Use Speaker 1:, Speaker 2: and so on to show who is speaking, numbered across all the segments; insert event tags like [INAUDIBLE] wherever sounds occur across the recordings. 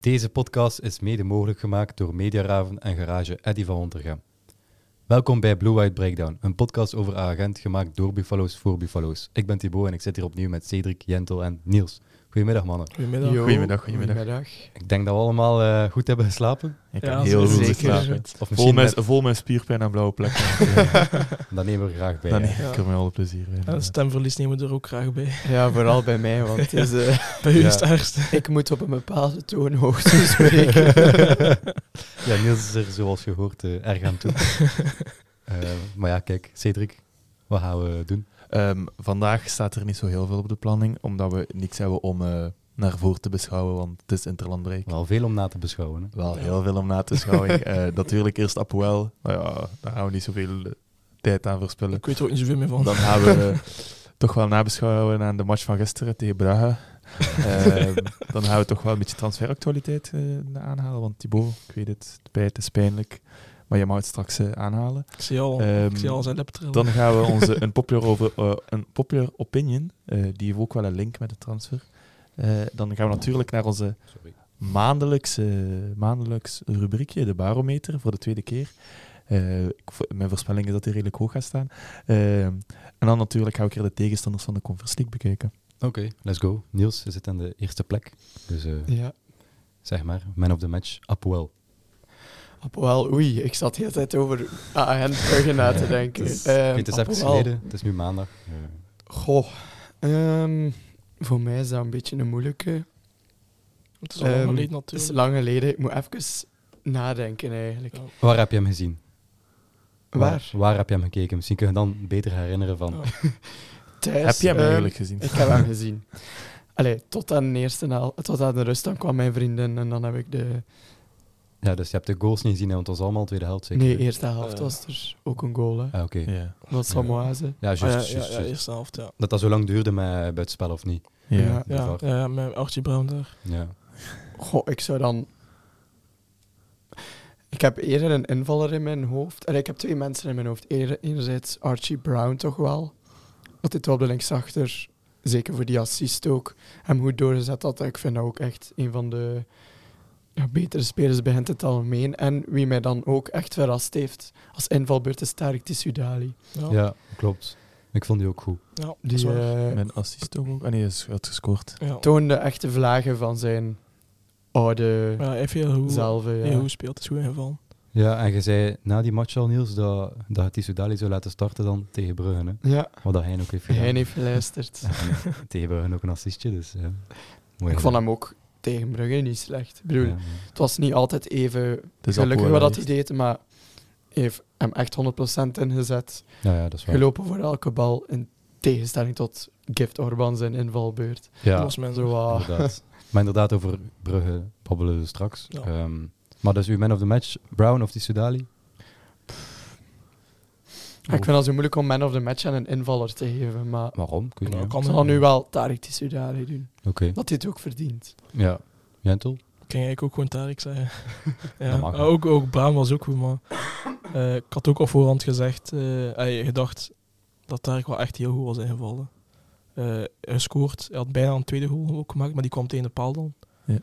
Speaker 1: Deze podcast is mede mogelijk gemaakt door Mediaraven en garage Eddy van Hontergem. Welkom bij Blue White Breakdown, een podcast over agent gemaakt door Buffalo's voor Buffalo's. Ik ben Thibaut en ik zit hier opnieuw met Cedric, Jentel en Niels. Goedemiddag mannen.
Speaker 2: Goedemiddag.
Speaker 3: Yo. Goedemiddag, goedemiddag.
Speaker 1: Ik denk dat we allemaal eh, goed hebben geslapen.
Speaker 3: Ik
Speaker 2: Ja,
Speaker 3: heb heel
Speaker 2: zeker.
Speaker 3: goed geslapen.
Speaker 2: Zeker.
Speaker 1: Of
Speaker 3: Vol
Speaker 1: misschien
Speaker 3: met,
Speaker 1: net-
Speaker 3: vol met spierpijn en blauwe [LAUGHS] plekken.
Speaker 1: dat nemen we graag bij.
Speaker 3: Dan
Speaker 1: hè.
Speaker 3: neem ik er met alle plezier in.
Speaker 2: Ja, stemverlies nemen we er ook graag
Speaker 3: [LAUGHS]
Speaker 2: bij.
Speaker 4: Ja, vooral bij mij, want het [LAUGHS] is, eh,
Speaker 2: Bij u
Speaker 3: Ja.
Speaker 2: is het ergste.
Speaker 4: ik moet op een bepaalde toonhoogte spreken.
Speaker 1: [LAUGHS] ja, Niels is er zoals je hoort eh, erg aan [LAUGHS] toe. Eh, maar ja, kijk, Cedric, wat gaan we doen?
Speaker 3: Ehm, vandaag staat er niet zo heel veel op de planning, omdat we niks hebben om eh, naar voren te beschouwen, want het is interlandbreek.
Speaker 1: Wel veel om na te beschouwen. hè.
Speaker 3: Wel
Speaker 2: Ja.
Speaker 3: heel veel om na te
Speaker 4: [LAUGHS]
Speaker 3: schouwen. Eh, natuurlijk eerst Apoel. Nou ja, daar gaan we niet zoveel eh, tijd aan verspillen.
Speaker 2: Ik weet er ook niet zoveel meer van.
Speaker 3: Dan gaan we eh, toch wel nabeschouwen aan de match van gisteren tegen Braga. Ehm, dan gaan we toch wel een beetje transferactualiteit eh, aanhalen, want Thibaut, ik weet het, het spijt, het is pijnlijk. Maar je mag het straks eh, aanhalen.
Speaker 2: ik zie al,
Speaker 3: Ehm,
Speaker 2: ik zie al zijn lip trillen.
Speaker 3: Dan gaan we onze unpopular, over, eh, unpopular opinion, eh, die heeft ook wel een link met de transfer. Eh, dan gaan we natuurlijk naar onze
Speaker 1: Sorry.
Speaker 3: maandelijkse, maandelijks rubriekje, de barometer, voor de tweede keer. Eh, ik vo- mijn voorspelling is dat die redelijk hoog gaat staan. Eh, en dan natuurlijk ga ik hier de tegenstanders van de Conference League bekijken.
Speaker 1: Oké, let's go. Niels zit aan de eerste plek. Dus eh,
Speaker 4: ja.
Speaker 1: zeg maar, man of the match, Apoel.
Speaker 4: Apoel, oei, ik zat de hele tijd over AN Brugge na te
Speaker 1: Ja,
Speaker 4: denken.
Speaker 1: [LAUGHS] het is-
Speaker 4: Ehm,
Speaker 1: het is even
Speaker 4: Apoel.
Speaker 1: geleden, het is nu maandag. Eh,
Speaker 4: Goh, ehm, voor mij is dat een beetje een moeilijke.
Speaker 2: het is al lang
Speaker 4: ehm,
Speaker 2: geleden
Speaker 4: Het is
Speaker 2: natuurlijk. Ah,
Speaker 4: lang geleden, ik moet even nadenken eigenlijk.
Speaker 2: Ja.
Speaker 1: waar heb je hem gezien?
Speaker 4: Waar? Oh.
Speaker 1: Waar heb je hem gekeken? Misschien kun je dan beter herinneren van.
Speaker 2: Ja.
Speaker 4: Thijs,
Speaker 3: Heb je hem
Speaker 4: ehm,
Speaker 3: eigenlijk gezien?
Speaker 4: Ik heb
Speaker 1: [LAUGHS]
Speaker 4: hem gezien. Allee, tot aan de eerste naal, tot aan de rust, dan kwam mijn vriendin en dan heb ik de...
Speaker 1: Ja, dus je hebt de goals niet gezien, hè, want het was allemaal tweede helft zeker.
Speaker 4: Nee, eerste helft
Speaker 2: Eh.
Speaker 4: was er ook een goal, hè.
Speaker 1: Ah, oké.
Speaker 3: Ja.
Speaker 4: Wat
Speaker 1: Ja.
Speaker 4: Samoaze.
Speaker 1: Ja, juist.
Speaker 2: Ah, ja,
Speaker 1: juist,
Speaker 2: ja, ja,
Speaker 1: juist.
Speaker 2: eerste helft, ja.
Speaker 1: Dat dat zo lang duurde met eh, buitenspel of niet.
Speaker 3: Ja.
Speaker 4: Ja.
Speaker 1: De
Speaker 2: Ja,
Speaker 1: VAR.
Speaker 2: ja, met Archie Brown daar.
Speaker 1: Ja.
Speaker 4: Goh, ik zou dan. Ik heb eerder een invaller in mijn hoofd. En ik heb twee mensen in mijn hoofd. Eer- Enerzijds Archie Brown toch wel. Dat dit wel de linksachter, zeker voor die assist ook, hem goed doorgezet had. Ik vind dat ook echt een van de ja, betere spelers begint het algemeen. En wie mij dan ook echt verrast heeft als invalbeurt is Tarek Tissoudali.
Speaker 2: Ja,
Speaker 1: Ja.
Speaker 2: ja.
Speaker 1: klopt. Ik vond die ook goed.
Speaker 2: dat is
Speaker 4: Die
Speaker 2: waar.
Speaker 4: eh,
Speaker 3: Mijn assist toch ook? Ah nee, hij is- hij had gescoord.
Speaker 2: ja.
Speaker 4: toonde echt de vlagen van zijn oude
Speaker 2: Maar hij heeft heel goed,
Speaker 4: zelve.
Speaker 2: heel
Speaker 4: Ja.
Speaker 2: goed gespeeld, is goed ingevallen.
Speaker 1: Ja, en je zei na die match al, Niels, dat, dat je Tissou Dali zou laten starten dan tegen Brugge. Hè?
Speaker 4: ja,
Speaker 1: Wat dat hij ook heeft gedaan.
Speaker 4: hij heeft geluisterd.
Speaker 1: En tegen Brugge ook een assistje, dus ja. Mooi
Speaker 4: Ik vond hem ook tegen Brugge niet slecht. Ik bedoel,
Speaker 1: Ja,
Speaker 4: het was niet altijd even
Speaker 3: Het is
Speaker 4: gelukkig
Speaker 3: Apoel
Speaker 4: wat dat hij
Speaker 3: geweest.
Speaker 4: deed, maar hij heeft hem echt 100% ingezet.
Speaker 1: ja. ja, dat is waar.
Speaker 4: Gelopen voor elke bal, in tegenstelling tot Gift Orban zijn invalbeurt.
Speaker 1: Ja,
Speaker 2: Los mensen.
Speaker 4: Zo, ah,
Speaker 1: inderdaad. maar inderdaad, over Brugge babbelen we straks.
Speaker 2: Ja.
Speaker 1: Ehm, maar dus uw man of the match, Brown of Tissoudali?
Speaker 4: ik vind dat zo moeilijk om man of the match aan een invaller te geven, maar
Speaker 1: Waarom? Ik weet
Speaker 2: Ja,
Speaker 1: niet.
Speaker 2: Nou, kan
Speaker 4: ik
Speaker 2: er.
Speaker 4: zal nu wel Tarek Tissoudali doen.
Speaker 1: Oké,
Speaker 4: Dat hij het ook verdient.
Speaker 1: ja. Jentel?
Speaker 2: Ik ging eigenlijk ook gewoon Tarek
Speaker 3: [LAUGHS]
Speaker 2: zeggen. ja.
Speaker 1: Dat mag,
Speaker 2: maar
Speaker 1: hè.
Speaker 2: ook, ook Baan was ook goed, maar eh, ik had ook al voorhand gezegd, eh, ey, gedacht dat Tarek wel echt heel goed was ingevallen. Eh hij scoort, hij had bijna een tweede goal ook gemaakt, maar die kwam tegen de paal dan.
Speaker 3: Ja.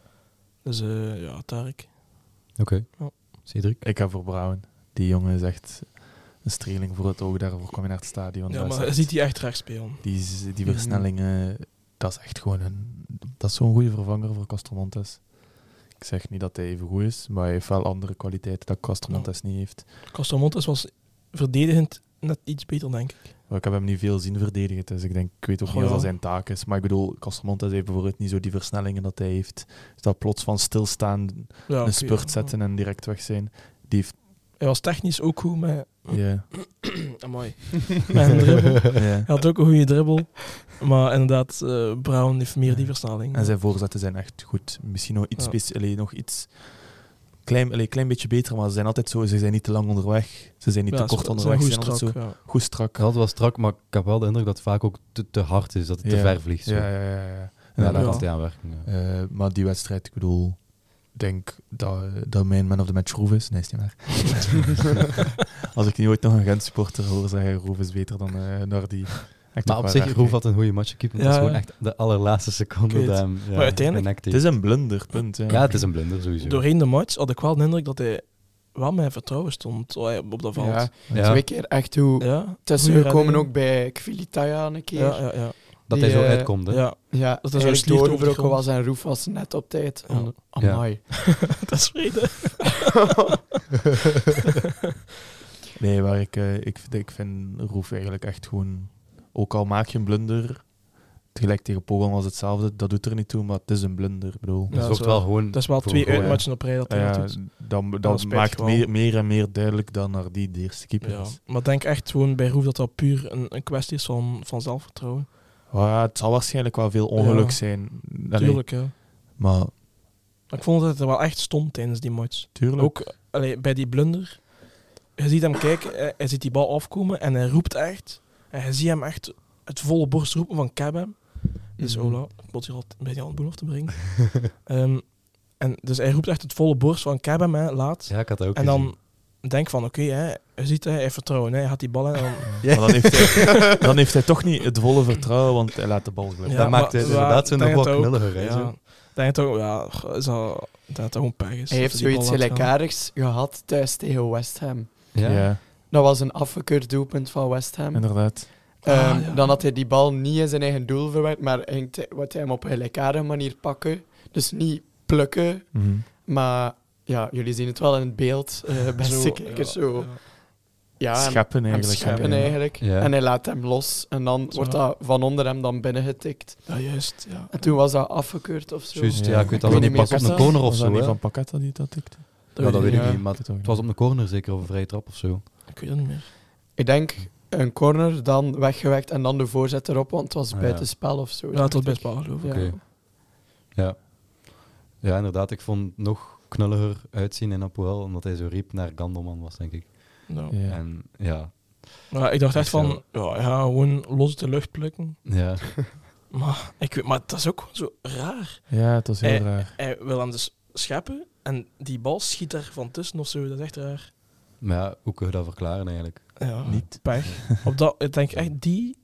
Speaker 2: Dus eh, ja, Tarek.
Speaker 1: Oké.
Speaker 2: Ja.
Speaker 1: Cedric?
Speaker 3: Ik ga voor Brown. Die jongen is echt een streling voor het oog. Daarvoor kwam je naar het stadion.
Speaker 2: Ja,
Speaker 3: Dat is
Speaker 2: maar hij
Speaker 3: echt-
Speaker 2: ziet hij echt recht spelen.
Speaker 3: Die, z- die
Speaker 4: Mhm.
Speaker 3: versnellingen, dat is echt gewoon een... Dat is zo'n goede vervanger voor Castromontes. Ik zeg niet dat hij even goed is, maar hij heeft wel andere kwaliteiten dat Castromontes niet heeft.
Speaker 2: Castelmontes was verdedigend net iets beter, denk ik.
Speaker 3: Maar ik heb hem niet veel zien verdedigen, dus ik denk, ik weet ook
Speaker 2: Goh,
Speaker 3: niet of
Speaker 2: Oh ja.
Speaker 3: dat zijn taak is. Maar ik bedoel, Castromontes heeft bijvoorbeeld niet zo die versnellingen dat hij heeft. Dus dat plots van stilstaan,
Speaker 2: Ja, oké,
Speaker 3: een spurt
Speaker 2: ja.
Speaker 3: zetten en direct weg zijn. Die heeft...
Speaker 2: Hij was technisch ook goed, maar...
Speaker 3: Ja.
Speaker 2: [CLEARS THROAT] Amai. Met
Speaker 3: [LAUGHS]
Speaker 2: een dribbel.
Speaker 3: ja.
Speaker 2: Hij had ook een goede dribbel, maar inderdaad, eh, Brown heeft meer die versnelling.
Speaker 3: En zijn voorzetten zijn echt goed. Misschien nog iets,
Speaker 2: Ja.
Speaker 3: speci- allee, nog iets klein, allee, klein beetje beter, maar ze zijn altijd zo. Ze zijn niet te lang onderweg. Ze zijn niet
Speaker 2: Ja,
Speaker 3: te
Speaker 2: ze-
Speaker 3: kort
Speaker 2: ze zijn
Speaker 3: onderweg. Ze
Speaker 2: goed
Speaker 3: zijn altijd zo
Speaker 2: strak, ja.
Speaker 3: goed strak.
Speaker 1: Ik had wel strak, maar ik heb wel de indruk dat het vaak ook te, te hard is, dat het te
Speaker 3: Ja.
Speaker 1: ver vliegt. zo.
Speaker 3: Ja, ja, ja. ja.
Speaker 1: Ja,
Speaker 3: Inderdaad.
Speaker 1: daar was hij aan werken. ja.
Speaker 3: Eh, maar die wedstrijd, ik bedoel, ik denk dat, eh, dat mijn man of the match Roef is. Nee,
Speaker 2: [LAUGHS]
Speaker 3: is niet waar. Als ik nu ooit nog een Gent-supporter hoor zeggen, Roef is beter dan eh Nardi.
Speaker 1: Maar op zich, Roef had een goede match keeper. Het is
Speaker 2: Ja,
Speaker 1: gewoon
Speaker 2: ja.
Speaker 1: echt de allerlaatste seconde
Speaker 2: Ik weet
Speaker 1: dat
Speaker 2: het.
Speaker 1: hem ja,
Speaker 2: Maar uiteindelijk-
Speaker 1: genekt
Speaker 3: Het
Speaker 1: heeft.
Speaker 3: is een blunder, punt. Ja,
Speaker 1: Ja, het is een blunder sowieso.
Speaker 2: Doorheen de match had ik wel de indruk dat hij wel mijn vertrouwen stond oh, ja, op dat veld.
Speaker 4: Ja,
Speaker 2: Ja,
Speaker 1: Ja,
Speaker 4: Twee keer echt hoe...
Speaker 2: ja.
Speaker 4: Het is
Speaker 2: Goeie
Speaker 4: gekomen
Speaker 2: redding.
Speaker 4: ook bij Kvilitaya een keer.
Speaker 2: Ja, ja, ja.
Speaker 1: dat hij zo
Speaker 4: die, eh,
Speaker 1: uitkomt. hè.
Speaker 2: ja.
Speaker 4: Ja,
Speaker 2: Dat
Speaker 4: dat
Speaker 2: is
Speaker 4: is
Speaker 2: een
Speaker 4: eigenlijk
Speaker 2: sliert over de
Speaker 4: doorgebroken
Speaker 2: grond.
Speaker 4: was en Roef was net op tijd.
Speaker 2: Ja.
Speaker 4: En,
Speaker 1: Ja.
Speaker 4: amai.
Speaker 2: [LAUGHS] Dat is vrede.
Speaker 3: Nee, waar ik, eh, ik, vind- ik vind Roef eigenlijk echt gewoon... Ook al maak je een blunder, tegelijk tegen Pogan was hetzelfde, dat doet er niet toe, maar het is een blunder. Ik bedoel,
Speaker 1: Dat
Speaker 2: Ja,
Speaker 1: zorgt
Speaker 2: zo.
Speaker 1: wel gewoon...
Speaker 2: Dat is wel
Speaker 1: voor
Speaker 2: twee
Speaker 1: een goal,
Speaker 2: uitmatchen op rij dat hij
Speaker 3: ja,
Speaker 2: dat doet.
Speaker 3: dan, dan
Speaker 2: Dat is
Speaker 3: maakt
Speaker 2: spijtig wel.
Speaker 3: meer, meer en meer duidelijk dat naar die de eerste keeper
Speaker 2: Ja.
Speaker 3: is.
Speaker 2: Maar denk echt gewoon bij Roef dat dat puur een, een kwestie is van, van zelfvertrouwen.
Speaker 3: Ja, het zal waarschijnlijk wel veel ongeluk
Speaker 2: Ja.
Speaker 3: zijn. Allee,
Speaker 2: Tuurlijk, ja.
Speaker 3: Maar
Speaker 2: Maar ik vond dat het er wel echt stond tijdens die match.
Speaker 3: tuurlijk.
Speaker 2: Ook allee, bij die blunder. Je ziet hem kijken, hij, hij ziet die bal afkomen en hij roept echt. En je ziet hem echt het volle borst roepen van Cab hem. Dus
Speaker 4: Mhm.
Speaker 2: Ola, ik moet hier al bij die handboel af te brengen. [LAUGHS] Ehm, en dus hij roept echt het volle borst van Cab hem, hè, laat.
Speaker 1: Ja, ik had dat ook
Speaker 2: en
Speaker 1: [LAUGHS]
Speaker 2: dan
Speaker 1: gezien.
Speaker 2: denk van, oké, hè, je ziet, hè, hij heeft vertrouwen, hè, hij gaat die bal in. En dan,
Speaker 1: [LAUGHS]
Speaker 3: Maar dan heeft, hij, dan heeft hij toch niet het volle vertrouwen, want hij laat de bal glijden.
Speaker 2: Ja,
Speaker 1: dat maakt
Speaker 2: maar-
Speaker 1: het inderdaad zo
Speaker 2: maar-
Speaker 1: nog wat
Speaker 2: denk het ook,
Speaker 1: knulliger. hè,
Speaker 2: ja,
Speaker 1: zo.
Speaker 2: ik denk toch, ja, goh, is dat, ik denk dat dat gewoon pech is.
Speaker 4: Hij
Speaker 2: dat
Speaker 4: heeft
Speaker 2: die bal
Speaker 4: zoiets
Speaker 2: laat gaan.
Speaker 4: gelijkaardigs gehad thuis tegen West Ham.
Speaker 1: Ja.
Speaker 3: Ja,
Speaker 4: Dat was een afgekeurd doelpunt van West Ham.
Speaker 3: inderdaad.
Speaker 4: Ehm,
Speaker 2: Ah, ja.
Speaker 4: Dan had hij die bal niet in zijn eigen doel verwerkt, maar hij ging te- wat hij hem op een gelijkaardige manier pakken. Dus niet plukken,
Speaker 3: Mhm.
Speaker 4: maar ja, jullie zien het wel in het beeld,
Speaker 2: [LAUGHS]
Speaker 4: eh beste
Speaker 2: Zo,
Speaker 4: kijkers.
Speaker 2: ja,
Speaker 4: zo.
Speaker 2: ja.
Speaker 4: Ja, en-
Speaker 3: scheppen
Speaker 4: hem
Speaker 3: eigenlijk.
Speaker 4: scheppen
Speaker 3: Ja.
Speaker 4: eigenlijk.
Speaker 1: Ja.
Speaker 4: En hij laat hem los en dan
Speaker 2: Zo.
Speaker 4: wordt dat van onder hem dan binnengetikt.
Speaker 2: Ja, juist, ja.
Speaker 4: En toen was dat afgekeurd of zo.
Speaker 1: Juist, ja, ik weet
Speaker 4: Ik
Speaker 1: dat ook
Speaker 4: weet
Speaker 1: niet.
Speaker 4: niet
Speaker 1: Pas
Speaker 4: meer,
Speaker 1: op een
Speaker 4: Kassa?
Speaker 1: corner of
Speaker 3: Was dat
Speaker 1: zo,
Speaker 3: niet
Speaker 1: hè.
Speaker 3: van Paketta die dat tikte?
Speaker 1: Ja, dat weet
Speaker 4: niet.
Speaker 1: ik
Speaker 4: Ja.
Speaker 1: niet, maar
Speaker 3: Ik weet het ook
Speaker 1: het was op een corner zeker, of een vrije trap of zo.
Speaker 2: Ik weet het niet meer.
Speaker 4: Ik denk een corner, dan weggewerkt en dan de voorzet erop, want het was
Speaker 1: Ah, ja.
Speaker 4: buitenspel of zo.
Speaker 2: Ja, het was
Speaker 4: dacht
Speaker 2: best
Speaker 4: ik.
Speaker 2: wel geloof ik.
Speaker 4: Ja.
Speaker 1: Oké. Ja, inderdaad, ik vond het nog knulliger uitzien in Apoel, omdat hij zo riep naar Gandelman was, denk ik.
Speaker 2: Nou.
Speaker 3: Ja.
Speaker 1: En ja,
Speaker 2: Maar ik dacht echt
Speaker 1: Echt
Speaker 2: van, ja, ja, gewoon los uit de lucht plukken.
Speaker 1: ja.
Speaker 2: Maar, ik, weet- maar dat is ook gewoon zo raar.
Speaker 3: Ja, het was heel
Speaker 2: Eh,
Speaker 3: raar.
Speaker 2: Hij wil hem dus scheppen en die bal schiet er van tussen of zo. Dat is echt raar.
Speaker 1: Maar ja, hoe kun je dat verklaren eigenlijk?
Speaker 2: Ja,
Speaker 3: Niet.
Speaker 2: pech. [LAUGHS] Op dat, ik denk echt, die,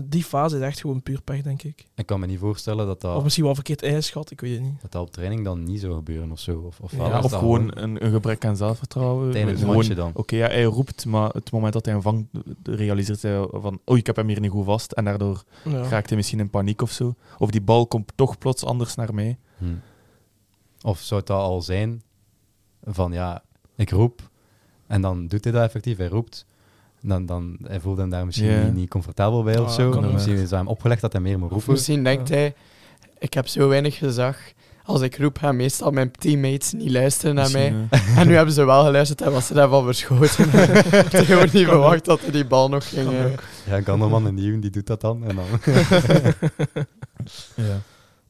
Speaker 2: die fase is echt gewoon puur pech, denk ik.
Speaker 1: Ik kan me niet voorstellen dat
Speaker 2: Of
Speaker 1: dat,
Speaker 2: misschien wel verkeerd ingeschat, ik weet het niet.
Speaker 1: dat, dat op training dan niet zou gebeuren of zo. Of, of,
Speaker 2: Ja,
Speaker 1: wel
Speaker 3: Ja,
Speaker 1: is
Speaker 3: of
Speaker 1: dat
Speaker 3: gewoon een, een gebrek aan zelfvertrouwen.
Speaker 1: tijdens een
Speaker 3: Gewoon-
Speaker 1: matchje dan.
Speaker 3: Oké, ja, hij roept, maar het moment dat hij hem vangt, realiseert hij van, oh, ik heb hem hier niet goed vast. En daardoor
Speaker 2: Ja.
Speaker 3: raakt hij misschien in paniek of zo. Of die bal komt toch plots anders naar mij.
Speaker 1: Hm. Of zou het dat al zijn van ja, ik roep en dan doet hij dat effectief, hij roept. En Dan, dan, hij voelt hem daar misschien
Speaker 3: Ja.
Speaker 1: niet, niet comfortabel bij
Speaker 2: Ah,
Speaker 1: of zo.
Speaker 2: kan
Speaker 1: Dan
Speaker 3: ook.
Speaker 1: misschien is hij hem opgelegd dat hij meer moet
Speaker 4: Of
Speaker 1: roepen.
Speaker 4: misschien denkt hij, ik heb zo weinig gezag. Als ik roep, gaan meestal mijn teammates niet luisteren naar mij.
Speaker 3: Misschien, eh,
Speaker 4: En nu hebben ze wel geluisterd en was ze daarvan
Speaker 2: [LAUGHS]
Speaker 4: verschoten. Ik had gewoon niet verwacht dat hij die bal nog ging...
Speaker 2: Kan
Speaker 4: eh,
Speaker 1: Ja, Gandelman en Nieuwen, die doet dat dan. En dan
Speaker 3: ja.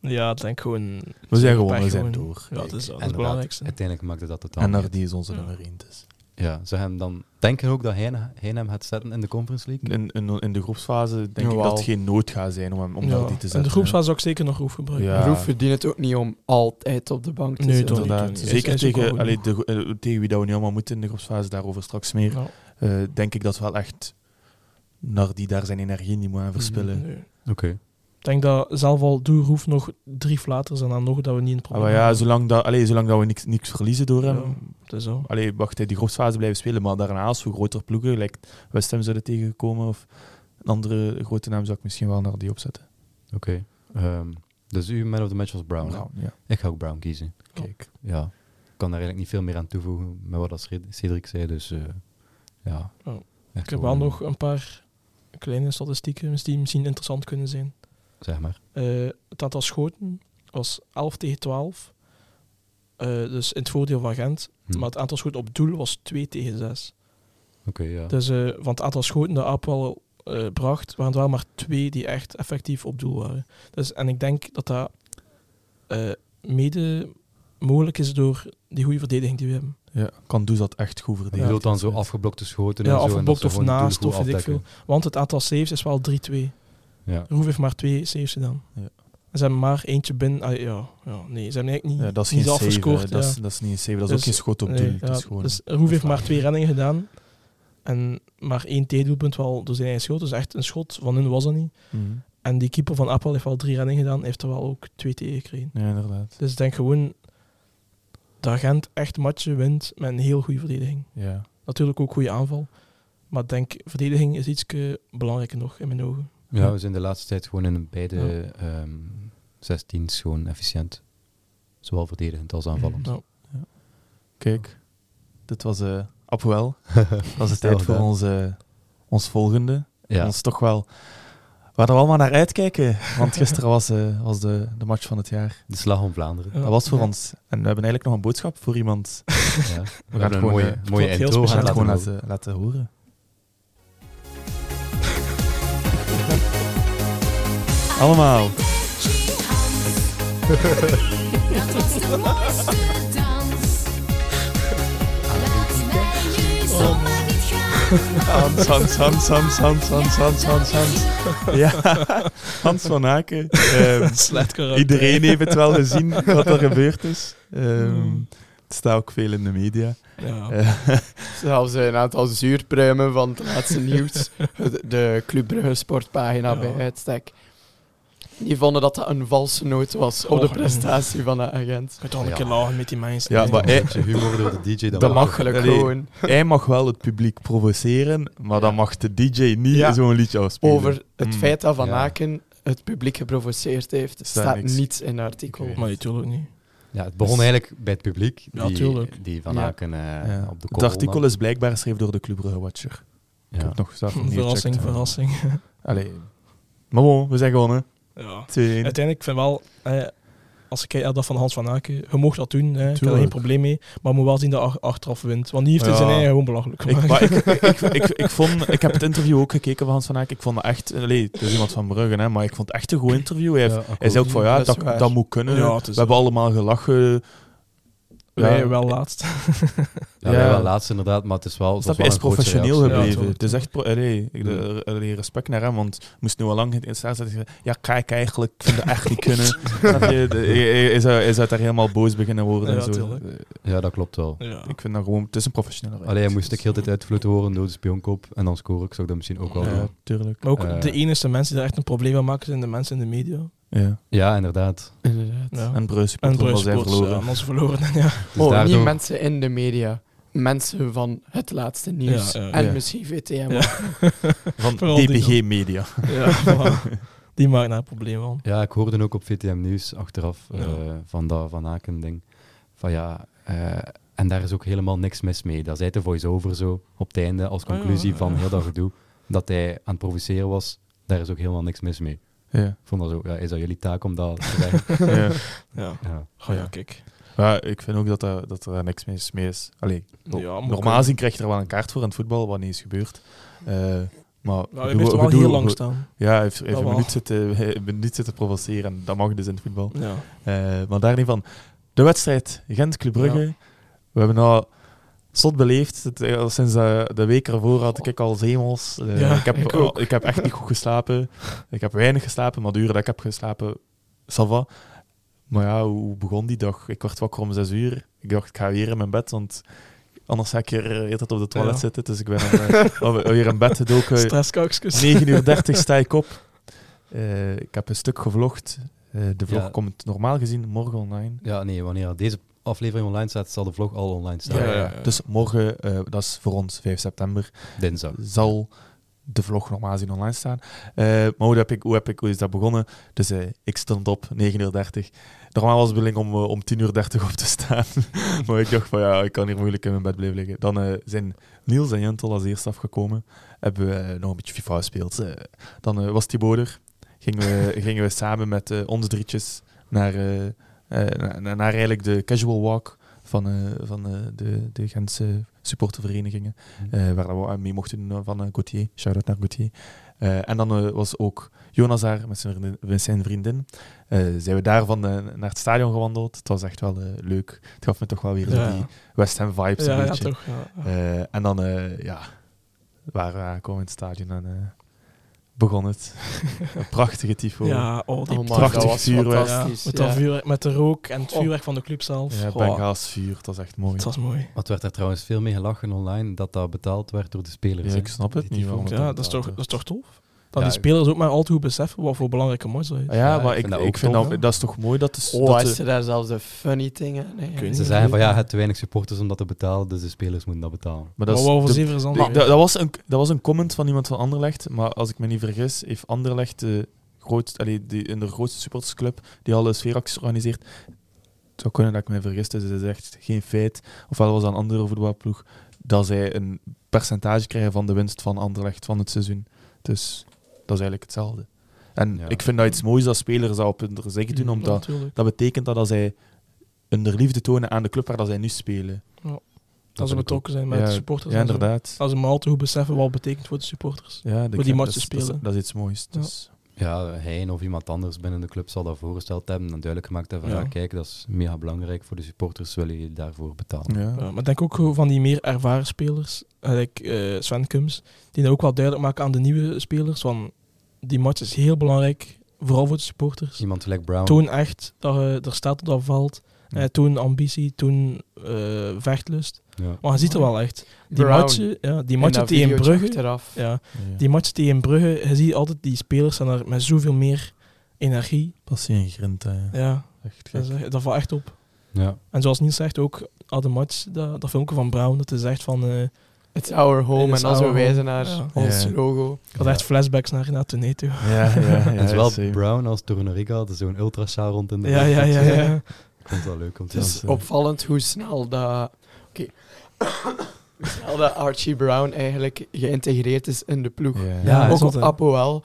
Speaker 2: ja, ik denk gewoon...
Speaker 3: We zijn
Speaker 2: Pech
Speaker 3: gewoon, we
Speaker 2: gewoon.
Speaker 3: zijn door.
Speaker 2: Ja, dat is dat is
Speaker 1: Inderdaad,
Speaker 2: het belangrijkste.
Speaker 1: uiteindelijk maakte dat totaal
Speaker 3: En
Speaker 1: niet
Speaker 3: naar
Speaker 1: uit.
Speaker 3: die is onze
Speaker 2: Ja.
Speaker 3: nummer één dus.
Speaker 1: Ja, ze hem dan denken ook dat hij, hij hem gaat zetten in de Conference League.
Speaker 3: In, in, in de groepsfase denk ik
Speaker 4: Jawel.
Speaker 3: dat het geen nood gaat zijn om hem om
Speaker 2: Ja.
Speaker 3: naar die te zetten.
Speaker 2: En de groepsfase zou ik zeker nog hoeven gebruiken.
Speaker 3: Ja.
Speaker 4: Roef verdient het ook niet om altijd op de bank te
Speaker 2: Nee,
Speaker 4: zitten.
Speaker 2: toch niet.
Speaker 3: Inderdaad.
Speaker 2: doen. Hij is- hij
Speaker 3: Zeker
Speaker 2: is ook
Speaker 3: tegen,
Speaker 2: goed
Speaker 3: allee, de, eh, tegen wie dat we nu allemaal moeten in de groepsfase, daarover straks meer.
Speaker 2: Nou,
Speaker 3: eh, denk ik dat wel echt naar die daar zijn energie niet moet aan verspillen.
Speaker 2: nee.
Speaker 1: Oké.
Speaker 2: Ik denk dat zelf al doe Roef nog drie flaters en dan nog dat we niet in het
Speaker 3: Ah,
Speaker 2: probleem
Speaker 3: maar ja,
Speaker 2: hebben.
Speaker 3: zolang dat, allee, zolang dat we niks, niks verliezen door hem.
Speaker 2: Ja. Het is zo.
Speaker 3: Allee, wacht, hè, die groepsfase blijven spelen, maar daarna als we grotere ploegen, gelijk West Ham zouden tegenkomen of een andere grote naam, zou ik misschien wel naar die opzetten.
Speaker 1: Oké. Ehm, dus u man of the match was Brown. hè?
Speaker 3: Nou, ja.
Speaker 1: Ik ga ook Brown kiezen.
Speaker 3: Kijk.
Speaker 1: Ja. Ik kan daar eigenlijk niet veel meer aan toevoegen met wat dat Ced- Cedric zei. Dus eh, ja.
Speaker 2: Oh.
Speaker 1: Echt
Speaker 2: Ik heb wel
Speaker 1: gewoon,
Speaker 2: nog een paar kleine statistieken die misschien interessant kunnen zijn.
Speaker 1: Zeg maar.
Speaker 2: Eh, het aantal schoten was 11 tegen 12. Eh, dus in het voordeel van Gent.
Speaker 1: Hm.
Speaker 2: Maar het aantal schoten op doel was 2 tegen 6.
Speaker 1: Oké, ja.
Speaker 2: Dus eh, van het aantal schoten dat Apel eh, bracht, waren er wel maar twee die echt effectief op doel waren. Dus, en ik denk dat dat eh, mede mogelijk is door die goede verdediging die we hebben.
Speaker 3: Ja, kan dus dat echt goed
Speaker 1: Je
Speaker 3: verdedigen.
Speaker 1: bedoelt dan zo afgeblokte schoten
Speaker 2: Ja,
Speaker 1: en zo. en dat
Speaker 2: afgeblokt
Speaker 1: ze
Speaker 2: of
Speaker 1: gewoon het doel
Speaker 2: naast
Speaker 1: goed
Speaker 2: of weet ik
Speaker 1: afdekken.
Speaker 2: Want het aantal saves is wel 3-2.
Speaker 1: Ja.
Speaker 2: Roef heeft maar twee saves gedaan.
Speaker 3: Ja.
Speaker 2: En ze hebben maar eentje binnen. ah, ja, ja, nee, ze hebben eigenlijk niet,
Speaker 3: Ja, dat is
Speaker 2: niet
Speaker 3: geen save.
Speaker 2: afgescoord.
Speaker 3: hè. dat,
Speaker 2: ja.
Speaker 3: is, dat is niet een save, dat is
Speaker 2: Dus,
Speaker 3: ook geen schot op doel.
Speaker 2: Nee,
Speaker 3: Het
Speaker 2: ja,
Speaker 3: is gewoon
Speaker 2: dus Roef heeft
Speaker 3: vraag.
Speaker 2: maar twee reddingen gedaan. En maar één tegendoelpunt wel door zijn eigen schot. Dus echt een schot van hun was dat niet.
Speaker 3: Mhm.
Speaker 2: En die keeper van Appel heeft wel drie reddingen gedaan. Heeft er wel ook twee tegen gekregen.
Speaker 3: Ja, inderdaad.
Speaker 2: Dus ik denk gewoon dat Gent echt matchen wint met een heel goede verdediging.
Speaker 3: Ja.
Speaker 2: Natuurlijk ook goede aanval. Maar ik denk, verdediging is iets belangrijker nog in mijn ogen.
Speaker 1: Ja, we zijn de laatste tijd gewoon in beide
Speaker 2: Ja.
Speaker 1: ehm 16's gewoon efficiënt. Zowel verdedigend als aanvallend.
Speaker 2: Nou,
Speaker 3: Kijk, dit was eh Apoel. Dat was de
Speaker 1: Snel
Speaker 3: tijd voor
Speaker 1: gedaan.
Speaker 3: onze, ons volgende.
Speaker 1: Ja.
Speaker 3: Ons toch wel... Waar we allemaal naar uitkijken. Want gisteren was, eh, was de, de match van het jaar.
Speaker 1: De slag om Vlaanderen.
Speaker 2: ja.
Speaker 3: Dat was voor
Speaker 2: Ja.
Speaker 3: ons. En we hebben eigenlijk nog een boodschap voor iemand. We
Speaker 1: Ja. We gaan een
Speaker 3: gewoon,
Speaker 1: mooie,
Speaker 3: eh, het
Speaker 1: mooie
Speaker 2: wordt heel
Speaker 1: intro
Speaker 2: speciaal.
Speaker 3: gaan
Speaker 1: gaan
Speaker 3: het
Speaker 1: laten
Speaker 3: gewoon
Speaker 1: horen.
Speaker 3: laten, laten horen. Allemaal.
Speaker 5: Dat was de mooiste dans. Laat mij jullie zomaar niet gaan.
Speaker 3: Hans, Hans, Hans, Hans, Hans, Hans, Hans, Hans, Hans. Ja, Hans van Aken.
Speaker 2: [LAUGHS]
Speaker 3: Ehm,
Speaker 2: Slecht karakter.
Speaker 3: Iedereen
Speaker 2: [LAUGHS]
Speaker 3: heeft het wel gezien wat er gebeurd is. Ehm, het staat ook veel in de media.
Speaker 2: Ja.
Speaker 3: Eh,
Speaker 4: Zelfs een aantal zuurpruimen van het laatste nieuws. De- De Club Brugge sportpagina
Speaker 2: Ja.
Speaker 4: bij uitstek. Die vonden dat dat een valse noot was op de
Speaker 2: Oh.
Speaker 4: prestatie van de agent.
Speaker 2: Ik ga toch een
Speaker 1: Ja.
Speaker 2: keer lachen met die mensen.
Speaker 3: Ja, maar
Speaker 1: Een
Speaker 3: hij,
Speaker 1: beetje humor door de DJ. dan
Speaker 4: Dat
Speaker 1: wel.
Speaker 4: mag gelukkig
Speaker 3: Allee.
Speaker 4: gewoon.
Speaker 3: hij mag wel het publiek provoceren, maar dan mag de DJ niet
Speaker 4: Ja.
Speaker 3: zo'n liedje afspelen.
Speaker 4: Over het
Speaker 3: Mm.
Speaker 4: feit dat Van
Speaker 1: ja.
Speaker 4: Aken het publiek geprovoceerd heeft, staat,
Speaker 3: niks.
Speaker 4: niets in het artikel.
Speaker 1: Oké.
Speaker 2: Maar natuurlijk niet.
Speaker 1: Ja, het begon eigenlijk bij het publiek.
Speaker 2: Dus- Ja,
Speaker 1: Die,
Speaker 2: tuurlijk.
Speaker 1: die Van
Speaker 4: Ja.
Speaker 1: Aken eh,
Speaker 3: Ja.
Speaker 1: op de
Speaker 3: het
Speaker 1: korrel
Speaker 3: artikel
Speaker 1: nam.
Speaker 3: is blijkbaar geschreven door de Club Brugge Watcher. Ik
Speaker 1: Ja.
Speaker 3: heb nog
Speaker 2: [LAUGHS]
Speaker 3: zelf nog niet
Speaker 2: verrassing,
Speaker 3: gecheckt.
Speaker 2: verrassing. [LAUGHS]
Speaker 3: Allee. Maar bon, we zijn gewonnen.
Speaker 2: Ja.
Speaker 3: 2
Speaker 2: Uiteindelijk vind ik wel, eh, als ik kijk naar dat van Hans van Aken, je mocht dat doen, hè, ik heb er
Speaker 3: Tuurlijk.
Speaker 2: geen probleem mee. Maar moet wel zien dat ach- achteraf wint. Want die heeft in
Speaker 3: Ja.
Speaker 2: zijn eigen gewoon belachelijk
Speaker 3: Ik,
Speaker 2: gemaakt.
Speaker 3: maar ik, ik, ik, ik,
Speaker 2: [LAUGHS]
Speaker 3: ik vond, ik heb het interview ook gekeken van Hans van Aak. Ik vond het echt... Allee, het is iemand van Brugge, hè, maar ik vond het echt een goed interview. Hij, heeft-
Speaker 1: Ja,
Speaker 3: hij zei ook van,
Speaker 4: Dat
Speaker 3: ja,
Speaker 4: is
Speaker 3: dat,
Speaker 4: waar.
Speaker 3: dat moet kunnen.
Speaker 2: Ja, het
Speaker 3: we
Speaker 2: is-
Speaker 3: hebben allemaal gelachen.
Speaker 2: Wij wel
Speaker 3: [LAUGHS]
Speaker 2: laatst.
Speaker 1: Ja, wij
Speaker 3: Ja.
Speaker 1: wel laatst inderdaad, maar het is wel... het
Speaker 3: Snap je,
Speaker 1: was
Speaker 3: hij
Speaker 1: wel
Speaker 3: is
Speaker 1: een grootse
Speaker 3: professioneel
Speaker 1: reactie.
Speaker 2: Ja,
Speaker 3: gebleven.
Speaker 2: tuurlijk.
Speaker 3: het is echt... pro- allee, ik-
Speaker 1: Mm.
Speaker 3: er- er- respect naar hem, want hij moest nu al lang in het staan zeggen... Ja, kijk eigenlijk, ik vind het echt niet
Speaker 1: [LAUGHS]
Speaker 3: kunnen. Snap je? De- Hij hij- hij zou, hij zou daar helemaal boos beginnen
Speaker 2: Ja,
Speaker 3: worden en zo. Eh,
Speaker 2: tuurlijk.
Speaker 1: Ja, dat klopt wel.
Speaker 2: Ja.
Speaker 3: Ik vind dat gewoon... Het is een professionele
Speaker 1: Alleen hij
Speaker 3: reactie.
Speaker 1: moest ik heel de tijd uitfluiten horen door de spionkop en dan scoren. Ik zou dat misschien ook wel
Speaker 3: Ja,
Speaker 1: doen.
Speaker 3: tuurlijk.
Speaker 2: Maar ook
Speaker 1: Eh.
Speaker 2: de enige mensen die er echt een probleem aan maken zijn de mensen in de media.
Speaker 3: Ja.
Speaker 1: Ja, inderdaad.
Speaker 4: Inderdaad.
Speaker 2: Ja.
Speaker 3: En Bruce,
Speaker 2: En Bruce
Speaker 3: zijn
Speaker 2: Sports, ja,
Speaker 3: verloren.
Speaker 2: allemaal ze verloren. [LAUGHS] Ja.
Speaker 1: Dus
Speaker 4: oh,
Speaker 1: daardoor-
Speaker 4: niet mensen in de media. Mensen van het laatste nieuws.
Speaker 2: Ja, ja,
Speaker 4: en
Speaker 3: ja.
Speaker 4: misschien VTM.
Speaker 2: Ja.
Speaker 3: Van
Speaker 2: Vooral die
Speaker 3: DPG Media.
Speaker 2: Ja, [LAUGHS] voilà. Die maakt daar een probleem van.
Speaker 1: Ja, ik hoorde ook op VTM Nieuws achteraf eh,
Speaker 2: Ja.
Speaker 1: van dat Van Aken ding. Van ja, eh, en daar is ook helemaal niks mis mee. Dat zei de voice-over zo op het einde als
Speaker 2: Ah, ja,
Speaker 1: conclusie
Speaker 2: ja,
Speaker 1: van
Speaker 2: ja.
Speaker 1: heel dat gedoe. Dat hij aan het provoceren was, daar is ook helemaal niks mis mee.
Speaker 2: [LAUGHS]
Speaker 3: Ja.
Speaker 1: Ik vond dat zo, ja, is dat jullie taak om dat te
Speaker 3: [LAUGHS]
Speaker 1: zeggen?
Speaker 3: ja.
Speaker 2: Ja.
Speaker 1: Ja.
Speaker 2: Oh ja,
Speaker 3: Ja.
Speaker 2: kijk.
Speaker 3: Ja, ik vind ook dat, daar- dat er niks mis mee is. Allee,
Speaker 2: Ja, maar
Speaker 3: normaal gezien krijg je er wel een kaart voor in het voetbal, wat niet is gebeurd. Eh, maar
Speaker 2: Nou, hij
Speaker 3: gedoe-
Speaker 2: blijft er wel
Speaker 3: gedoe-
Speaker 2: heel lang staan.
Speaker 3: Ja, hij heeft, hij
Speaker 2: Dat
Speaker 3: heeft een,
Speaker 2: wel.
Speaker 3: minuut zitten, [LAUGHS] een minuut zitten provoceren. en Dat mag dus in het voetbal.
Speaker 2: Ja.
Speaker 3: Eh, maar daar niet van. De wedstrijd Gent-Club Brugge. We hebben nou slot beleefd. Het, eh, al sinds eh, de week ervoor had ik al zemels. Eh,
Speaker 2: Ja,
Speaker 3: ik, heb,
Speaker 2: ik ook.
Speaker 3: ik heb echt niet goed geslapen. Ik heb weinig geslapen, maar de uren dat ik heb geslapen, salva. Maar ja, hoe begon die dag? Ik werd wakker om zes uur. Ik dacht, ik ga weer in mijn bed, want anders ga ik hier eh, de hele tijd op de toilet
Speaker 2: Ja.
Speaker 3: zitten. Dus ik ben dan, eh, [LAUGHS] alweer- weer in bed gedoken.
Speaker 2: Stresskoukskes.
Speaker 3: 9 uur 30 sta ik op. Eh, ik heb een stuk gevlogd. Eh, de vlog
Speaker 1: Ja.
Speaker 3: komt normaal gezien morgen online.
Speaker 1: ja, nee, wanneer deze aflevering online staat, zal de vlog al online staan.
Speaker 2: Ja, ja, ja.
Speaker 3: Dus morgen, eh, dat is voor ons 5 september,
Speaker 1: Dinsdag.
Speaker 3: zal de vlog normaal gezien online staan. Eh, maar hoe, heb ik, hoe, heb ik, hoe is dat begonnen? Dus eh, ik stond op, 9 uur 30. Normaal was de bedoeling om, eh, om 10 uur 30 op te staan. [LAUGHS] maar ik dacht van ja, ik kan hier moeilijk in mijn bed blijven liggen. Dan eh, zijn Niels en Jentel als eerste afgekomen. Hebben we eh, nog een beetje FIFA gespeeld. Eh, dan eh, was die boder. Gingen we, gingen we samen met eh ons drietjes naar, eh, eh, na- na- naar eigenlijk de casual walk van, eh, van eh, de, de Gentse supporterverenigingen.
Speaker 1: Mhm.
Speaker 2: Mm-hmm.
Speaker 3: Eh, waar we aan mee mochten doen eh, van eh, Gauthier. Shout-out naar Gauthier. Eh, en dan eh, was ook Jonas daar met zijn vriendin. Met zijn vriendin. Eh, zijn we daarvan eh, naar het stadion gewandeld. Het was echt wel eh, leuk. Het gaf me toch wel weer zo
Speaker 2: Ja.
Speaker 3: die West Ham vibes
Speaker 2: Ja,
Speaker 3: een
Speaker 2: ja,
Speaker 3: beetje.
Speaker 2: toch. Ja.
Speaker 3: Eh, en dan, eh, ja, waren we aangekomen in het stadion en eh, begon het. [LAUGHS] Een prachtige tifo.
Speaker 2: Ja, oh, die
Speaker 4: Oh my god,
Speaker 3: prachtig
Speaker 4: dat was
Speaker 3: vuurwerk.
Speaker 2: ja,
Speaker 4: fantastisch.
Speaker 2: met,
Speaker 4: ja.
Speaker 2: dat vuurwerk, met de rook en het
Speaker 4: Oh.
Speaker 2: vuurwerk van de club zelf.
Speaker 3: Ja,
Speaker 2: Goh,
Speaker 3: Bengaals vuur, dat was echt mooi.
Speaker 2: het was mooi.
Speaker 1: Wat werd er trouwens veel mee gelachen online, dat dat betaald werd door de spelers.
Speaker 3: Ja,
Speaker 1: hè?
Speaker 3: ik snap het
Speaker 1: Die
Speaker 3: niet.
Speaker 1: tifo.
Speaker 3: waarom het
Speaker 2: Ja, dat is, toch,
Speaker 3: betaald
Speaker 2: dat is
Speaker 3: werd.
Speaker 2: toch tof? Dat
Speaker 1: Ja,
Speaker 2: die spelers ook maar al te goed beseffen wat voor belangrijke match dat is.
Speaker 3: Ah Ja,
Speaker 1: Ja, ik
Speaker 3: maar ik,
Speaker 1: vind dat
Speaker 3: ik
Speaker 1: ook
Speaker 3: vind
Speaker 1: tof,
Speaker 3: dat,
Speaker 1: hè?
Speaker 3: dat is toch mooi dat de,
Speaker 4: Oh,
Speaker 3: dat
Speaker 4: is
Speaker 3: de-
Speaker 4: er daar zelfs de funny dingen? Nee,
Speaker 2: weet
Speaker 1: Ze
Speaker 2: niet.
Speaker 1: zeggen van ja, je hebt te weinig supporters om dat te betalen, dus de spelers moeten dat betalen.
Speaker 3: maar
Speaker 2: Maar
Speaker 3: dat is
Speaker 2: wat voor
Speaker 3: de-
Speaker 2: zeven is dan?
Speaker 3: Ik- dat, dat was een, dat was een comment van iemand van Anderlecht, maar als ik me niet vergis, heeft Anderlecht de grootst, allee, die, in de grootste supportersclub die alle sfeeracties organiseert. Het zou kunnen dat ik me vergis, dus het is echt geen feit. Ofwel was dat een andere voetbalploeg dat zij een percentage krijgen van de winst van Anderlecht van het seizoen. Dus dat is eigenlijk hetzelfde. En
Speaker 1: Ja.
Speaker 3: ik vind dat iets moois dat spelers dat op hun gezicht
Speaker 2: Mm.
Speaker 3: doen, omdat
Speaker 2: natuurlijk.
Speaker 3: dat betekent dat, dat zij hun liefde tonen aan de club waar dat zij nu spelen.
Speaker 2: Dat ze
Speaker 1: vind ik ook.
Speaker 2: betrokken zijn met
Speaker 3: Ja,
Speaker 2: de supporters.
Speaker 3: Ja,
Speaker 2: en zo.
Speaker 3: inderdaad.
Speaker 2: Dat ze maar al te goed beseffen wat het betekent voor de supporters.
Speaker 3: Ja,
Speaker 2: die
Speaker 3: club,
Speaker 2: matchen
Speaker 3: dat is- dat is-
Speaker 2: spelen.
Speaker 3: Dat is iets moois. Dus.
Speaker 1: Ja, hij of iemand anders binnen de club zal dat voorgesteld hebben en duidelijk gemaakt hebben van
Speaker 2: Ja.
Speaker 1: ja, kijk, dat is mega belangrijk voor de supporters, willen jullie daarvoor betalen.
Speaker 3: Ja.
Speaker 2: Ja, Eh, maar ik denk ook gewoon van die meer ervaren spelers, eigenlijk eh, Sven Kums, die dat ook wel duidelijk maken aan de nieuwe spelers. Van die match is heel belangrijk, vooral voor de supporters.
Speaker 1: Iemand gelijk Brown.
Speaker 2: Toon echt dat je er staat op dat valt.
Speaker 3: Ja.
Speaker 2: Eh, toon ambitie, toon eh, vechtlust.
Speaker 1: Ja.
Speaker 2: Maar je ziet er wel echt. Die
Speaker 4: Brown.
Speaker 2: matchen, ja, die matchen tegen Brugge.
Speaker 4: Achteraf.
Speaker 2: Ja,
Speaker 3: Ja.
Speaker 2: die match tegen Brugge, je ziet altijd die spelers zijn er met zoveel meer energie.
Speaker 3: passie en grind. hè.
Speaker 2: Ja,
Speaker 3: Echt gek.
Speaker 2: dat, is echt- dat valt echt op.
Speaker 1: Ja.
Speaker 2: En zoals Niels zegt, ook al de match, dat, dat filmpje van Brown, dat is echt van... eh,
Speaker 4: It's our home.
Speaker 2: It's
Speaker 4: en dan zo
Speaker 2: our
Speaker 4: wijzen
Speaker 2: home.
Speaker 4: naar
Speaker 2: Ja.
Speaker 4: ons
Speaker 3: Ja.
Speaker 4: logo.
Speaker 2: ik had echt flashbacks naar Renato Neto.
Speaker 3: Ja, ja, [LAUGHS] ja.
Speaker 1: en zowel
Speaker 3: same.
Speaker 1: Brown als Tornorica hadden zo'n ultrashaar rond in de
Speaker 2: Ja, ja, ja. [LAUGHS] ja.
Speaker 1: Komt wel leuk om te
Speaker 4: Het is [LAUGHS]
Speaker 1: zien.
Speaker 4: opvallend hoe snel dat... Oké. [COUGHS] hoe snel dat Archie Brown eigenlijk geïntegreerd is in de ploeg.
Speaker 3: Ja.
Speaker 1: Ja,
Speaker 4: ook
Speaker 2: zot,
Speaker 4: op
Speaker 2: hè.
Speaker 4: Apoel.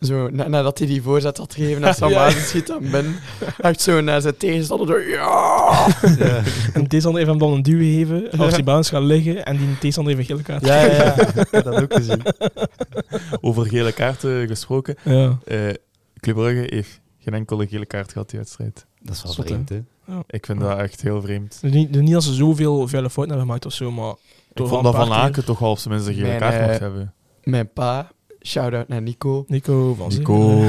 Speaker 4: Zo, na- nadat hij die voorzet had gegeven aan
Speaker 2: [LAUGHS]
Speaker 4: Sam
Speaker 2: Ja.
Speaker 4: Maarten, schiet
Speaker 2: [LAUGHS]
Speaker 4: hem binnen. Echt zo naar zijn tegenstander. door, Ja!
Speaker 1: Ja.
Speaker 2: En tegenstander heeft hem dan een duw [LAUGHS] gegeven, als die Browns gaan liggen, en die tegenstander heeft een gele kaart.
Speaker 3: Ja, ja, ja.
Speaker 1: Ik heb dat ook gezien.
Speaker 3: [LAUGHS] Over gele kaarten gesproken.
Speaker 2: Ja.
Speaker 3: Eh Club Brugge heeft geen enkele gele kaart gehad die wedstrijd.
Speaker 1: Dat is wel
Speaker 2: Zot, hè?
Speaker 1: vreemd, hè?
Speaker 3: Ik vind dat echt heel vreemd.
Speaker 2: Dus niet, dus niet dat ze zoveel vuile fouten hebben gemaakt of zo, maar...
Speaker 3: Ik
Speaker 2: toch
Speaker 3: vond
Speaker 2: wel
Speaker 3: dat
Speaker 2: een
Speaker 3: Van
Speaker 2: paar
Speaker 3: Aken
Speaker 2: keer.
Speaker 3: toch al op zijn minst een gele
Speaker 4: Mijn,
Speaker 3: kaart mocht
Speaker 4: eh,
Speaker 3: hebben.
Speaker 4: Mijn pa, shout-out naar Nico,
Speaker 2: Nico van
Speaker 3: Nico.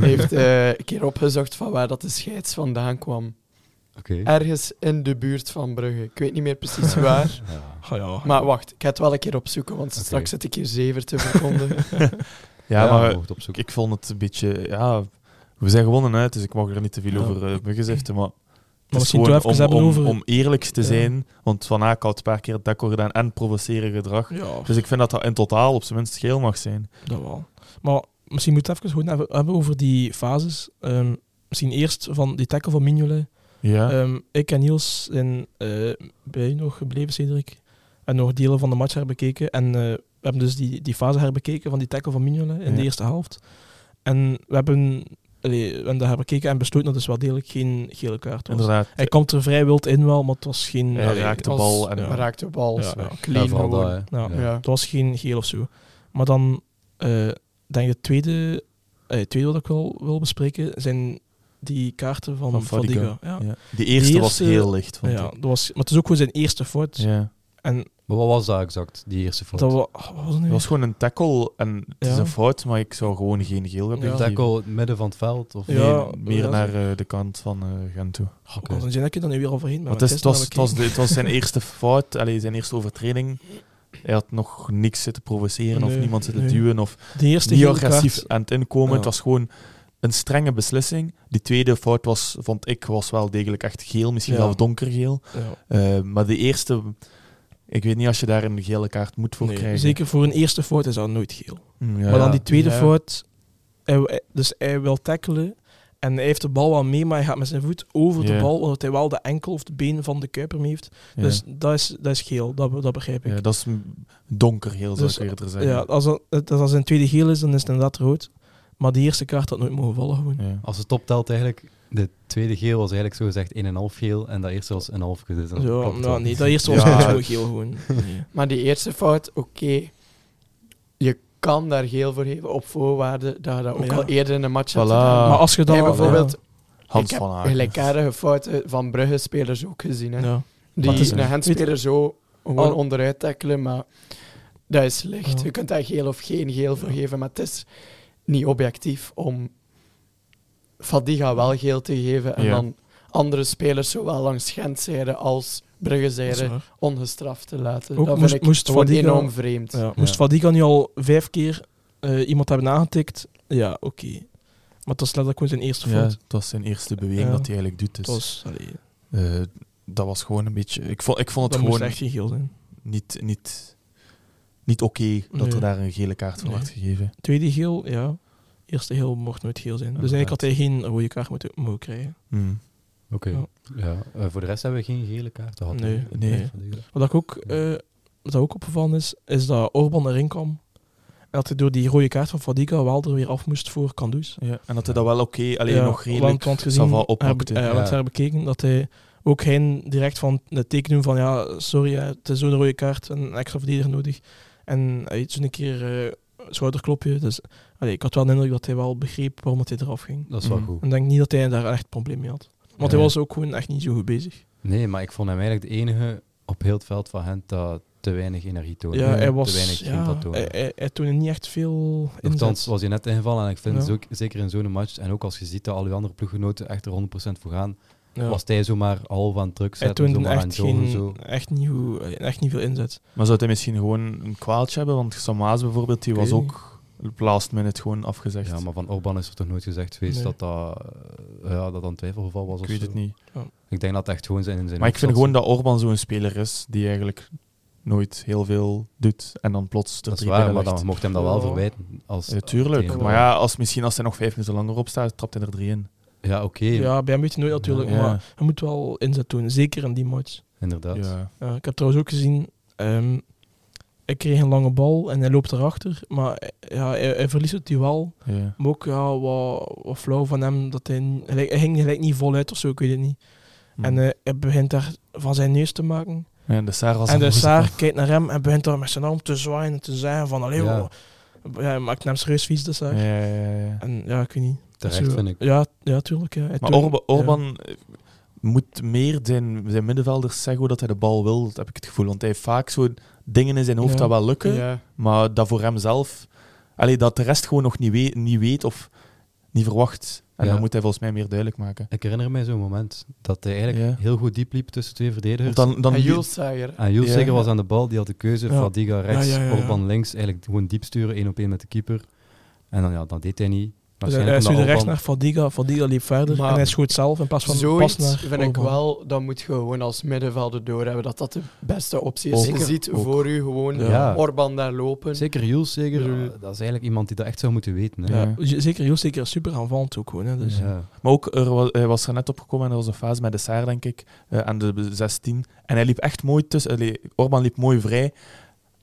Speaker 4: heeft eh, een keer opgezocht van waar dat de scheids vandaan kwam.
Speaker 1: Oké.
Speaker 4: Ergens in de buurt van Brugge. Ik weet niet meer
Speaker 2: [LAUGHS]
Speaker 4: precies waar.
Speaker 1: Ja.
Speaker 2: Ah ja.
Speaker 4: Maar wacht, ik ga het wel een keer opzoeken, want straks zit ik hier zever te verkondigen.
Speaker 3: Ja,
Speaker 1: je
Speaker 3: maar
Speaker 1: mocht opzoeken.
Speaker 3: ik vond het een beetje... Ja, we zijn gewonnen uit, dus ik mag er niet te veel
Speaker 2: Ja.
Speaker 3: over eh, begeziften, maar...
Speaker 2: Maar
Speaker 3: Het is
Speaker 2: misschien toch even
Speaker 3: gewoon om,
Speaker 2: hebben
Speaker 3: om,
Speaker 2: over...
Speaker 3: om eerlijk te
Speaker 2: Ja.
Speaker 3: zijn, want Van Aken had een paar keer het decor gedaan en provoceren gedrag.
Speaker 2: Ja,
Speaker 3: Dus ik vind dat dat in totaal op zijn minst geel mag zijn.
Speaker 2: dat wel. Maar misschien moeten we het even goed hebben- hebben over die fases. Ehm, misschien eerst van die tackle van Mignolet.
Speaker 3: Ja.
Speaker 2: Ehm, ik en Niels zijn eh, bij u nog gebleven, Cedric. En nog delen van de match herbekeken. En eh, we hebben dus die, die fase herbekeken van die tackle van Mignolet in
Speaker 3: Ja.
Speaker 2: de eerste helft. En we hebben, allee, we hebben dat herbekeken en besloten dat het dus wel degelijk geen gele kaart was.
Speaker 3: Inderdaad.
Speaker 2: Hij komt er vrij wild in wel, maar het was geen...
Speaker 3: Hij
Speaker 2: allee,
Speaker 3: raakt de
Speaker 4: als-
Speaker 3: bal en
Speaker 2: ja.
Speaker 4: Maar raakt de bal.
Speaker 2: Ja, ja.
Speaker 1: Ja,
Speaker 4: Clean
Speaker 1: vooral
Speaker 4: gewoon.
Speaker 1: dat, hè.
Speaker 2: Ja.
Speaker 1: Ja.
Speaker 4: Ja.
Speaker 2: Het was geen geel of zo. Maar dan, eh denk ik, het tweede, eh, het tweede wat ik wel wil bespreken zijn die kaarten van,
Speaker 3: Van Fadiga.
Speaker 2: Fadiga. Ja.
Speaker 3: Ja. Die eerste was
Speaker 2: eerste-
Speaker 3: heel licht, vond
Speaker 2: Ja,
Speaker 3: ik.
Speaker 2: dat was, maar het is ook gewoon zijn eerste fout.
Speaker 3: Ja.
Speaker 2: En
Speaker 1: Maar wat was dat exact, die eerste fout?
Speaker 2: dat wa- oh, wat was het nu?
Speaker 3: Het was gewoon een tackle en het is
Speaker 2: Ja.
Speaker 3: een fout, maar ik zou gewoon geen geel hebben.
Speaker 2: Ja.
Speaker 3: gegeven.
Speaker 1: Tackle in het midden van het veld? Of
Speaker 2: Ja.
Speaker 3: Nee, meer
Speaker 2: ja.
Speaker 3: naar eh, de kant van eh, Gent toe.
Speaker 2: Oh, wat was het? dat ik er dan nu weer overheen ben.
Speaker 3: Want
Speaker 2: want
Speaker 3: het, is- het
Speaker 2: gisteren
Speaker 3: was, het,
Speaker 2: heb ik
Speaker 3: was de- het was zijn eerste fout, allee, zijn eerste overtreding. Hij had nog niks zitten provoceren of
Speaker 2: Nee,
Speaker 3: niemand zitten
Speaker 2: nee.
Speaker 3: duwen of
Speaker 2: de eerste
Speaker 3: niet
Speaker 2: gele
Speaker 3: agressief
Speaker 2: kaart.
Speaker 3: aan het inkomen.
Speaker 2: Ja.
Speaker 3: Het was gewoon een strenge beslissing. Die tweede fout was, vond ik, was wel degelijk echt geel, misschien
Speaker 2: Ja.
Speaker 3: zelfs donkergeel.
Speaker 2: Ja.
Speaker 3: Eh, maar de eerste, ik weet niet als je daar een gele kaart moet voor
Speaker 2: Nee,
Speaker 3: krijgen.
Speaker 2: Zeker voor een eerste fout is dat nooit geel.
Speaker 3: Mm, ja,
Speaker 2: maar dan
Speaker 3: ja.
Speaker 2: die tweede
Speaker 4: Ja.
Speaker 2: fout, hij wi- dus hij wil tackelen en hij heeft de bal wel mee, maar hij gaat met zijn voet over
Speaker 3: Ja.
Speaker 2: de bal, omdat hij wel de enkel of de been van de kuiper mee heeft.
Speaker 3: Ja.
Speaker 2: Dus dat is, dat is geel, dat, be- dat begrijp ik.
Speaker 3: Ja, dat is m- donkergeel, zou
Speaker 2: Dus,
Speaker 3: ik eerder zeggen.
Speaker 2: Ja, als, dat, het- als dat een tweede geel is, dan is het inderdaad rood. Maar die eerste kaart had nooit mogen vallen gewoon.
Speaker 3: Ja.
Speaker 1: Als het optelt eigenlijk, de tweede geel was eigenlijk zo gezegd 1,5 geel en dat eerste was 1,5 geel. Dus dan
Speaker 2: Ja,
Speaker 1: klopt
Speaker 2: nou,
Speaker 1: wel.
Speaker 2: nee, dat eerste
Speaker 3: Ja.
Speaker 2: was gewoon zo geel gewoon. [LAUGHS] Nee.
Speaker 4: Maar die eerste fout, oké. Je kan daar geel voor geven op voorwaarde dat je dat ook
Speaker 2: Ja.
Speaker 4: al eerder in een match
Speaker 3: Voilà.
Speaker 4: hebt gedaan.
Speaker 2: Maar als je dan
Speaker 4: Hey, bijvoorbeeld,
Speaker 3: Hans
Speaker 4: ik heb
Speaker 3: van Aken.
Speaker 4: gelijkaardige fouten van Brugge-spelers ook gezien. Hè.
Speaker 2: Ja. Oh,
Speaker 4: Die
Speaker 3: Maar het is-
Speaker 4: een handspeler zo gewoon
Speaker 2: Al-
Speaker 4: onderuit tackelen, maar dat is slecht.
Speaker 2: Ja.
Speaker 4: Je kunt daar geel of geen geel voor
Speaker 2: Ja.
Speaker 4: geven, maar het is niet objectief om Fadiga wel geel te geven en
Speaker 3: Ja.
Speaker 4: dan andere spelers zowel langs Gentzijde als
Speaker 2: Dat is
Speaker 4: Bruggezijde
Speaker 2: waar.
Speaker 4: ongestraft te laten.
Speaker 2: Ook
Speaker 4: dat
Speaker 2: moest-
Speaker 4: vind ik
Speaker 2: moest
Speaker 4: gewoon
Speaker 2: Fadiga-
Speaker 4: enorm vreemd.
Speaker 2: Ja, moest
Speaker 1: Ja.
Speaker 2: Fadiga nu al vijf keer eh, iemand hebben aangetikt? Ja, oké. Maar dat is letterlijk gewoon zijn eerste
Speaker 3: Ja, dus
Speaker 2: fout.
Speaker 3: het was zijn eerste beweging
Speaker 2: Ja.
Speaker 3: dat hij eigenlijk doet. Dus,
Speaker 2: Het was, allee,
Speaker 3: eh, dat was gewoon een beetje... Ik vond, ik vond
Speaker 2: dat
Speaker 3: het
Speaker 2: moest
Speaker 3: gewoon
Speaker 2: echt geen geel zijn.
Speaker 3: niet, niet, niet oké dat
Speaker 2: Nee.
Speaker 3: er daar een gele kaart voor
Speaker 2: Nee.
Speaker 3: werd gegeven.
Speaker 2: Tweede geel, ja. Eerste geel mocht nooit geel zijn. Dus eigenlijk had hij geen rode kaart moeten, mogen krijgen.
Speaker 3: Hmm.
Speaker 1: [LAUGHS] Oké.
Speaker 2: Ja.
Speaker 1: Ja. eh, voor de rest hebben we geen gele kaart gehad.
Speaker 2: Nee,
Speaker 1: hè?
Speaker 3: nee.
Speaker 1: Fadiga.
Speaker 2: Wat ik ook, eh, wat ook opgevallen is, is dat Orban erin kwam. En dat hij door die rode kaart van Fadiga wel er weer af moest voor Kandus.
Speaker 3: Ja, en dat hij dat wel oké, alleen
Speaker 2: Ja,
Speaker 3: nog redelijk
Speaker 2: want, want gezien,
Speaker 3: ça va
Speaker 2: heb,
Speaker 3: oppakte.
Speaker 2: eh, want
Speaker 1: Ja.
Speaker 2: haar bekeken dat hij ook geen direct van het teken doen van ja, sorry, hè, het is zo'n rode kaart en een extra verdediger nodig. En hij deed zo'n keer eh schouderklopje. Dus allee, ik had wel de indruk dat hij wel begreep waarom dat hij eraf ging.
Speaker 1: Dat is wel
Speaker 3: Mhm.
Speaker 1: goed.
Speaker 2: En ik denk niet dat hij daar echt probleem mee had. Want hij
Speaker 1: Ja.
Speaker 2: was ook gewoon echt niet zo goed bezig.
Speaker 1: Nee, maar ik vond hem eigenlijk de enige op heel het veld van hen dat te weinig energie toonde.
Speaker 2: Ja, hij was.
Speaker 1: Te weinig
Speaker 2: ja,
Speaker 1: dat toonde.
Speaker 2: hij, hij, hij toonde niet echt veel
Speaker 1: Nochtans
Speaker 2: inzet.
Speaker 1: was hij net ingevallen en ik vind
Speaker 2: Ja.
Speaker 1: zo- zeker in zo'n match, en ook als je ziet dat al die andere ploeggenoten echt er 100% voor gaan,
Speaker 2: Ja.
Speaker 1: was hij zomaar half aan het druk
Speaker 2: Hij
Speaker 1: zetten,
Speaker 2: toonde
Speaker 1: zomaar aan
Speaker 2: echt,
Speaker 1: het joggen, zo.
Speaker 2: geen, echt, niet goed, echt niet veel inzet.
Speaker 3: Maar zou hij misschien gewoon een kwaaltje hebben? Want Samaas bijvoorbeeld, die
Speaker 2: Ik
Speaker 3: was
Speaker 2: weet
Speaker 3: ook op last minute gewoon afgezegd.
Speaker 1: Ja, maar van Orban is er toch nooit gezegd geweest
Speaker 2: Nee.
Speaker 1: dat dat, eh, ja, dat dat een twijfelgeval was
Speaker 3: ik
Speaker 1: of
Speaker 3: weet
Speaker 1: zo.
Speaker 3: het niet.
Speaker 1: Ik denk dat het echt gewoon zijn in zijn
Speaker 3: Maar ik
Speaker 1: hoofd
Speaker 3: vind
Speaker 1: zat.
Speaker 3: gewoon dat Orban zo'n speler is die eigenlijk nooit heel veel doet en dan plots er
Speaker 1: Dat is
Speaker 3: drie
Speaker 1: waar,
Speaker 3: bij
Speaker 1: maar
Speaker 3: legt.
Speaker 1: dan mocht hem dat wel
Speaker 2: Ja.
Speaker 1: verwijten. Als,
Speaker 3: Ja, tuurlijk.
Speaker 1: als-
Speaker 3: maar ja, als, misschien als hij nog vijf minuten langer opstaat, trapt hij er drie in.
Speaker 1: Ja, oké,
Speaker 2: Ja, bij hem weet je nooit natuurlijk,
Speaker 3: Ja.
Speaker 2: maar hij moet wel inzet tonen. Zeker in die match.
Speaker 1: inderdaad.
Speaker 3: Ja.
Speaker 2: Ja, ik heb trouwens ook gezien, ehm ik kreeg een lange bal en hij loopt erachter. Maar eh, ja, hij, hij verliest het duel.
Speaker 3: Ja.
Speaker 2: Maar ook ja, wat, wat flauw van hem. Dat hij, n- gelijk- hij ging gelijk niet voluit of zo, ik weet het niet.
Speaker 3: Hm.
Speaker 2: En eh, hij begint daar van zijn neus te maken.
Speaker 3: Ja, en de Saar was
Speaker 2: en de
Speaker 3: er goed
Speaker 2: Saar
Speaker 3: op.
Speaker 2: kijkt naar hem en begint daar met zijn arm te zwaaien en te zeggen van... Allee,
Speaker 1: Ja.
Speaker 2: ja. hij maakt hem serieus vies, de Saar.
Speaker 3: Ja, ja, ja, ja.
Speaker 2: En ja, ik weet niet.
Speaker 1: Terecht,
Speaker 2: Zo-
Speaker 1: vind ik.
Speaker 2: Ja, ja tuurlijk. Ja. Hij
Speaker 3: Maar
Speaker 2: toont-
Speaker 3: Orba,
Speaker 2: ja.
Speaker 3: Orban eh, moet meer zijn, zijn middenvelders zeggen hoe dat hij de bal wil, dat heb ik het gevoel. Want hij heeft vaak zo dingen in zijn hoofd
Speaker 2: Ja.
Speaker 3: dat wel lukken,
Speaker 4: Ja.
Speaker 3: maar dat voor hemzelf... Allee, dat de rest gewoon nog niet weet, niet weet of niet verwacht. En
Speaker 1: Ja.
Speaker 3: dat moet hij volgens mij meer duidelijk maken.
Speaker 1: Ik herinner mij zo'n moment dat hij eigenlijk
Speaker 3: Ja.
Speaker 1: heel goed diep liep tussen twee verdedigers.
Speaker 3: Want dan, dan
Speaker 4: En Jules Sager.
Speaker 1: En Dus Jules
Speaker 3: Ja.
Speaker 1: Seger was aan de bal, die had de keuze
Speaker 2: Ja.
Speaker 1: Fadiga rechts,
Speaker 2: Ja, ja, ja, ja.
Speaker 1: Orban links. Eigenlijk gewoon diep sturen, één op één met de keeper. En dan, ja, dat deed hij niet.
Speaker 2: Dus hij hij
Speaker 1: omdat
Speaker 2: stuurde rechts
Speaker 1: Orban-
Speaker 2: naar Fadiga, Fadiga liep verder
Speaker 4: Maar
Speaker 2: en hij schoot zelf in plaats van pas
Speaker 4: Zoiets
Speaker 2: naar
Speaker 4: vind ik
Speaker 2: Orban.
Speaker 4: wel, dat moet je gewoon als middenvelder doorhebben, dat dat de beste optie is.
Speaker 1: Ook.
Speaker 4: je ziet
Speaker 1: Ook.
Speaker 4: voor u gewoon
Speaker 1: Ja.
Speaker 4: Orban daar lopen.
Speaker 1: Zeker Jules Seger,
Speaker 4: Bedoel-
Speaker 1: dat is eigenlijk iemand die dat echt zou moeten weten. Hè.
Speaker 3: Ja.
Speaker 2: Ja, zeker heel zeker super aanvallend ook gewoon. Hè, dus.
Speaker 1: Ja.
Speaker 3: Maar ook, er was, hij was er net opgekomen en er was een fase met de Saar, denk ik, eh, aan de 16. En hij liep echt mooi tussen. allee, Orban liep mooi vrij.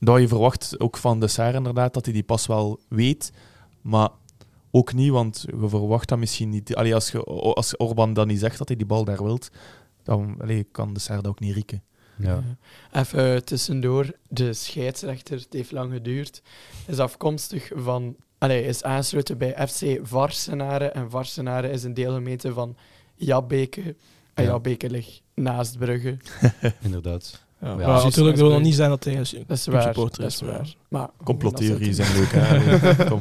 Speaker 3: Dat je verwacht ook van de Saar inderdaad, dat hij die pas wel weet. Maar ook niet, want je verwacht dat misschien niet. Allee, als, je, als Orban dan niet zegt dat hij die bal daar wilt, dan allee, kan de Saar dat ook niet rieken.
Speaker 1: Ja.
Speaker 4: Even tussendoor, de scheidsrechter, het heeft lang geduurd, is afkomstig van... Allee, is aansluiten bij FC Varsenare. En Varsenare is een deelgemeente van Jabbeke. En
Speaker 1: Ja.
Speaker 4: Jabbeke ligt naast Brugge.
Speaker 1: [LAUGHS] inderdaad.
Speaker 2: Ja,
Speaker 1: Ja,
Speaker 2: maar
Speaker 1: precies.
Speaker 2: natuurlijk, dat wil nog niet zijn dat hij een su-
Speaker 4: Dat is waar, dat
Speaker 2: supporter
Speaker 4: is
Speaker 2: is.
Speaker 4: waar. Maar,
Speaker 3: Complottheorieën zijn leuk. Hè? Kom.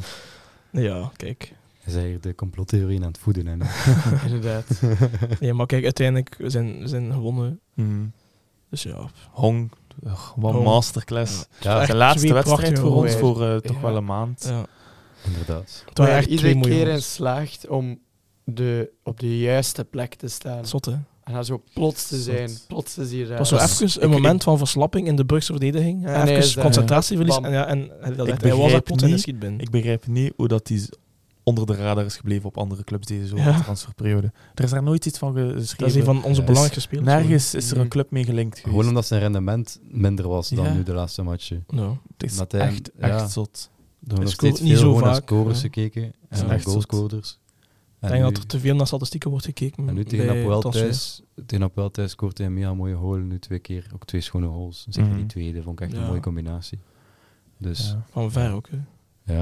Speaker 2: maar- Ja,
Speaker 4: [LAUGHS]
Speaker 2: kijk.
Speaker 1: Hij zei hier de complottheorieën aan het voeden. En,
Speaker 4: Inderdaad.
Speaker 2: [LAUGHS] Nee, maar kijk, uiteindelijk we zijn we zijn gewonnen.
Speaker 3: Hmm.
Speaker 2: Dus ja,
Speaker 3: Hong, ugh, wat
Speaker 2: Hong.
Speaker 1: [LAUGHS]
Speaker 3: masterclass.
Speaker 1: ja,
Speaker 3: De laatste
Speaker 2: twee
Speaker 3: wedstrijd
Speaker 2: prachtige
Speaker 3: voor ons
Speaker 4: goals.
Speaker 3: voor eh, toch
Speaker 4: Ja.
Speaker 3: wel een maand.
Speaker 2: ja.
Speaker 1: inderdaad.
Speaker 2: Het waren
Speaker 4: Waar
Speaker 2: echt
Speaker 4: je
Speaker 2: twee
Speaker 4: iedere
Speaker 2: mooie
Speaker 4: keer in
Speaker 2: jongens.
Speaker 4: slaagt om de, op de juiste plek te staan.
Speaker 2: Zot, hè. Het
Speaker 4: En dan zo plots te zijn.
Speaker 3: Zot.
Speaker 4: Plots is hier eh, raar.
Speaker 2: was zo
Speaker 3: Ja.
Speaker 2: even een
Speaker 4: dus Ik-
Speaker 2: moment van verslapping in de Brugse verdediging. hè.
Speaker 4: En hij is
Speaker 2: Even
Speaker 4: daar-
Speaker 2: concentratieverlies.
Speaker 4: Bam.
Speaker 2: En ja, en hij- dat-
Speaker 3: Ik
Speaker 2: hij was er
Speaker 3: begrijp
Speaker 2: plots in de
Speaker 3: niet-
Speaker 2: schiet binnen.
Speaker 3: Ik begrijp niet hoe dat die z- onder de radar is gebleven op andere clubs deze zomer
Speaker 2: Ja.
Speaker 3: transferperiode. Er is daar nooit iets van geschreven.
Speaker 2: Dat is een van onze
Speaker 1: Ja,
Speaker 2: belangrijke spelers.
Speaker 3: Nergens is er een
Speaker 4: Mhm.
Speaker 3: club mee gelinkt geweest.
Speaker 1: Gewoon omdat zijn rendement minder was dan
Speaker 3: Ja.
Speaker 1: nu de laatste matchen.
Speaker 2: Ja.
Speaker 3: het is
Speaker 1: omdat hij-
Speaker 3: echt,
Speaker 1: ja.
Speaker 3: echt zot.
Speaker 1: Er nog
Speaker 2: scoort
Speaker 1: steeds
Speaker 2: niet
Speaker 1: veel
Speaker 2: zo
Speaker 1: gewoon naar
Speaker 2: vaak,
Speaker 1: scorers
Speaker 2: hè.
Speaker 1: gekeken en
Speaker 3: Ja.
Speaker 1: naar
Speaker 3: Echt zot.
Speaker 1: goalscorers.
Speaker 2: Ik
Speaker 1: En
Speaker 2: denk
Speaker 1: nu-
Speaker 2: dat er te veel naar statistieken wordt gekeken.
Speaker 1: En nu tegen
Speaker 2: bij
Speaker 1: Apoel
Speaker 2: transfers.
Speaker 1: thuis, tegen Apoel thuis scoort hij een mega mooie goal. Nu twee keer, ook twee schone goals. Zeker die
Speaker 3: Mhm.
Speaker 1: tweede, vond ik echt een
Speaker 2: Ja.
Speaker 1: mooie combinatie. Dus ja,
Speaker 3: Ja.
Speaker 2: Van ver ook. hè.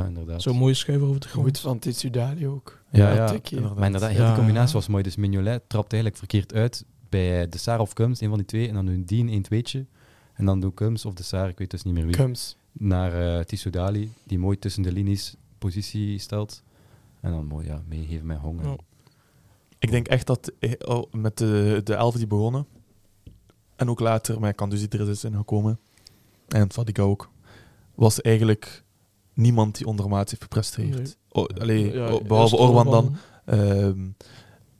Speaker 1: inderdaad.
Speaker 2: Zo'n mooie schuiver over de grond.
Speaker 4: Goed van Titsudali ook.
Speaker 1: ja,
Speaker 4: dat
Speaker 1: ja.
Speaker 4: tikje.
Speaker 1: Maar inderdaad, heel
Speaker 2: Ja,
Speaker 1: die combinatie
Speaker 2: ja.
Speaker 1: was mooi. Dus Mignolet trapt eigenlijk verkeerd uit bij de Saar of Cums, een van die twee. En dan doen Dien een tweetje. En dan doen Cums of de Saar, ik weet dus niet meer wie.
Speaker 4: Kums.
Speaker 1: Naar eh Tissou Dali, die mooi tussen de linies positie stelt. En dan mooi, ja, meegeven met honger.
Speaker 2: Ja.
Speaker 3: Ik denk echt dat eh, al met de, de elf die begonnen, en ook later met Kanduzi dus er is ingekomen, en Fadiga ook, was eigenlijk niemand die ondermaats heeft gepresteerd.
Speaker 2: Nee.
Speaker 3: Oh, allee,
Speaker 2: Ja,
Speaker 3: oh,
Speaker 2: eerst
Speaker 3: behalve Orban dan.
Speaker 2: Orban.
Speaker 3: Ehm,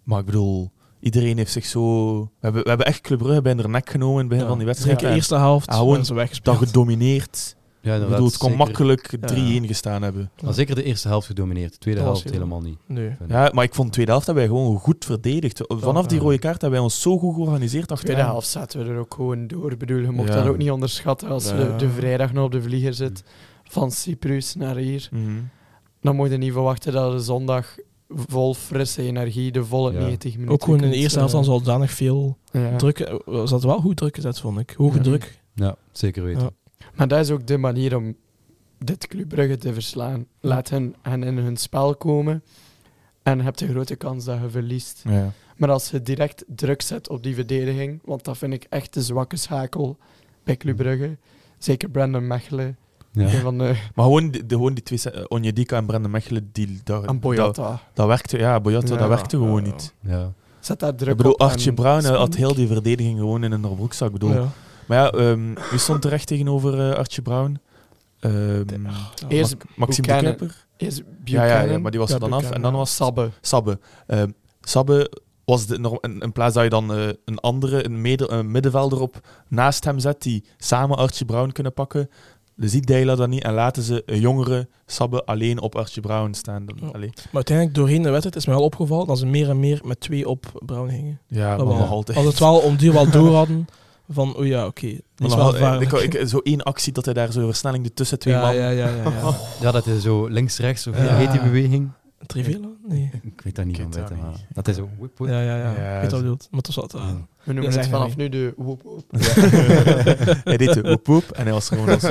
Speaker 3: maar ik bedoel, iedereen heeft zich zo... We hebben, we hebben echt Club Brugge bij de nek genomen in het begin
Speaker 2: Ja.
Speaker 3: van die
Speaker 2: Dus eigenlijk
Speaker 3: wedstrijd.
Speaker 2: de
Speaker 3: En
Speaker 2: eerste helft
Speaker 3: Ah, gewoon
Speaker 2: waren ze
Speaker 3: dat
Speaker 2: weggespeeld.
Speaker 3: gedomineerd.
Speaker 1: Ja,
Speaker 3: Ik
Speaker 1: inderdaad,
Speaker 3: bedoel, het kon
Speaker 1: zeker-
Speaker 3: makkelijk 3-1 gestaan hebben.
Speaker 1: Maar zeker de eerste helft gedomineerd, de tweede
Speaker 2: Dat was
Speaker 1: helft helemaal niet.
Speaker 2: Nee.
Speaker 1: vind ik.
Speaker 3: Ja, maar ik vond de tweede helft hebben wij gewoon goed verdedigd. Vanaf die
Speaker 1: ja.
Speaker 3: rode kaart hebben wij ons zo goed georganiseerd
Speaker 4: De tweede
Speaker 3: achteraan.
Speaker 4: helft zaten we er ook gewoon door. Ik bedoel, je mocht
Speaker 3: Ja.
Speaker 4: dat ook niet onderschatten. Als je
Speaker 3: Ja. Mm.
Speaker 4: de vrijdag nog op de vlieger zit, van Cyprus naar hier,
Speaker 3: Mhm.
Speaker 4: dan moet je niet verwachten dat de zondag vol frisse energie de volle
Speaker 1: Ja.
Speaker 4: 90 minuten...
Speaker 2: Ook gewoon in de
Speaker 4: kunt,
Speaker 2: eerste helft
Speaker 4: eh,
Speaker 2: dan zodanig veel
Speaker 4: ja.
Speaker 2: druk. eh, Er zat wel goed druk gezet, vond ik. Hoge
Speaker 4: Ja.
Speaker 2: druk.
Speaker 1: Ja, zeker weten.
Speaker 2: Ja.
Speaker 4: Maar dat is ook de manier om dit Club Brugge te verslaan. Laat hen, hen in hun spel komen en je hebt de grote kans dat je verliest.
Speaker 3: Ja.
Speaker 4: Maar als je direct druk zet op die verdediging, want dat vind ik echt de zwakke schakel bij
Speaker 3: Mm.
Speaker 4: Club Brugge. Zeker Brandon Mechelen,
Speaker 1: Ja.
Speaker 4: een van de...
Speaker 3: Maar gewoon die, de- gewoon die twee... se- eh, Onyedika en Brandon Mechelen, die, dat,
Speaker 4: En
Speaker 3: dat,
Speaker 4: Boyata.
Speaker 3: dat werkte... Ja, Boyata,
Speaker 4: Ja.
Speaker 3: dat werkte gewoon
Speaker 2: Ja.
Speaker 3: niet.
Speaker 1: Ja.
Speaker 4: Zet daar druk
Speaker 3: Ik bedoel,
Speaker 4: op. en
Speaker 3: Artje Bruin eh, had
Speaker 4: Spink.
Speaker 3: heel die verdediging gewoon in een broekzak. Ik bedoel,
Speaker 2: Ja.
Speaker 3: Maar ja, ehm, wie stond terecht tegenover eh, Artje Brown? Ehm
Speaker 4: Eerst
Speaker 3: Max- Maxime de
Speaker 4: Buchanan.
Speaker 3: Klepper?
Speaker 4: Eerst
Speaker 3: Ja,
Speaker 4: Buchanan.
Speaker 3: ja, ja, maar die was
Speaker 2: Ja,
Speaker 3: er dan af.
Speaker 2: Buchanan.
Speaker 3: En dan was
Speaker 4: Sabbe.
Speaker 3: Sabbe. Ehm, Sabbe was de, norm- in, in plaats dat je dan eh, een andere, een, mede- een middenvelder op naast hem zet, die samen Artje Brown kunnen pakken, dan ziet Deila dat niet en laten ze een jongere Sabbe alleen op Artje Brown staan. Dan,
Speaker 2: Ja.
Speaker 3: allee.
Speaker 2: Maar uiteindelijk doorheen de wedstrijd is mij wel opgevallen dat ze meer en meer met twee op Brown hingen.
Speaker 3: ja
Speaker 2: Dat
Speaker 3: maar
Speaker 2: wel.
Speaker 3: nog altijd.
Speaker 2: Als het wel om duur wel door hadden van, oh ja, oké. die
Speaker 3: Maar
Speaker 2: is
Speaker 3: nog
Speaker 2: wel
Speaker 3: altijd.
Speaker 2: gevaarlijk.
Speaker 3: ik, ik, zo één actie dat hij daar zo'n versnelling de tussen twee
Speaker 2: ja,
Speaker 3: man...
Speaker 2: ja, ja, ja,
Speaker 3: [LAUGHS]
Speaker 2: ja.
Speaker 1: ja, dat is zo links-rechts, of
Speaker 3: Ja.
Speaker 1: heet die beweging?
Speaker 2: Trivela? Nee.
Speaker 1: Ik weet daar niet
Speaker 3: Ik
Speaker 1: van
Speaker 3: weet dat
Speaker 1: weten,
Speaker 3: niet.
Speaker 1: maar dat is zo... Woep, woep.
Speaker 2: Ja, ja, ja.
Speaker 3: Ja, dus-
Speaker 2: Ik weet wat je bedoelt. Maar het was altijd...
Speaker 1: Ja.
Speaker 3: [LAUGHS]
Speaker 2: Ja,
Speaker 4: We noemen
Speaker 2: zeg
Speaker 4: het
Speaker 2: maar
Speaker 4: vanaf nu de woep woep.
Speaker 3: hij deed
Speaker 1: [LAUGHS]
Speaker 3: de woep woep en hij was gewoon al zo.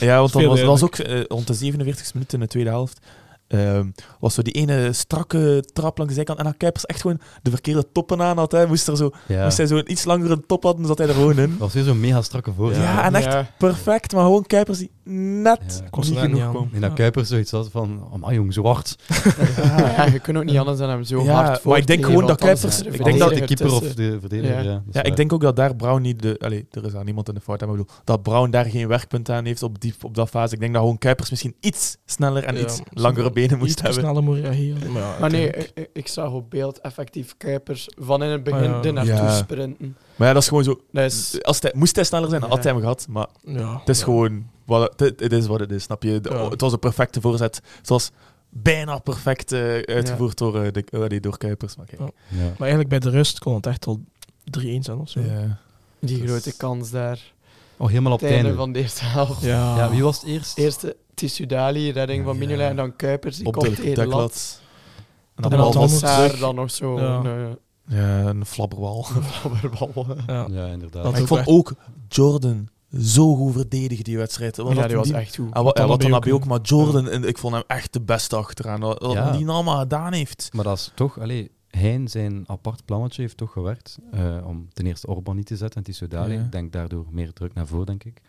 Speaker 3: Ja, want dan
Speaker 2: Veel
Speaker 3: was, dat was ook eh, rond de 47 minuten in de tweede helft. ehm, was zo die ene strakke trap langs de zijkant. En dan Kuipers echt gewoon de verkeerde toppen aan had. Hè. Moest, er zo,
Speaker 1: Ja.
Speaker 3: moest hij zo'n iets langere top hadden, zat hij er gewoon
Speaker 1: [LAUGHS]
Speaker 3: in.
Speaker 1: Dat was weer zo'n mega strakke
Speaker 3: Ja,
Speaker 1: voorzet.
Speaker 3: en Ah, echt
Speaker 4: Ja.
Speaker 3: perfect. Maar gewoon Kuipers die net
Speaker 1: Ja.
Speaker 2: [LAUGHS] Kon ze
Speaker 3: niet
Speaker 2: daar niet aan.
Speaker 3: genoeg kwam.
Speaker 1: En dat
Speaker 2: Ja.
Speaker 1: Kuipers zoiets had van, oh man jong, zo hard.
Speaker 4: [LAUGHS] Ja, ja, je kunt ook niet anders dan hem zo
Speaker 3: Ja,
Speaker 4: hard
Speaker 3: maar ik
Speaker 4: voor
Speaker 3: denk
Speaker 4: te
Speaker 3: gewoon
Speaker 4: geven,
Speaker 3: dat
Speaker 4: want
Speaker 3: Kuipers-
Speaker 4: anders
Speaker 3: ik
Speaker 4: is
Speaker 1: Ik
Speaker 4: er
Speaker 1: denk dat de
Speaker 4: verdediger
Speaker 1: keeper of
Speaker 4: tussen.
Speaker 1: de verdediger, ja.
Speaker 4: Ja.
Speaker 1: dat is
Speaker 3: Ja,
Speaker 1: waar.
Speaker 3: ik denk ook dat daar Brown niet de... Allee, er is aan niemand in de fout. hè, Maar ik bedoel, dat Brown daar geen werkpunt aan heeft op, die, op dat fase. Ik denk dat gewoon Kuipers misschien iets sneller en
Speaker 2: Ja,
Speaker 3: iets
Speaker 2: misschien
Speaker 3: langere benen moest
Speaker 2: Iets
Speaker 3: hebben.
Speaker 2: sneller moet reageren. Maar, ja,
Speaker 4: Maar nee,
Speaker 2: uiteindelijk-
Speaker 4: ik, ik- ik zag op beeld effectief Kuipers van in het begin
Speaker 2: Ah, ja.
Speaker 4: er naartoe
Speaker 3: Ja.
Speaker 4: sprinten.
Speaker 3: Maar ja, dat is gewoon zo.
Speaker 4: Dat is...
Speaker 3: Als hij, moest hij sneller zijn, dan
Speaker 4: Ja.
Speaker 3: had hij hem gehad. Maar
Speaker 2: eh, ja,
Speaker 3: het is
Speaker 2: ja.
Speaker 3: gewoon. wat het- het, het is wat het is, snap je? De-
Speaker 2: Ja.
Speaker 3: Het was een perfecte voorzet. Het was bijna perfect eh, uitgevoerd door, eh, de, eh, die door Kuipers. Maar kijk.
Speaker 2: Ja.
Speaker 1: Ja.
Speaker 2: Maar eigenlijk bij de rust kon het echt al 3-1 zijn of zo. Ja.
Speaker 4: Die
Speaker 3: Dus-
Speaker 4: grote kans daar.
Speaker 1: Oh, helemaal op
Speaker 4: Het
Speaker 1: het
Speaker 4: einde
Speaker 1: einde.
Speaker 4: van de eerste [LAUGHS] helft.
Speaker 1: Ja,
Speaker 2: Ah.
Speaker 1: wie was het eerst?
Speaker 4: Eerste Tissudali, redding van
Speaker 3: Ja.
Speaker 4: Mignola en dan Kuipers. Die
Speaker 3: Op
Speaker 4: komt
Speaker 3: de
Speaker 4: tegen de lat.
Speaker 3: deklat. En
Speaker 2: En
Speaker 3: dan
Speaker 4: En
Speaker 3: bal
Speaker 4: dan
Speaker 2: was
Speaker 3: vast.
Speaker 2: Saar.
Speaker 4: Saar
Speaker 2: terug.
Speaker 4: dan nog zo.
Speaker 2: Ja.
Speaker 4: een,
Speaker 3: Ja, een flabberbal.
Speaker 4: eh, flabberbal.
Speaker 2: Ja.
Speaker 1: Ja, inderdaad.
Speaker 2: Dat
Speaker 3: Maar ik
Speaker 2: ook
Speaker 3: vond
Speaker 2: echt-
Speaker 3: ook Jordan zo goed verdedigd die wedstrijd. Want
Speaker 4: Ja,
Speaker 3: dat
Speaker 4: die was
Speaker 3: die-
Speaker 4: echt goed.
Speaker 3: En wat, en wat dan
Speaker 2: Watanabe
Speaker 3: Nabi
Speaker 2: ook,
Speaker 3: ook, maar Jordan, en ik vond hem echt de beste achteraan. Wat wat
Speaker 1: Ja.
Speaker 3: die allemaal gedaan heeft.
Speaker 1: Maar dat is toch, allee, Hein zijn apart plannetje heeft toch gewerkt eh, om ten eerste Orban niet te zetten en Tissoudali.
Speaker 3: Ja.
Speaker 1: Ik denk daardoor meer druk naar voren, denk ik.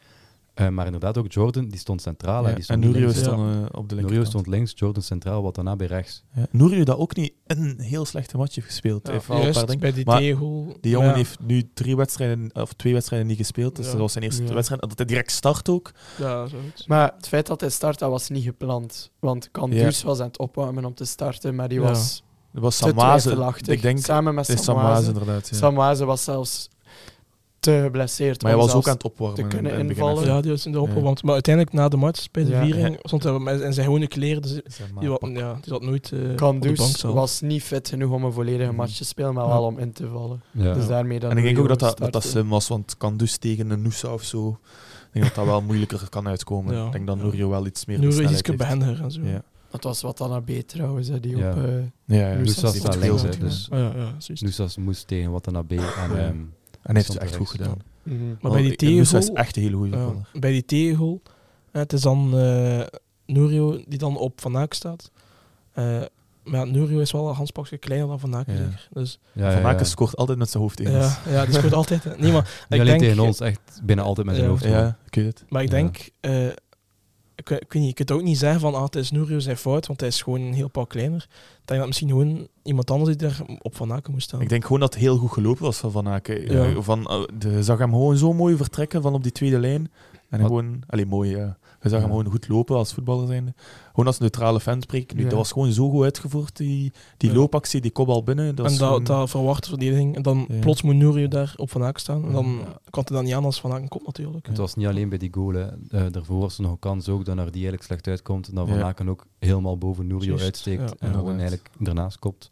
Speaker 1: Eh, maar inderdaad ook Jordan, die stond centraal. en
Speaker 3: Ja,
Speaker 1: die
Speaker 3: en
Speaker 1: stond niet
Speaker 3: Nurio
Speaker 1: links.
Speaker 2: is
Speaker 3: stond eh, op
Speaker 1: Nurio
Speaker 3: de linkerkant.
Speaker 1: stond links, Jordan centraal, wat daarna bij rechts.
Speaker 3: Ja. Nurio dat ook niet een heel slechte match heeft gespeeld. Hij heeft wel een paar
Speaker 2: Juist,
Speaker 3: dingen-
Speaker 2: bij die
Speaker 3: Maar
Speaker 2: tegel.
Speaker 3: Die jongen
Speaker 2: Ja.
Speaker 3: heeft nu drie wedstrijden, of twee wedstrijden niet gespeeld. Dus
Speaker 2: Ja.
Speaker 3: dat was zijn eerste
Speaker 4: Ja.
Speaker 3: wedstrijd. En Dat hij direct start ook.
Speaker 2: Ja, zoiets.
Speaker 4: Maar het feit dat hij start, dat was niet gepland. Want Kandus was aan het opwarmen om te starten, maar die
Speaker 2: Ja.
Speaker 4: was
Speaker 3: Dat was
Speaker 4: te
Speaker 3: Samaze.
Speaker 4: twijfelachtig.
Speaker 3: Ik denk, het
Speaker 4: Samen met
Speaker 3: is Samaze
Speaker 4: Samaze.
Speaker 3: inderdaad. ja.
Speaker 4: Samaze was zelfs te geblesseerd.
Speaker 3: Maar hij
Speaker 4: om
Speaker 3: was ook
Speaker 4: zelfs-
Speaker 3: aan het opwarmen.
Speaker 4: te
Speaker 3: in-
Speaker 4: kunnen
Speaker 3: in het begin.
Speaker 4: invallen.
Speaker 2: Ja, die was in de opgewarmd. Maar uiteindelijk na de match, bij de
Speaker 4: Ja.
Speaker 2: viering, stond hij met- in zijn gewone kleren. Dus
Speaker 3: Samaze.
Speaker 2: die, wa- ja, die zat nooit eh, op de bank
Speaker 4: Kandus
Speaker 2: zelf.
Speaker 4: dus was niet fit genoeg om een volledige
Speaker 3: Mhm.
Speaker 4: match te spelen, maar
Speaker 2: Ja.
Speaker 4: wel om in te vallen.
Speaker 1: Ja.
Speaker 4: Dus daarmee dan
Speaker 3: En ik denk ook dat dat, dat
Speaker 4: starten.
Speaker 3: dat slim was, want kan dus tegen een Noosa of zo. Ik denk dat dat wel moeilijker kan uitkomen.
Speaker 2: Ja.
Speaker 3: Ik denk dat
Speaker 2: Ja.
Speaker 3: Nurio wel iets meer
Speaker 2: Nu
Speaker 3: de
Speaker 2: is
Speaker 3: snelheid
Speaker 2: iets behendiger en zo.
Speaker 3: Ja.
Speaker 4: Dat was wat dan B trouwens, hè, die
Speaker 1: Ja.
Speaker 4: op... eh,
Speaker 3: heeft. Ja, ja.
Speaker 4: Nusa
Speaker 1: Nusa
Speaker 4: staat
Speaker 1: staat
Speaker 4: veel
Speaker 1: links, hè,
Speaker 4: goed,
Speaker 1: dus
Speaker 2: Ah, ja, ja, zoiets.
Speaker 1: Noesas moest tegen Watanabe en
Speaker 3: Ja.
Speaker 1: ehm,
Speaker 3: En hij heeft het
Speaker 1: Stond
Speaker 3: echt goed
Speaker 1: terecht.
Speaker 3: gedaan.
Speaker 4: mhm.
Speaker 2: Maar bij die
Speaker 3: Want Nusa is
Speaker 2: tegel...
Speaker 3: echt een hele goede
Speaker 2: ja,
Speaker 3: voetballer.
Speaker 2: bij die tegel, eh, het is dan eh Nurio die dan op Van Aak staat. Eh, maar ja, Nurio is wel een handspakje kleiner dan Van Aak,
Speaker 3: Ja.
Speaker 2: zeker. Dus,
Speaker 1: ja, ja,
Speaker 3: Van Aken
Speaker 1: ja.
Speaker 3: scoort altijd met zijn hoofd tegen ons.
Speaker 2: ja, ja, die
Speaker 3: [LAUGHS]
Speaker 2: scoort altijd. hè. Nee, maar
Speaker 1: Niet
Speaker 2: ik
Speaker 1: alleen
Speaker 2: denk...
Speaker 1: tegen ons, echt bijna altijd met zijn
Speaker 2: Ja.
Speaker 1: hoofd.
Speaker 3: Ja, ik weet het.
Speaker 2: Maar ik
Speaker 1: Ja.
Speaker 2: denk, eh, ik, weet- ik weet niet, je kunt ook niet zeggen van ah, het is Nourio zijn fout, want hij is gewoon een heel pak kleiner. Ik denk dat misschien gewoon iemand anders die daar op van Aken moest staan.
Speaker 3: Ik denk gewoon dat het heel goed gelopen was van Van Aken.
Speaker 2: Ja.
Speaker 3: Eh, Van, eh, de- je zag hem gewoon zo mooi vertrekken van op die tweede lijn. En
Speaker 1: Wat-
Speaker 3: gewoon, alleen mooi, ja. Je zag
Speaker 1: Ja.
Speaker 3: hem gewoon goed lopen als voetballer zijnde. Gewoon als neutrale fan spreek ik nu.
Speaker 4: Ja.
Speaker 3: Dat was gewoon zo goed uitgevoerd, die, die
Speaker 2: Ja.
Speaker 3: loopactie, die kopbal binnen. Dat
Speaker 2: en
Speaker 3: is
Speaker 2: dat,
Speaker 3: gewoon-
Speaker 2: dat verwacht de verdediging. En dan
Speaker 3: Ja.
Speaker 2: plots moet Nourio daar op van Aken staan. En dan
Speaker 3: Ja.
Speaker 2: kan het dan niet aan als van Aken komt natuurlijk.
Speaker 1: Het was niet alleen bij die goal. hè. Eh, daarvoor was er nog een kans ook dat Nardi eigenlijk slecht uitkomt. En dat Van
Speaker 3: Ja.
Speaker 1: Aken ook helemaal boven Nourio
Speaker 2: Juist,
Speaker 1: uitsteekt.
Speaker 2: ja.
Speaker 1: En gewoon
Speaker 3: Inderdaad.
Speaker 1: eigenlijk ernaast kopt.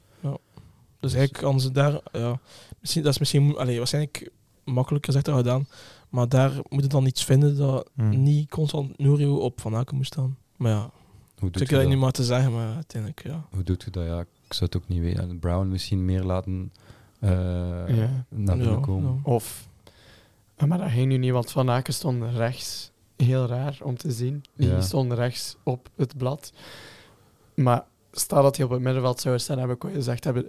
Speaker 2: Dus eigenlijk hadden ze daar, ja, misschien, dat is misschien allee, waarschijnlijk makkelijk gezegd dan gedaan. Maar daar moeten dan iets vinden dat
Speaker 3: Hmm.
Speaker 2: niet constant Nourio op Van Aken moet staan. Maar ja,
Speaker 1: Hoe
Speaker 2: dus
Speaker 1: doet,
Speaker 2: ik
Speaker 1: je
Speaker 2: wil het
Speaker 1: dat?
Speaker 2: nu maar te zeggen, maar uiteindelijk ja.
Speaker 1: Hoe doet je dat? Ja, ik zou het ook niet weten. En Brown misschien meer laten eh,
Speaker 4: Ja.
Speaker 1: naar binnen
Speaker 2: Ja,
Speaker 1: komen.
Speaker 2: ja.
Speaker 4: Of, Ah, maar dat ging nu niet, want Van Aken stond rechts. Heel raar om te zien. Die
Speaker 1: Ja.
Speaker 4: stond rechts op het blad. Maar staat dat hij op het middenveld zou staan, heb ik al gezegd hebben.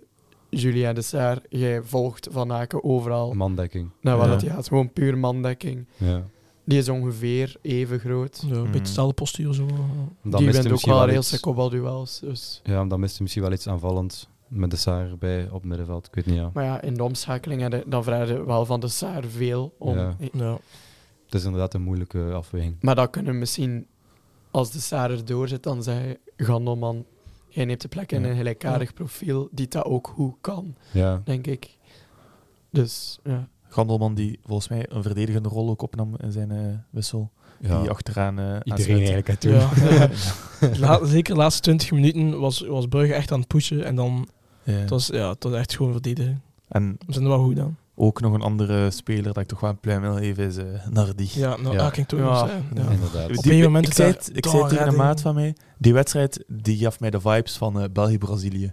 Speaker 4: Julien de Saar, jij volgt Van Aken overal.
Speaker 1: Mandekking.
Speaker 4: Naar waar
Speaker 3: Ja.
Speaker 4: dat hij gaat. Gewoon puur mandekking.
Speaker 1: Ja.
Speaker 4: Die is ongeveer even groot.
Speaker 2: Ja, een beetje
Speaker 3: Hmm.
Speaker 2: hetzelfde postuur zo.
Speaker 1: Dan
Speaker 4: die
Speaker 1: mist
Speaker 4: wint
Speaker 1: hij
Speaker 4: ook
Speaker 1: misschien
Speaker 4: wel
Speaker 1: wel
Speaker 4: heel
Speaker 1: iets,
Speaker 4: zijn kopbalduels. Dus.
Speaker 1: ja, dan mist hij misschien wel iets aanvallends met de Saar erbij op het middenveld. Ik weet niet, ja.
Speaker 4: Maar ja, in de omschakeling heb je- dan vraag je wel van de Saar veel. Om...
Speaker 1: Ja.
Speaker 2: Ja.
Speaker 1: Het is inderdaad een moeilijke afweging.
Speaker 4: Maar dat kunnen we misschien, als de Saar erdoor zit, dan zeg je, Gandelman, jij neemt de plek in
Speaker 1: Ja.
Speaker 4: een gelijkaardig profiel die dat ook goed kan,
Speaker 1: Ja.
Speaker 4: denk ik. Dus ja.
Speaker 3: Gandelman die volgens mij een verdedigende rol ook opnam in zijn eh, wissel.
Speaker 1: ja.
Speaker 3: Die achteraan eh
Speaker 1: Iedereen eigenlijk
Speaker 3: aansluit.
Speaker 1: het doen.
Speaker 2: Ja. La- zeker de laatste 20 minuten was, was Brugge echt aan het pushen. En dan,
Speaker 3: Ja.
Speaker 2: het was, ja, het was echt gewoon verdedigen.
Speaker 3: En
Speaker 2: We zijn er wel goed aan.
Speaker 3: ook nog een andere speler dat ik toch wel een pluim wil geven is eh, Nardi.
Speaker 2: Ja, nou,
Speaker 1: Ja.
Speaker 2: ah, kijk, toch
Speaker 4: Ja.
Speaker 2: nog eens, hè. Ja.
Speaker 1: Inderdaad.
Speaker 2: Op
Speaker 3: Die-
Speaker 2: een moment
Speaker 3: ik
Speaker 2: is
Speaker 3: zei
Speaker 2: daar-
Speaker 3: het, ik zei het tegen een
Speaker 2: Daar-
Speaker 3: maat van mij. Die wedstrijd die gaf mij de vibes van eh, België-Brazilië.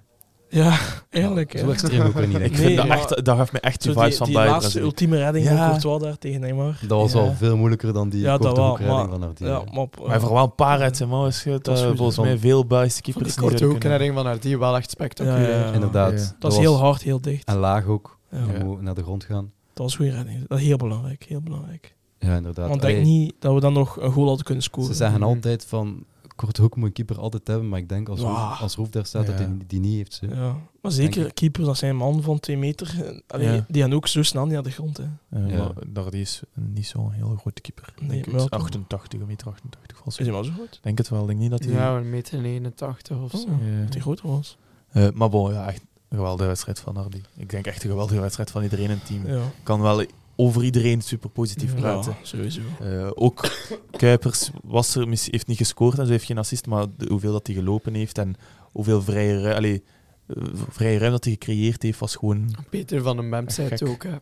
Speaker 2: Ja, eigenlijk.
Speaker 1: Ja,
Speaker 2: hè.
Speaker 1: Zo extreem ook weer niet,
Speaker 3: Ik
Speaker 1: denk ik.
Speaker 2: Nee,
Speaker 3: vind dat,
Speaker 2: maar-
Speaker 3: echt, dat gaf mij echt
Speaker 2: Zo
Speaker 3: die
Speaker 2: die,
Speaker 3: vibes van
Speaker 2: die laatste
Speaker 3: België-Brazilië.
Speaker 2: ultieme redding
Speaker 3: Ja.
Speaker 2: van Courtois daar tegen Neymar.
Speaker 1: Dat was
Speaker 3: Ja.
Speaker 1: al veel moeilijker dan die
Speaker 2: Ja, dat
Speaker 1: korte
Speaker 2: wel,
Speaker 1: hoekredding
Speaker 2: maar-
Speaker 1: van Artie.
Speaker 2: Ja, maar op, eh,
Speaker 3: eh, Maar hij heeft er wel een paar uit zijn mouw geschud.
Speaker 2: Dat is
Speaker 3: eh,
Speaker 2: goed,
Speaker 3: volgens
Speaker 1: van-
Speaker 3: mij veel Belgische
Speaker 4: Van die
Speaker 3: keepers niet uit
Speaker 4: korte
Speaker 3: kunnen.
Speaker 4: hoekredding van haar, die wel echt spectaculair.
Speaker 2: Ja, ja, ja.
Speaker 1: Inderdaad.
Speaker 3: Ja.
Speaker 2: dat is
Speaker 1: was-
Speaker 2: heel hard, heel dicht.
Speaker 1: En laag ook.
Speaker 2: Ja.
Speaker 1: Je
Speaker 3: Ja.
Speaker 1: moet naar de grond gaan.
Speaker 2: Dat was een goede redding. Dat is heel belangrijk, heel belangrijk.
Speaker 1: Ja, inderdaad.
Speaker 2: Want ik denk
Speaker 1: Allee,
Speaker 2: niet dat we dan nog een goal hadden kunnen scoren.
Speaker 1: Ze zeggen
Speaker 4: Mhm.
Speaker 1: altijd van, korte hoek moet een keeper altijd hebben. Maar ik denk als,
Speaker 2: Wauw.
Speaker 1: Roef, als Roef daar staat, dat
Speaker 3: Ja.
Speaker 1: hij die niet heeft. ze.
Speaker 2: Ja. Maar
Speaker 1: Denk
Speaker 2: zeker keepers, dat zijn man van twee meter. Allee,
Speaker 3: Ja.
Speaker 2: Die gaan ook zo snel niet aan de grond. Hè.
Speaker 3: Eh,
Speaker 1: Ja.
Speaker 3: maar Nardi is niet zo'n heel grote keeper.
Speaker 2: Nee,
Speaker 3: denk ik.
Speaker 2: maar wel toch.
Speaker 3: 88, meter 88 volgens
Speaker 2: Is
Speaker 3: mij.
Speaker 2: hij maar zo goed?
Speaker 3: Ik denk het wel. Ik denk niet dat hij...
Speaker 4: Ja, een meter 81 of zo.
Speaker 2: Oh,
Speaker 3: Ja.
Speaker 2: Dat hij groter was.
Speaker 3: Eh, maar bon, ja, echt een geweldige wedstrijd van Nardi. Ik denk echt een geweldige wedstrijd van iedereen in het team.
Speaker 2: Ja.
Speaker 3: Kan wel over iedereen super positief praten.
Speaker 2: Ja, sowieso.
Speaker 3: Eh, ook Kuipers was er, mis- heeft niet gescoord en ze heeft geen assist, maar de- hoeveel dat hij gelopen heeft en hoeveel vrije, ru- allee, eh, vrije ruim dat hij gecreëerd heeft, was gewoon.
Speaker 4: Peter van den Bem
Speaker 3: Echt
Speaker 4: zei het
Speaker 3: gek.
Speaker 4: ook hè.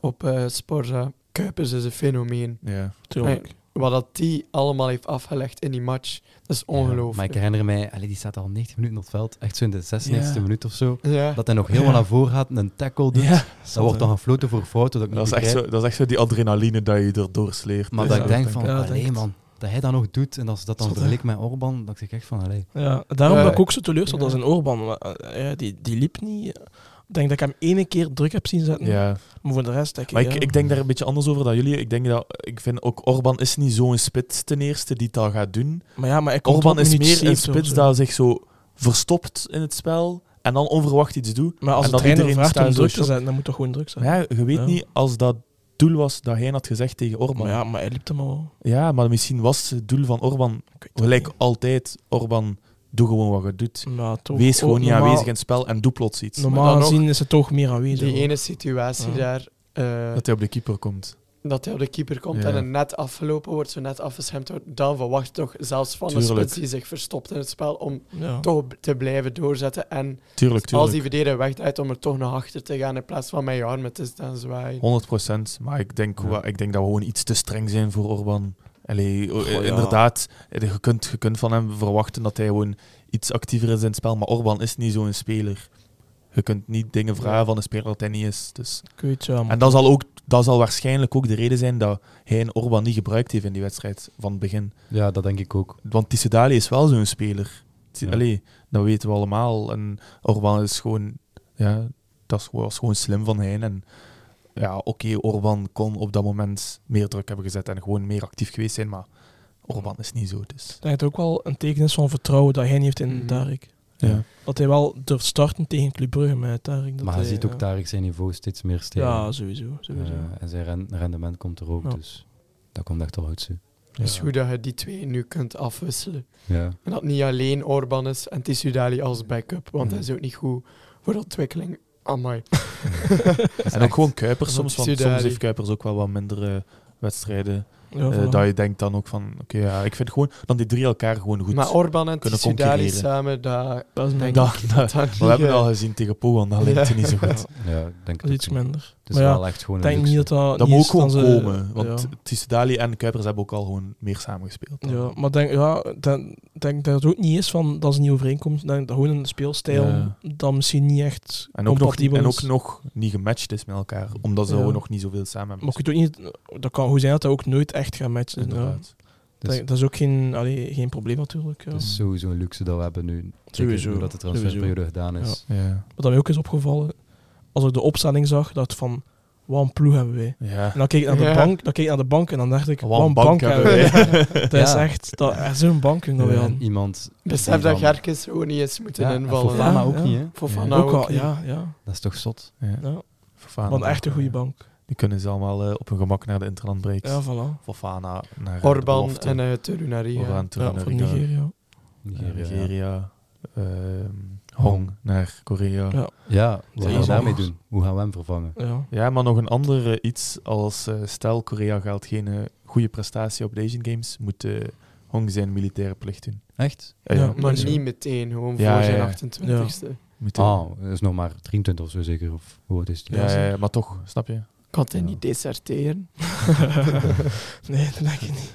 Speaker 4: op eh Sporza. Kuipers is een fenomeen.
Speaker 3: Ja.
Speaker 2: Tuurlijk.
Speaker 4: Wat dat die allemaal heeft afgelegd in die match, dat is
Speaker 1: Ja, maar ik
Speaker 4: ongelooflijk.
Speaker 1: herinner mij, allee, die staat al 90 minuten op het veld. Echt zo in de 96e
Speaker 3: Ja.
Speaker 1: minuut of zo.
Speaker 4: Ja.
Speaker 1: Dat hij nog helemaal
Speaker 3: Ja.
Speaker 1: naar voren gaat en een tackle doet.
Speaker 3: ja.
Speaker 1: Dat wordt dan gefloten voor fouten. Dat, ik
Speaker 3: Dat, is
Speaker 1: niet
Speaker 3: echt
Speaker 1: begrijp.
Speaker 3: zo, dat is echt zo die adrenaline dat je erdoor sleert. Dus
Speaker 1: Maar
Speaker 3: Ja.
Speaker 1: dat ik denk van,
Speaker 2: Ja,
Speaker 1: allee
Speaker 2: denk-
Speaker 1: man, dat hij dat nog doet. En als ze dat dan
Speaker 2: Zot, hè?
Speaker 1: vergelijkt met Orban, dat ik zeg echt van, allee.
Speaker 2: Ja, daarom
Speaker 4: Ja.
Speaker 2: ben ik ook zo teleurgesteld
Speaker 4: Ja.
Speaker 2: als een oorband. Maar, eh, ja, die, die liep niet. Ik denk dat ik hem ene keer druk heb zien zetten.
Speaker 3: Ja.
Speaker 2: Maar voor de rest denk ik...
Speaker 3: Maar ik,
Speaker 2: ja.
Speaker 3: ik denk daar een beetje anders over dan jullie. Ik denk dat ik vind ook Orban is niet zo'n spits ten eerste die dat gaat doen.
Speaker 2: maar ja, maar ik kom
Speaker 3: Orban
Speaker 2: tot
Speaker 3: is
Speaker 2: minuut
Speaker 3: meer een
Speaker 2: 70 of
Speaker 3: spits
Speaker 2: zo.
Speaker 3: dat zich zo verstopt in het spel en dan onverwacht iets doet.
Speaker 2: Maar als
Speaker 3: en
Speaker 2: de
Speaker 3: dat
Speaker 2: trainer
Speaker 3: iedereen
Speaker 2: vraagt
Speaker 3: staat
Speaker 2: om
Speaker 3: zo
Speaker 2: druk te
Speaker 3: shocked.
Speaker 2: zetten, dan moet toch gewoon druk zijn.
Speaker 3: Maar ja, je weet
Speaker 2: Ja.
Speaker 3: niet als dat doel was dat hij had gezegd tegen Orban.
Speaker 2: Maar ja, maar hij liep hem al.
Speaker 3: Ja, maar misschien was het doel van Orban
Speaker 2: Ik weet het
Speaker 3: gelijk
Speaker 2: niet.
Speaker 3: altijd. Orban, doe gewoon wat je doet.
Speaker 2: Maar toch,
Speaker 3: Wees gewoon
Speaker 2: ook
Speaker 3: niet
Speaker 2: normaal-
Speaker 3: aanwezig in het spel en doe plots iets.
Speaker 4: Maar
Speaker 2: Normaal
Speaker 4: dan
Speaker 2: gezien is het toch meer aanwezig.
Speaker 4: Die ene situatie
Speaker 2: Ja.
Speaker 4: daar, eh,
Speaker 3: Dat hij op de keeper komt.
Speaker 4: dat hij op de keeper komt
Speaker 3: Ja.
Speaker 4: en het net afgelopen wordt, zo net afgeschermd wordt, dan verwacht je toch zelfs van een
Speaker 3: Tuurlijk.
Speaker 4: spits die zich verstopt in het spel om
Speaker 2: Ja.
Speaker 4: toch b- te blijven doorzetten. En
Speaker 3: Tuurlijk,
Speaker 4: als
Speaker 3: tuurlijk.
Speaker 4: die verdediger wegdraait, om er toch naar achter te gaan in plaats van met je armen te staan zwaaien.
Speaker 3: 100 Maar ik denk,
Speaker 1: Ja.
Speaker 3: wel- ik denk dat we gewoon iets te streng zijn voor Orban. Allee,
Speaker 2: Goh,
Speaker 3: eh,
Speaker 2: ja.
Speaker 3: Inderdaad, eh, je kunt, je kunt van hem verwachten dat hij gewoon iets actiever is in het spel. Maar Orban is niet zo'n speler. Je kunt niet dingen vragen van een speler dat hij niet is. Dus
Speaker 2: Ik weet ja, maar-
Speaker 3: En dat zal, ook, dat zal waarschijnlijk ook de reden zijn dat hij en Orban niet gebruikt heeft in die wedstrijd van het begin.
Speaker 1: Ja, dat denk ik ook.
Speaker 3: Want Tissedali is wel zo'n speler. Ti-
Speaker 1: Ja.
Speaker 3: Allee, dat weten we allemaal. En Orban is gewoon, ja, dat is, was gewoon slim van hen. En ja, oké, Orban kon op dat moment meer druk hebben gezet en gewoon meer actief geweest zijn. Maar Orban is niet zo, dus...
Speaker 2: Ik denk dat het ook wel een teken is van vertrouwen dat hij niet heeft in
Speaker 4: Mhm.
Speaker 2: Tarek.
Speaker 3: Ja.
Speaker 2: Dat hij wel durft starten tegen Club Brugge met Tarek. Dat
Speaker 1: Maar hij
Speaker 2: hij
Speaker 1: ziet ook
Speaker 2: ja.
Speaker 1: Tarek zijn niveau steeds meer stijgen.
Speaker 2: Ja, sowieso. sowieso.
Speaker 1: Eh, en zijn ren- rendement komt er ook,
Speaker 2: Ja.
Speaker 1: dus dat komt echt al uit. zo.
Speaker 4: Het is goed dat je die twee nu kunt afwisselen.
Speaker 1: Ja.
Speaker 4: En dat niet alleen Orban is en Tissoudali als backup, want
Speaker 3: Ja.
Speaker 4: dat is ook niet goed voor de ontwikkeling. Amai.
Speaker 3: En ook gewoon Kuipers soms, want
Speaker 4: Sudari.
Speaker 3: soms heeft Kuipers ook wel wat mindere wedstrijden.
Speaker 2: Ja,
Speaker 3: eh,
Speaker 2: voilà.
Speaker 3: dat je denkt dan ook van, oké, ja, ik vind gewoon dan die drie elkaar gewoon goed.
Speaker 4: maar Orban en
Speaker 3: kunnen
Speaker 4: Tissoudali
Speaker 3: concurreren.
Speaker 4: samen, dat
Speaker 2: Dat is
Speaker 4: denk
Speaker 2: minder.
Speaker 3: Dat- dat-
Speaker 4: dat
Speaker 3: we hebben het
Speaker 4: niet, eh,
Speaker 3: al gezien tegen Pogan, dat lijkt het niet zo goed.
Speaker 1: ja, ik denk
Speaker 2: Dat is iets
Speaker 1: ook niet.
Speaker 2: minder.
Speaker 1: Het is
Speaker 2: Maar ja,
Speaker 1: wel echt gewoon
Speaker 2: Ik
Speaker 1: een
Speaker 2: denk
Speaker 1: luxe.
Speaker 2: niet dat dat...
Speaker 3: Dat
Speaker 2: niet
Speaker 3: moet ook
Speaker 2: is
Speaker 3: gewoon
Speaker 2: ze-
Speaker 3: komen, want
Speaker 2: ja.
Speaker 3: Tissedali en Kuipers hebben ook al gewoon meer samengespeeld. dan.
Speaker 2: Ja, maar denk, ja, denk, denk dat het ook niet is van dat ze niet overeenkomt. Denk dat gewoon een speelstijl
Speaker 3: Ja.
Speaker 2: dat misschien niet echt
Speaker 3: En ook, nog,
Speaker 2: compatibel
Speaker 3: en ook
Speaker 2: is.
Speaker 3: nog niet gematcht is met elkaar, omdat ze
Speaker 2: Ja.
Speaker 3: gewoon nog niet zoveel samen
Speaker 2: Maar
Speaker 3: hebben.
Speaker 2: ik weet ook niet, dat kan goed zijn dat dat ook nooit echt gaat matchen. Ja.
Speaker 3: Inderdaad.
Speaker 1: Dus-
Speaker 2: Dat, dat is ook geen, allee, geen probleem natuurlijk. Ja.
Speaker 3: Dus-
Speaker 1: Het is sowieso een luxe dat we hebben nu.
Speaker 2: Sowieso,
Speaker 1: Zeker nu dat de transferperiode gedaan is.
Speaker 3: Ja.
Speaker 2: Wat mij ook is opgevallen, als ik de opstelling zag, dat van, wat een ploeg hebben wij.
Speaker 3: Ja.
Speaker 2: En dan keek Nou, ik naar de,
Speaker 4: Ja.
Speaker 2: bank, dan keek ik naar de bank en dan dacht ik,
Speaker 3: Wat
Speaker 2: wat een bank hebben wij.
Speaker 3: [LAUGHS]
Speaker 2: Dat is
Speaker 1: Ja.
Speaker 2: echt, dat is zo'n bank dat we
Speaker 3: Ja.
Speaker 2: hadden.
Speaker 1: Iemand. die
Speaker 4: Besef dat
Speaker 1: dan-
Speaker 4: Gerkes ook niet eens moeten
Speaker 1: Ja, en
Speaker 4: invallen.
Speaker 1: Fofana
Speaker 2: Ja,
Speaker 1: ook
Speaker 2: ja.
Speaker 1: niet, hè?
Speaker 4: Fofana
Speaker 2: Ook al,
Speaker 4: niet.
Speaker 2: ja, ja.
Speaker 1: Dat is toch zot?
Speaker 2: [LAUGHS]
Speaker 3: Ja.
Speaker 2: ja.
Speaker 3: Fofana
Speaker 2: Wat
Speaker 3: ook,
Speaker 2: een echt een
Speaker 3: eh,
Speaker 2: goede bank.
Speaker 3: Die kunnen ze allemaal eh, op hun gemak naar de Interland breaks.
Speaker 2: Ja, voilà.
Speaker 3: Fofana naar eh, de
Speaker 4: Orban
Speaker 3: belofte.
Speaker 4: en eh Torunari. ja.
Speaker 3: Orban terug
Speaker 2: Ja,
Speaker 3: naar
Speaker 2: voor
Speaker 3: Riga.
Speaker 2: Nigeria.
Speaker 3: Nigeria.
Speaker 1: Nigeria. ja.
Speaker 3: ehm, Hong naar Korea.
Speaker 2: Ja.
Speaker 3: Ja.
Speaker 1: Ja, wat gaan we
Speaker 2: Jezus.
Speaker 1: daarmee doen? Hoe gaan we hem vervangen?
Speaker 2: Ja.
Speaker 3: maar nog een ander eh, iets als eh, stel Korea gaat geen eh, goede prestatie op de Asian Games, moet eh, Hong zijn militaire plicht doen.
Speaker 1: Echt?
Speaker 3: Ja,
Speaker 2: Ja,
Speaker 3: ja.
Speaker 4: Maar
Speaker 2: Zo.
Speaker 4: niet meteen,
Speaker 3: Ja,
Speaker 4: gewoon voor
Speaker 3: ja,
Speaker 4: zijn
Speaker 3: ja.
Speaker 4: 28 e
Speaker 3: Moet hij-
Speaker 1: Ah, dat is nog maar 23 of zo zeker. Of hoe oud is die?
Speaker 3: ja, ja, ja, maar toch, snap je?
Speaker 4: Kan hij
Speaker 1: Ja.
Speaker 4: niet deserteren?
Speaker 2: [LAUGHS] nee, dat denk ik niet.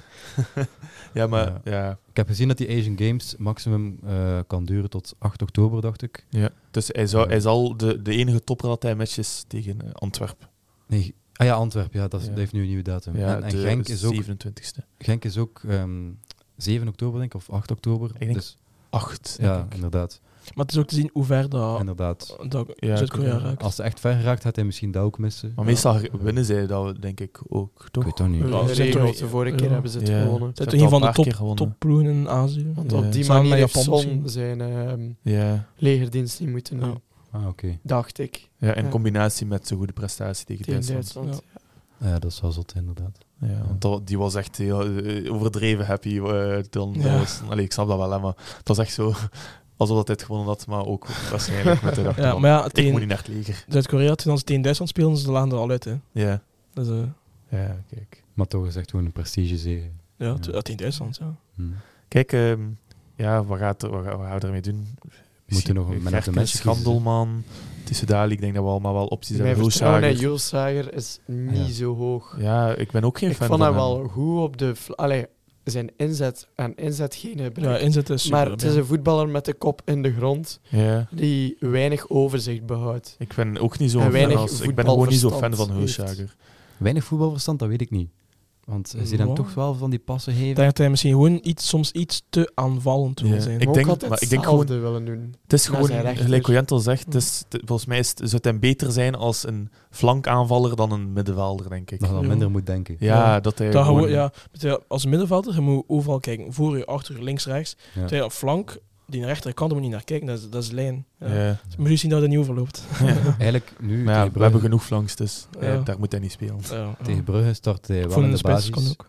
Speaker 3: Ja, maar ja.
Speaker 1: Ik heb gezien dat die Asian Games maximum eh, kan duren tot 8 oktober, dacht ik.
Speaker 3: ja. Dus hij, zou, hij zal de, de enige topper dat hij matcht is tegen eh, Antwerpen.
Speaker 1: Nee, ah ja, Antwerpen, ja, dat, is-
Speaker 3: Ja.
Speaker 1: dat heeft nu een nieuwe datum.
Speaker 3: Ja,
Speaker 1: en en
Speaker 3: de
Speaker 1: Genk is ook,
Speaker 3: 27e.
Speaker 1: Genk is ook ehm, 7 oktober, denk ik, of 8 oktober.
Speaker 3: denk-
Speaker 1: dus,
Speaker 3: 8.
Speaker 1: ja, inderdaad.
Speaker 2: Maar het is ook te zien hoe ver dat,
Speaker 3: Oh,
Speaker 1: inderdaad.
Speaker 2: dat
Speaker 3: Ja,
Speaker 2: Zuid-Korea
Speaker 3: Korea.
Speaker 2: raakt.
Speaker 1: Als ze echt ver geraakt, gaat hij misschien dat ook missen.
Speaker 3: Maar
Speaker 1: Ja.
Speaker 3: meestal winnen zij dat, denk ik, ook,
Speaker 1: Ik
Speaker 3: toch?
Speaker 1: weet dat niet.
Speaker 2: Ja,
Speaker 4: Ja,
Speaker 2: ze zijn toch-
Speaker 4: de vorige keer
Speaker 2: ja.
Speaker 4: hebben ze het
Speaker 3: Ja.
Speaker 4: gewonnen.
Speaker 3: Ze
Speaker 2: Zijn toch
Speaker 3: hebben al
Speaker 2: een van
Speaker 3: een
Speaker 2: de
Speaker 3: paar
Speaker 2: top,
Speaker 3: keer gewonnen.
Speaker 2: topploegen in Azië?
Speaker 4: Want
Speaker 3: Ja.
Speaker 4: op die
Speaker 2: Samen
Speaker 4: manier
Speaker 2: met
Speaker 4: heeft
Speaker 2: Japan
Speaker 4: Son
Speaker 2: misschien.
Speaker 4: zijn ehm,
Speaker 3: Ja.
Speaker 4: legerdienst niet moeten doen,
Speaker 2: Ja.
Speaker 1: Ah, oké.
Speaker 4: dacht ik,
Speaker 3: ja, in
Speaker 4: Ja.
Speaker 3: combinatie met zo'n goede prestatie tegen
Speaker 4: tegen
Speaker 3: Duitsland.
Speaker 4: Duitsland.
Speaker 1: Ah, Ja, dat is wel zot, inderdaad.
Speaker 3: Ja, want dat- die was echt heel, eh, overdreven happy. eh, dan, dat
Speaker 2: Ja.
Speaker 3: was, allee, ik snap dat wel, hè, maar het was echt zo [LAUGHS] alsof dat hij het gewonnen had, maar ook waarschijnlijk met de dag.
Speaker 2: Ja, maar ja,
Speaker 3: ik moet niet
Speaker 2: tegen
Speaker 3: naar het leger.
Speaker 2: Zuid-Korea, toen ze tegen Duitsland speelden, ze lagen er al uit. Hè.
Speaker 3: Ja,
Speaker 2: Dus, eh,
Speaker 3: ja kijk.
Speaker 1: Maar toch is echt gewoon een prestigezege.
Speaker 2: ja, te- ja, tegen Duitsland, ja.
Speaker 1: Hm.
Speaker 3: Kijk, ehm, ja, wat, gaat, er- wat, gaan- wat gaan we ermee doen? Misschien
Speaker 1: nog een man of the
Speaker 3: Gerkes,
Speaker 1: match kiezen,
Speaker 3: Gandelman, Tissedali, ik denk dat we allemaal wel opties
Speaker 4: Mijn
Speaker 3: hebben.
Speaker 4: vertrouwen in
Speaker 3: Rooshager.
Speaker 4: Oh, Jules Sager is niet
Speaker 1: Ja.
Speaker 4: zo hoog.
Speaker 3: Ja, ik ben ook geen
Speaker 4: ik
Speaker 3: fan
Speaker 4: vond
Speaker 3: van
Speaker 4: hem wel goed op de... vla- Allee, zijn inzet en inzet geen
Speaker 2: Ja,
Speaker 4: gebruik.
Speaker 2: inzet is super.
Speaker 4: maar het is een voetballer met de kop in de grond
Speaker 3: Ja.
Speaker 4: die weinig overzicht behoudt.
Speaker 3: Ik ben ook niet zo
Speaker 4: En
Speaker 3: fan
Speaker 4: weinig
Speaker 3: als, ik ben gewoon niet zo fan
Speaker 4: voetbalverstand
Speaker 3: van Hulsjager.
Speaker 1: Weinig voetbalverstand, dat weet ik niet. Want eh, ze ziet hem
Speaker 2: Ja.
Speaker 1: toch wel van die passen
Speaker 2: Ik
Speaker 1: geven.
Speaker 2: denk dat hij misschien gewoon iets, soms iets te aanvallend wil
Speaker 3: Ja.
Speaker 2: zijn.
Speaker 3: Ik
Speaker 4: Ik
Speaker 3: denk-
Speaker 4: denk, altijd
Speaker 3: maar ik denk
Speaker 4: hetzelfde willen doen.
Speaker 3: Het is
Speaker 4: Maar
Speaker 3: gewoon,
Speaker 4: zijn rechter-
Speaker 3: gelijk hoe Jentel zegt, het is, het- volgens mij is het, zou het hem beter zijn als een flankaanvaller dan een middenvelder, denk ik.
Speaker 1: Dat je dan
Speaker 2: Ja.
Speaker 1: minder moet denken.
Speaker 3: Ja,
Speaker 2: Ja.
Speaker 3: dat hij
Speaker 2: Dat
Speaker 3: gewoon...
Speaker 2: gewoon, ja, weet je, als middenvelder je moet overal kijken. Voor je, achter je, links, rechts.
Speaker 1: Ja.
Speaker 2: Terwijl op flank, die rechterkant, daar moet je niet naar kijken. Dat is, dat is lijn. Ja.
Speaker 3: Ja. Ja.
Speaker 2: Dus moet je zien dat het niet
Speaker 3: [LAUGHS]
Speaker 2: overloopt.
Speaker 1: Eigenlijk nu tegen,
Speaker 3: Maar ja, we
Speaker 1: Brugge,
Speaker 3: hebben genoeg flanks, dus eh,
Speaker 2: Ja.
Speaker 3: daar moet hij niet spelen.
Speaker 2: Ja, ja.
Speaker 1: tegen Brugge start hij wel
Speaker 2: Voor
Speaker 1: in
Speaker 2: een
Speaker 1: de
Speaker 2: spits kan
Speaker 1: basis.
Speaker 2: ook.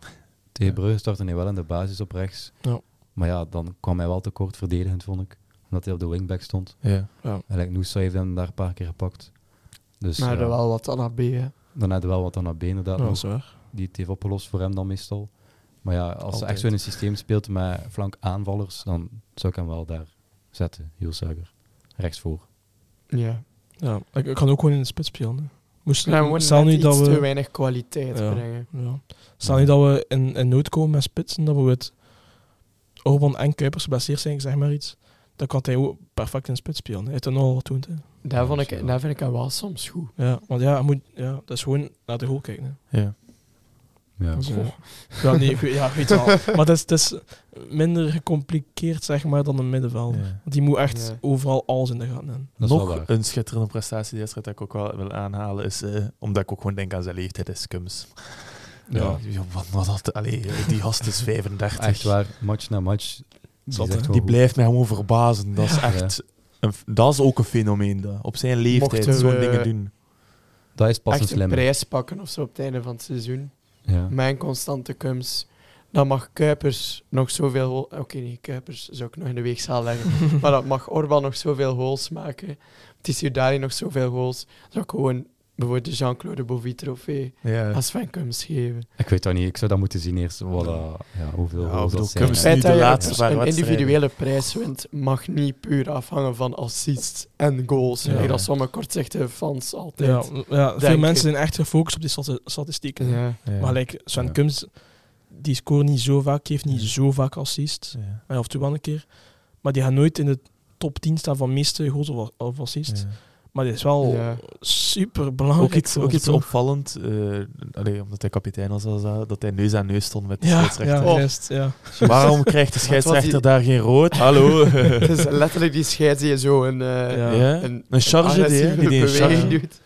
Speaker 1: Tegen Brugge startte hij wel in de basis op rechts.
Speaker 2: Ja.
Speaker 1: Maar ja, dan kwam hij wel tekort verdedigend, vond ik. Omdat hij op de wingback stond.
Speaker 3: Ja.
Speaker 1: Eigenlijk Noosa heeft hem daar een paar keer gepakt. Dus
Speaker 4: Maar
Speaker 1: ja,
Speaker 4: er wel wat aan AB, hè.
Speaker 1: dan had hij wel wat aan AB inderdaad.
Speaker 2: Ja, dat
Speaker 1: nog.
Speaker 2: is waar.
Speaker 1: die het heeft opgelost voor hem dan meestal. Maar ja, als ze
Speaker 3: Altijd.
Speaker 1: echt zo in een systeem speelt met flank aanvallers, dan zou ik hem wel daar zetten, heel zuiver. Rechts voor.
Speaker 4: Ja.
Speaker 2: Ja, ik, ik kan ook gewoon in de spits spelen. hè. Moest,
Speaker 4: Maar gewoon
Speaker 2: stel
Speaker 4: net
Speaker 2: nu dat
Speaker 4: iets te
Speaker 2: we,
Speaker 4: weinig kwaliteit
Speaker 2: Ja.
Speaker 4: brengen.
Speaker 2: ja, stel nu dat we in, in nood komen met spitsen, dat we het Orban en Kuipers geblesseerd zijn, ik zeg maar iets, dan kan hij ook perfect in de spits spelen. Hij heeft het al getoond. hè.
Speaker 1: Ja,
Speaker 4: Daar, vond
Speaker 1: zo.
Speaker 4: ik, daar vind ik hem wel soms goed.
Speaker 2: Ja, want ja, hij moet, ja, dat is gewoon naar de goal kijken. hè.
Speaker 3: Ja.
Speaker 1: Ja.
Speaker 2: Dat is, eh, ja, nee, ik weet, ja, ik weet
Speaker 4: [LAUGHS]
Speaker 2: wel. Maar het is, het is minder gecompliceerd, zeg maar, dan een middenveld.
Speaker 3: Ja.
Speaker 2: Want die moet echt
Speaker 4: Ja.
Speaker 2: overal alles in de gaten hebben.
Speaker 1: Dat is wel
Speaker 3: Nog
Speaker 1: waar.
Speaker 3: een schitterende prestatie die wedstrijd dat ik ook wel wil aanhalen, is eh, omdat ik ook gewoon denk aan zijn leeftijd, is Kums. Ja. wat, wat had- allee, die gast is 35.
Speaker 1: Echt waar, match na match. Die,
Speaker 2: Zot,
Speaker 1: is echt wel
Speaker 2: hè?
Speaker 3: Die
Speaker 1: goed.
Speaker 3: blijft mij gewoon verbazen. Dat is
Speaker 1: Ja.
Speaker 3: echt... Een, f- dat is ook een fenomeen, dat. Op zijn leeftijd
Speaker 4: Mochten
Speaker 3: zo'n
Speaker 4: we-
Speaker 3: dingen doen.
Speaker 1: Dat is pas een
Speaker 4: Echt een
Speaker 1: slimme.
Speaker 4: prijs pakken of zo op het einde van het seizoen.
Speaker 1: Ja.
Speaker 4: Mijn constante kums. Dan mag Kuipers nog zoveel... hol- Oké, nee, Kuipers zou ik nog in de
Speaker 1: [LAUGHS]
Speaker 4: weegschaal leggen. maar dat mag Orban nog zoveel goals maken. Tissudari nog zoveel goals. Zou ik gewoon bijvoorbeeld de Jean-Claude Bovie-trofee
Speaker 3: Ja.
Speaker 4: aan Sven Kums geven.
Speaker 1: Ik weet dat niet, ik zou dat moeten zien eerst. Voilà. Ja, hoeveel
Speaker 3: Ja,
Speaker 1: goals
Speaker 3: bedoel,
Speaker 1: dat zijn.
Speaker 3: Kums-
Speaker 4: Het
Speaker 1: hè.
Speaker 3: nu
Speaker 4: feit
Speaker 3: de
Speaker 4: dat je
Speaker 3: laatste paar
Speaker 4: een
Speaker 3: wedstrijden.
Speaker 4: individuele prijs wint, mag niet puur afhangen van assists en goals.
Speaker 1: Ja.
Speaker 4: Ja. Dat sommige kortzichtige fans
Speaker 2: Ja,
Speaker 4: altijd.
Speaker 2: ja, veel
Speaker 4: Denk
Speaker 2: mensen
Speaker 4: ik.
Speaker 2: zijn echt gefocust op die stati- statistieken.
Speaker 4: Ja.
Speaker 3: Ja.
Speaker 2: Maar like, Sven
Speaker 1: Ja.
Speaker 2: Kums, die scoort niet zo vaak, heeft niet
Speaker 3: Ja.
Speaker 2: zo vaak assist.
Speaker 3: Ja.
Speaker 2: Eh, Of toe wel een keer. Maar die gaat nooit in de top 10 staan van meeste goals of- of assist.
Speaker 3: Ja.
Speaker 2: Maar die is wel
Speaker 4: Ja.
Speaker 2: super belangrijk.
Speaker 3: Ook iets, ook iets
Speaker 2: op.
Speaker 3: opvallend, eh, allee, omdat hij kapitein was, was dat, dat hij neus aan neus stond met de
Speaker 2: Ja, ja,
Speaker 3: scheidsrechter.
Speaker 4: Oh.
Speaker 2: juist, ja.
Speaker 3: [LAUGHS] Waarom krijgt de scheidsrechter daar geen rood? Hallo. [LAUGHS]
Speaker 4: Het is letterlijk die scheids die zo een, eh,
Speaker 2: Ja.
Speaker 3: Ja.
Speaker 4: een
Speaker 3: Een charge die, hè?
Speaker 4: agressieve
Speaker 3: die, die een charge.
Speaker 4: beweging doet.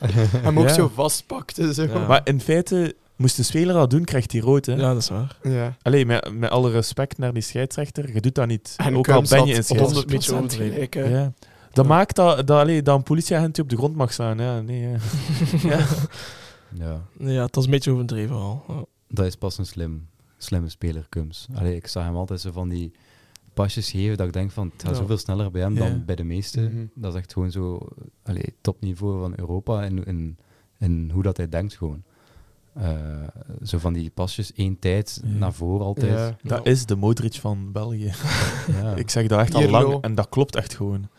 Speaker 4: Hem ook
Speaker 3: Ja.
Speaker 4: zo vastpakt. en Zo.
Speaker 2: Ja.
Speaker 4: Ja.
Speaker 3: Maar in feite, moest de speler dat doen, krijgt hij rood. Hè?
Speaker 2: ja, dat is waar.
Speaker 3: Allee, met, met alle respect naar die scheidsrechter, je doet dat niet.
Speaker 4: En
Speaker 3: ook al ben je een
Speaker 2: scheids.
Speaker 4: scheids.
Speaker 3: scheidsrechter.
Speaker 4: 100% gelijk. hè.
Speaker 3: Ja. Dat maakt dat, dat, allee, dat een politieagent die op de grond mag slaan. Ja, nee, ja. [LAUGHS] Ja.
Speaker 1: Ja,
Speaker 2: Nee, Ja, het was een beetje overdreven al. Ja.
Speaker 1: dat is pas een slim, slimme speler, Kums. Allee, ik zag hem altijd zo van die pasjes geven dat ik denk van, het gaat
Speaker 2: Ja.
Speaker 1: zoveel sneller bij hem
Speaker 3: Ja.
Speaker 1: dan bij de meesten.
Speaker 4: Mhm.
Speaker 1: Dat is echt gewoon zo, eh, allee, topniveau van Europa en, en, en hoe dat hij denkt gewoon. Eh, zo van die pasjes, één tijd,
Speaker 3: Ja.
Speaker 1: naar voren altijd.
Speaker 4: Ja.
Speaker 3: Dat
Speaker 2: Ja.
Speaker 3: is de Modric van België.
Speaker 1: Ja.
Speaker 3: [LAUGHS] Ik zeg dat echt al
Speaker 4: Pirlo.
Speaker 3: lang en dat klopt echt gewoon.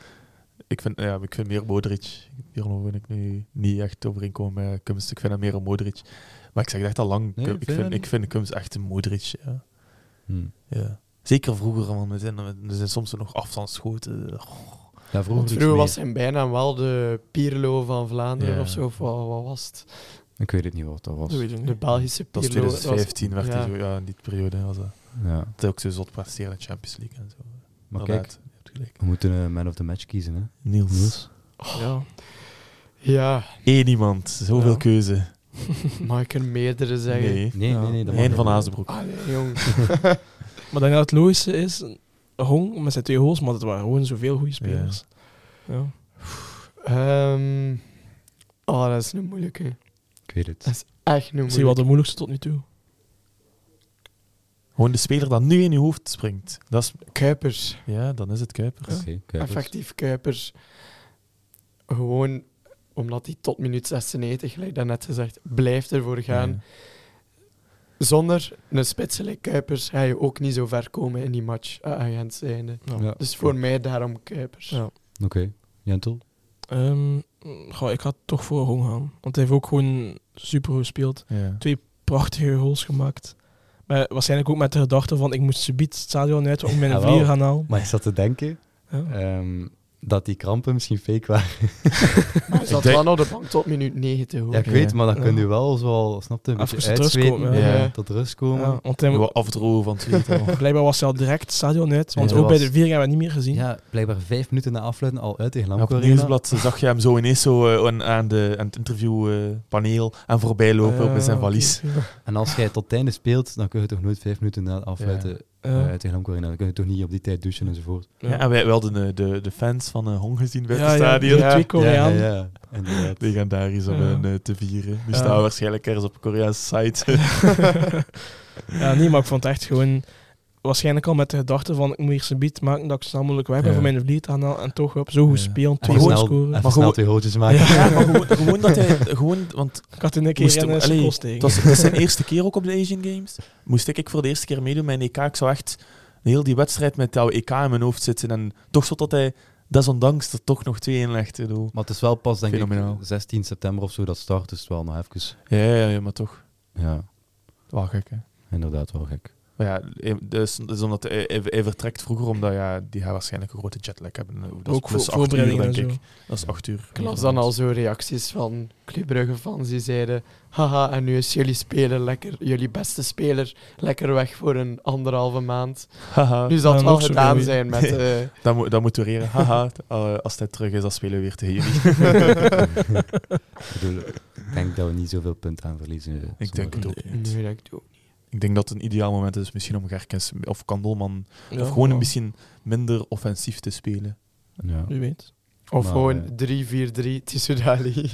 Speaker 3: Ik vind, ja, ik vind meer Modric. Pirlo vind ik nu niet echt overeenkomen met Kums. Ik vind hem meer een Modric. Maar ik zeg dat echt al lang.
Speaker 1: Nee,
Speaker 3: Cum-
Speaker 1: vind
Speaker 3: ik,
Speaker 1: je dat
Speaker 3: vind,
Speaker 1: niet?
Speaker 3: ik vind Kums echt een Modric. Ja.
Speaker 1: Hm.
Speaker 3: Ja. Zeker vroeger, want we zijn, we zijn soms nog afstandsschoten. Oh, Goh,
Speaker 1: Ja, vroeger,
Speaker 4: Want
Speaker 1: dus
Speaker 4: vroeger
Speaker 1: meer.
Speaker 4: was zijn bijna wel de Pirlo van Vlaanderen
Speaker 3: Ja.
Speaker 4: of zo. Of wat, wat was het?
Speaker 1: Ik weet het niet wat dat was.
Speaker 2: Dat weet ik
Speaker 4: De
Speaker 2: niet.
Speaker 4: Belgische
Speaker 3: Dat
Speaker 4: Pirlo.
Speaker 3: was 2015, werd
Speaker 4: ja.
Speaker 3: hij zo, ja, in die periode was dat.
Speaker 1: Ja.
Speaker 3: Dat hij ook zo zot presteerde in de Champions League en zo.
Speaker 1: Maar
Speaker 3: Inderdaad,
Speaker 1: kijk,
Speaker 3: je hebt gelijk.
Speaker 1: we moeten een man of the match kiezen, hè.
Speaker 3: Niels.
Speaker 1: Niels.
Speaker 3: [LAUGHS]
Speaker 2: Ja.
Speaker 4: Ja,
Speaker 3: Eén iemand, zoveel
Speaker 2: Ja.
Speaker 3: keuze.
Speaker 4: mag ik er meerdere zeggen?
Speaker 3: Nee,
Speaker 1: Nee, nee, nee. Dat
Speaker 3: Hein
Speaker 1: mag
Speaker 3: van
Speaker 1: niet.
Speaker 3: Azenbroek.
Speaker 4: Ah, nee, jong.
Speaker 2: Maar dan het logische is, Hong met zijn twee goals, maar het waren gewoon zoveel goede spelers. Ja.
Speaker 4: Ehm, oh, dat is een moeilijke.
Speaker 1: Ik weet het.
Speaker 4: Dat is echt een
Speaker 2: Zie wat
Speaker 4: moeilijke.
Speaker 2: de moeilijkste tot nu toe.
Speaker 3: Gewoon de speler dat nu in je hoofd springt. Dat is,
Speaker 4: Kuipers.
Speaker 3: ja, dan is het Kuipers.
Speaker 1: Oké, Kuipers.
Speaker 4: Effectief Kuipers. Gewoon omdat hij tot minuut 96, gelijk daarnet gezegd, blijft ervoor gaan. Zonder een spitselijk Kuipers ga je ook niet zo ver komen in die match, eh, agent zijnde.
Speaker 2: Ja.
Speaker 1: Ja.
Speaker 4: Dus voor mij daarom Kuipers.
Speaker 2: Ja.
Speaker 1: Oké. Jentel?
Speaker 2: Ehm, goh, ik ga toch voor Hong gaan. Want hij heeft ook gewoon super gespeeld.
Speaker 3: Ja.
Speaker 2: Prachtige goals gemaakt. Maar waarschijnlijk ook met de gedachte van ik moet subiet het stadion uit om mijn
Speaker 1: Jawel.
Speaker 2: vlieger gaan halen.
Speaker 1: Maar ik zat te denken
Speaker 2: Ja.
Speaker 1: ehm, dat die krampen misschien fake waren.
Speaker 4: Maar hij zat
Speaker 3: denk-
Speaker 4: wel op de bank tot minuut 90 hoor.
Speaker 1: Ja, ik
Speaker 3: Ja.
Speaker 1: weet, maar dan
Speaker 2: Ja.
Speaker 1: kun je wel, zoal, snap je, een
Speaker 2: Even
Speaker 1: beetje
Speaker 2: tot rust
Speaker 1: uitzweten,
Speaker 2: komen,
Speaker 4: ja.
Speaker 1: ja,
Speaker 4: Ja.
Speaker 1: tot rust komen.
Speaker 2: Ja,
Speaker 1: Ja.
Speaker 2: want hij-
Speaker 3: Wel afdrogen van het zweet al.
Speaker 2: blijkbaar was hij al direct het stadion uit. Want
Speaker 1: Ja,
Speaker 2: ook
Speaker 1: dat
Speaker 2: bij
Speaker 1: was-
Speaker 2: de vier hebben we het niet meer gezien.
Speaker 1: blijkbaar vijf minuten na afluiten al uit tegen
Speaker 3: En Op
Speaker 1: Lamco
Speaker 3: het
Speaker 1: Arena.
Speaker 3: nieuwsblad zag je hem zo ineens zo, eh, aan, aan de, aan het interviewpaneel en voorbij lopen
Speaker 2: Ah, ja,
Speaker 3: met zijn
Speaker 2: oké,
Speaker 3: valies.
Speaker 2: oké.
Speaker 1: En als jij tot het einde speelt, dan kun je toch nooit vijf minuten na het afluiten
Speaker 2: Ja.
Speaker 1: eh, uit tegen Lamco Arena. Dan kun je toch niet op die tijd douchen enzovoort.
Speaker 2: Ja.
Speaker 3: Ja, en wij wilden de, de, de fans van eh, Hong gezien bij
Speaker 2: Ja,
Speaker 3: het
Speaker 2: ja,
Speaker 3: stadion.
Speaker 2: die twee Koreaan.
Speaker 1: Ja, ja, inderdaad.
Speaker 3: Legendarisch om
Speaker 2: Ja.
Speaker 3: hen eh, te vieren. Die
Speaker 2: Ja.
Speaker 3: staan waarschijnlijk ergens op een Koreaanse site. [LAUGHS]
Speaker 2: [LAUGHS] ja, nee, maar ik vond het echt gewoon... Waarschijnlijk al met de gedachte van, ik moet hier zijn beat maken dat ik zo snel mogelijk weg ben
Speaker 3: Ja.
Speaker 2: voor mijn vliet aanhaal. En toch op zo goed
Speaker 3: Ja.
Speaker 2: spelen,
Speaker 1: Even
Speaker 2: twee goals
Speaker 1: snel-
Speaker 2: scoren.
Speaker 1: Even
Speaker 3: Maar
Speaker 1: snel
Speaker 3: goed-
Speaker 1: twee goaltjes maken.
Speaker 3: Ja, maar gewoon, gewoon dat hij... Gewoon, want
Speaker 2: Ik had in een eh,
Speaker 3: Moest
Speaker 2: keer in
Speaker 3: hem-
Speaker 2: een
Speaker 3: allee,
Speaker 2: school steken.
Speaker 3: het was, het was zijn eerste keer ook op de Asian Games. Moest ik, ik voor de eerste keer meedoen met een EK. Ik zou echt heel die wedstrijd met jouw EK in mijn hoofd zitten. En toch zo dat hij, desondanks, er toch nog twee in legt. ik bedoel.
Speaker 1: Maar het is wel pas, denk
Speaker 3: Fenomenaal.
Speaker 1: ik, 16 september of zo, dat start. Dus het wel nog even...
Speaker 3: Ja, ja, ja, maar toch.
Speaker 1: Ja,
Speaker 3: Wel gek, hè.
Speaker 1: inderdaad wel gek.
Speaker 3: Maar ja, hij- dus, dus omdat hij, hij- hij vertrekt vroeger, omdat ja, die gaat waarschijnlijk een grote jetlag hebben. Dat is
Speaker 2: ook voor
Speaker 3: plus acht uur,
Speaker 2: voorbereidingen en
Speaker 3: denk
Speaker 2: zo.
Speaker 3: ik. Dat is acht uur.
Speaker 4: Ik las dan al zo reacties van Club Brugge fans die zeiden haha, en nu is jullie speler lekker, jullie beste speler, lekker weg voor een anderhalve maand.
Speaker 3: Haha,
Speaker 4: Nu zal
Speaker 2: Ja,
Speaker 4: het wel
Speaker 2: nog zo'n
Speaker 4: gedaan
Speaker 2: goeie.
Speaker 4: zijn met... eh,
Speaker 3: dat, moet- dat moet dureren. [LAUGHS] Haha, eh, als hij terug is, dan spelen we weer tegen jullie.
Speaker 1: Ik bedoel, denk dat we niet zoveel punten aan verliezen. eh,
Speaker 3: Ik denk het
Speaker 1: zondag.
Speaker 3: ook niet.
Speaker 4: Nu dat ik doe.
Speaker 3: Ik denk dat het een ideaal moment is misschien om Gerkens of Kandelman of gewoon een misschien minder offensief te spelen.
Speaker 1: Ja.
Speaker 2: U weet.
Speaker 4: Of
Speaker 1: Maar, eh,
Speaker 4: gewoon 3-4-3, Tissoudali,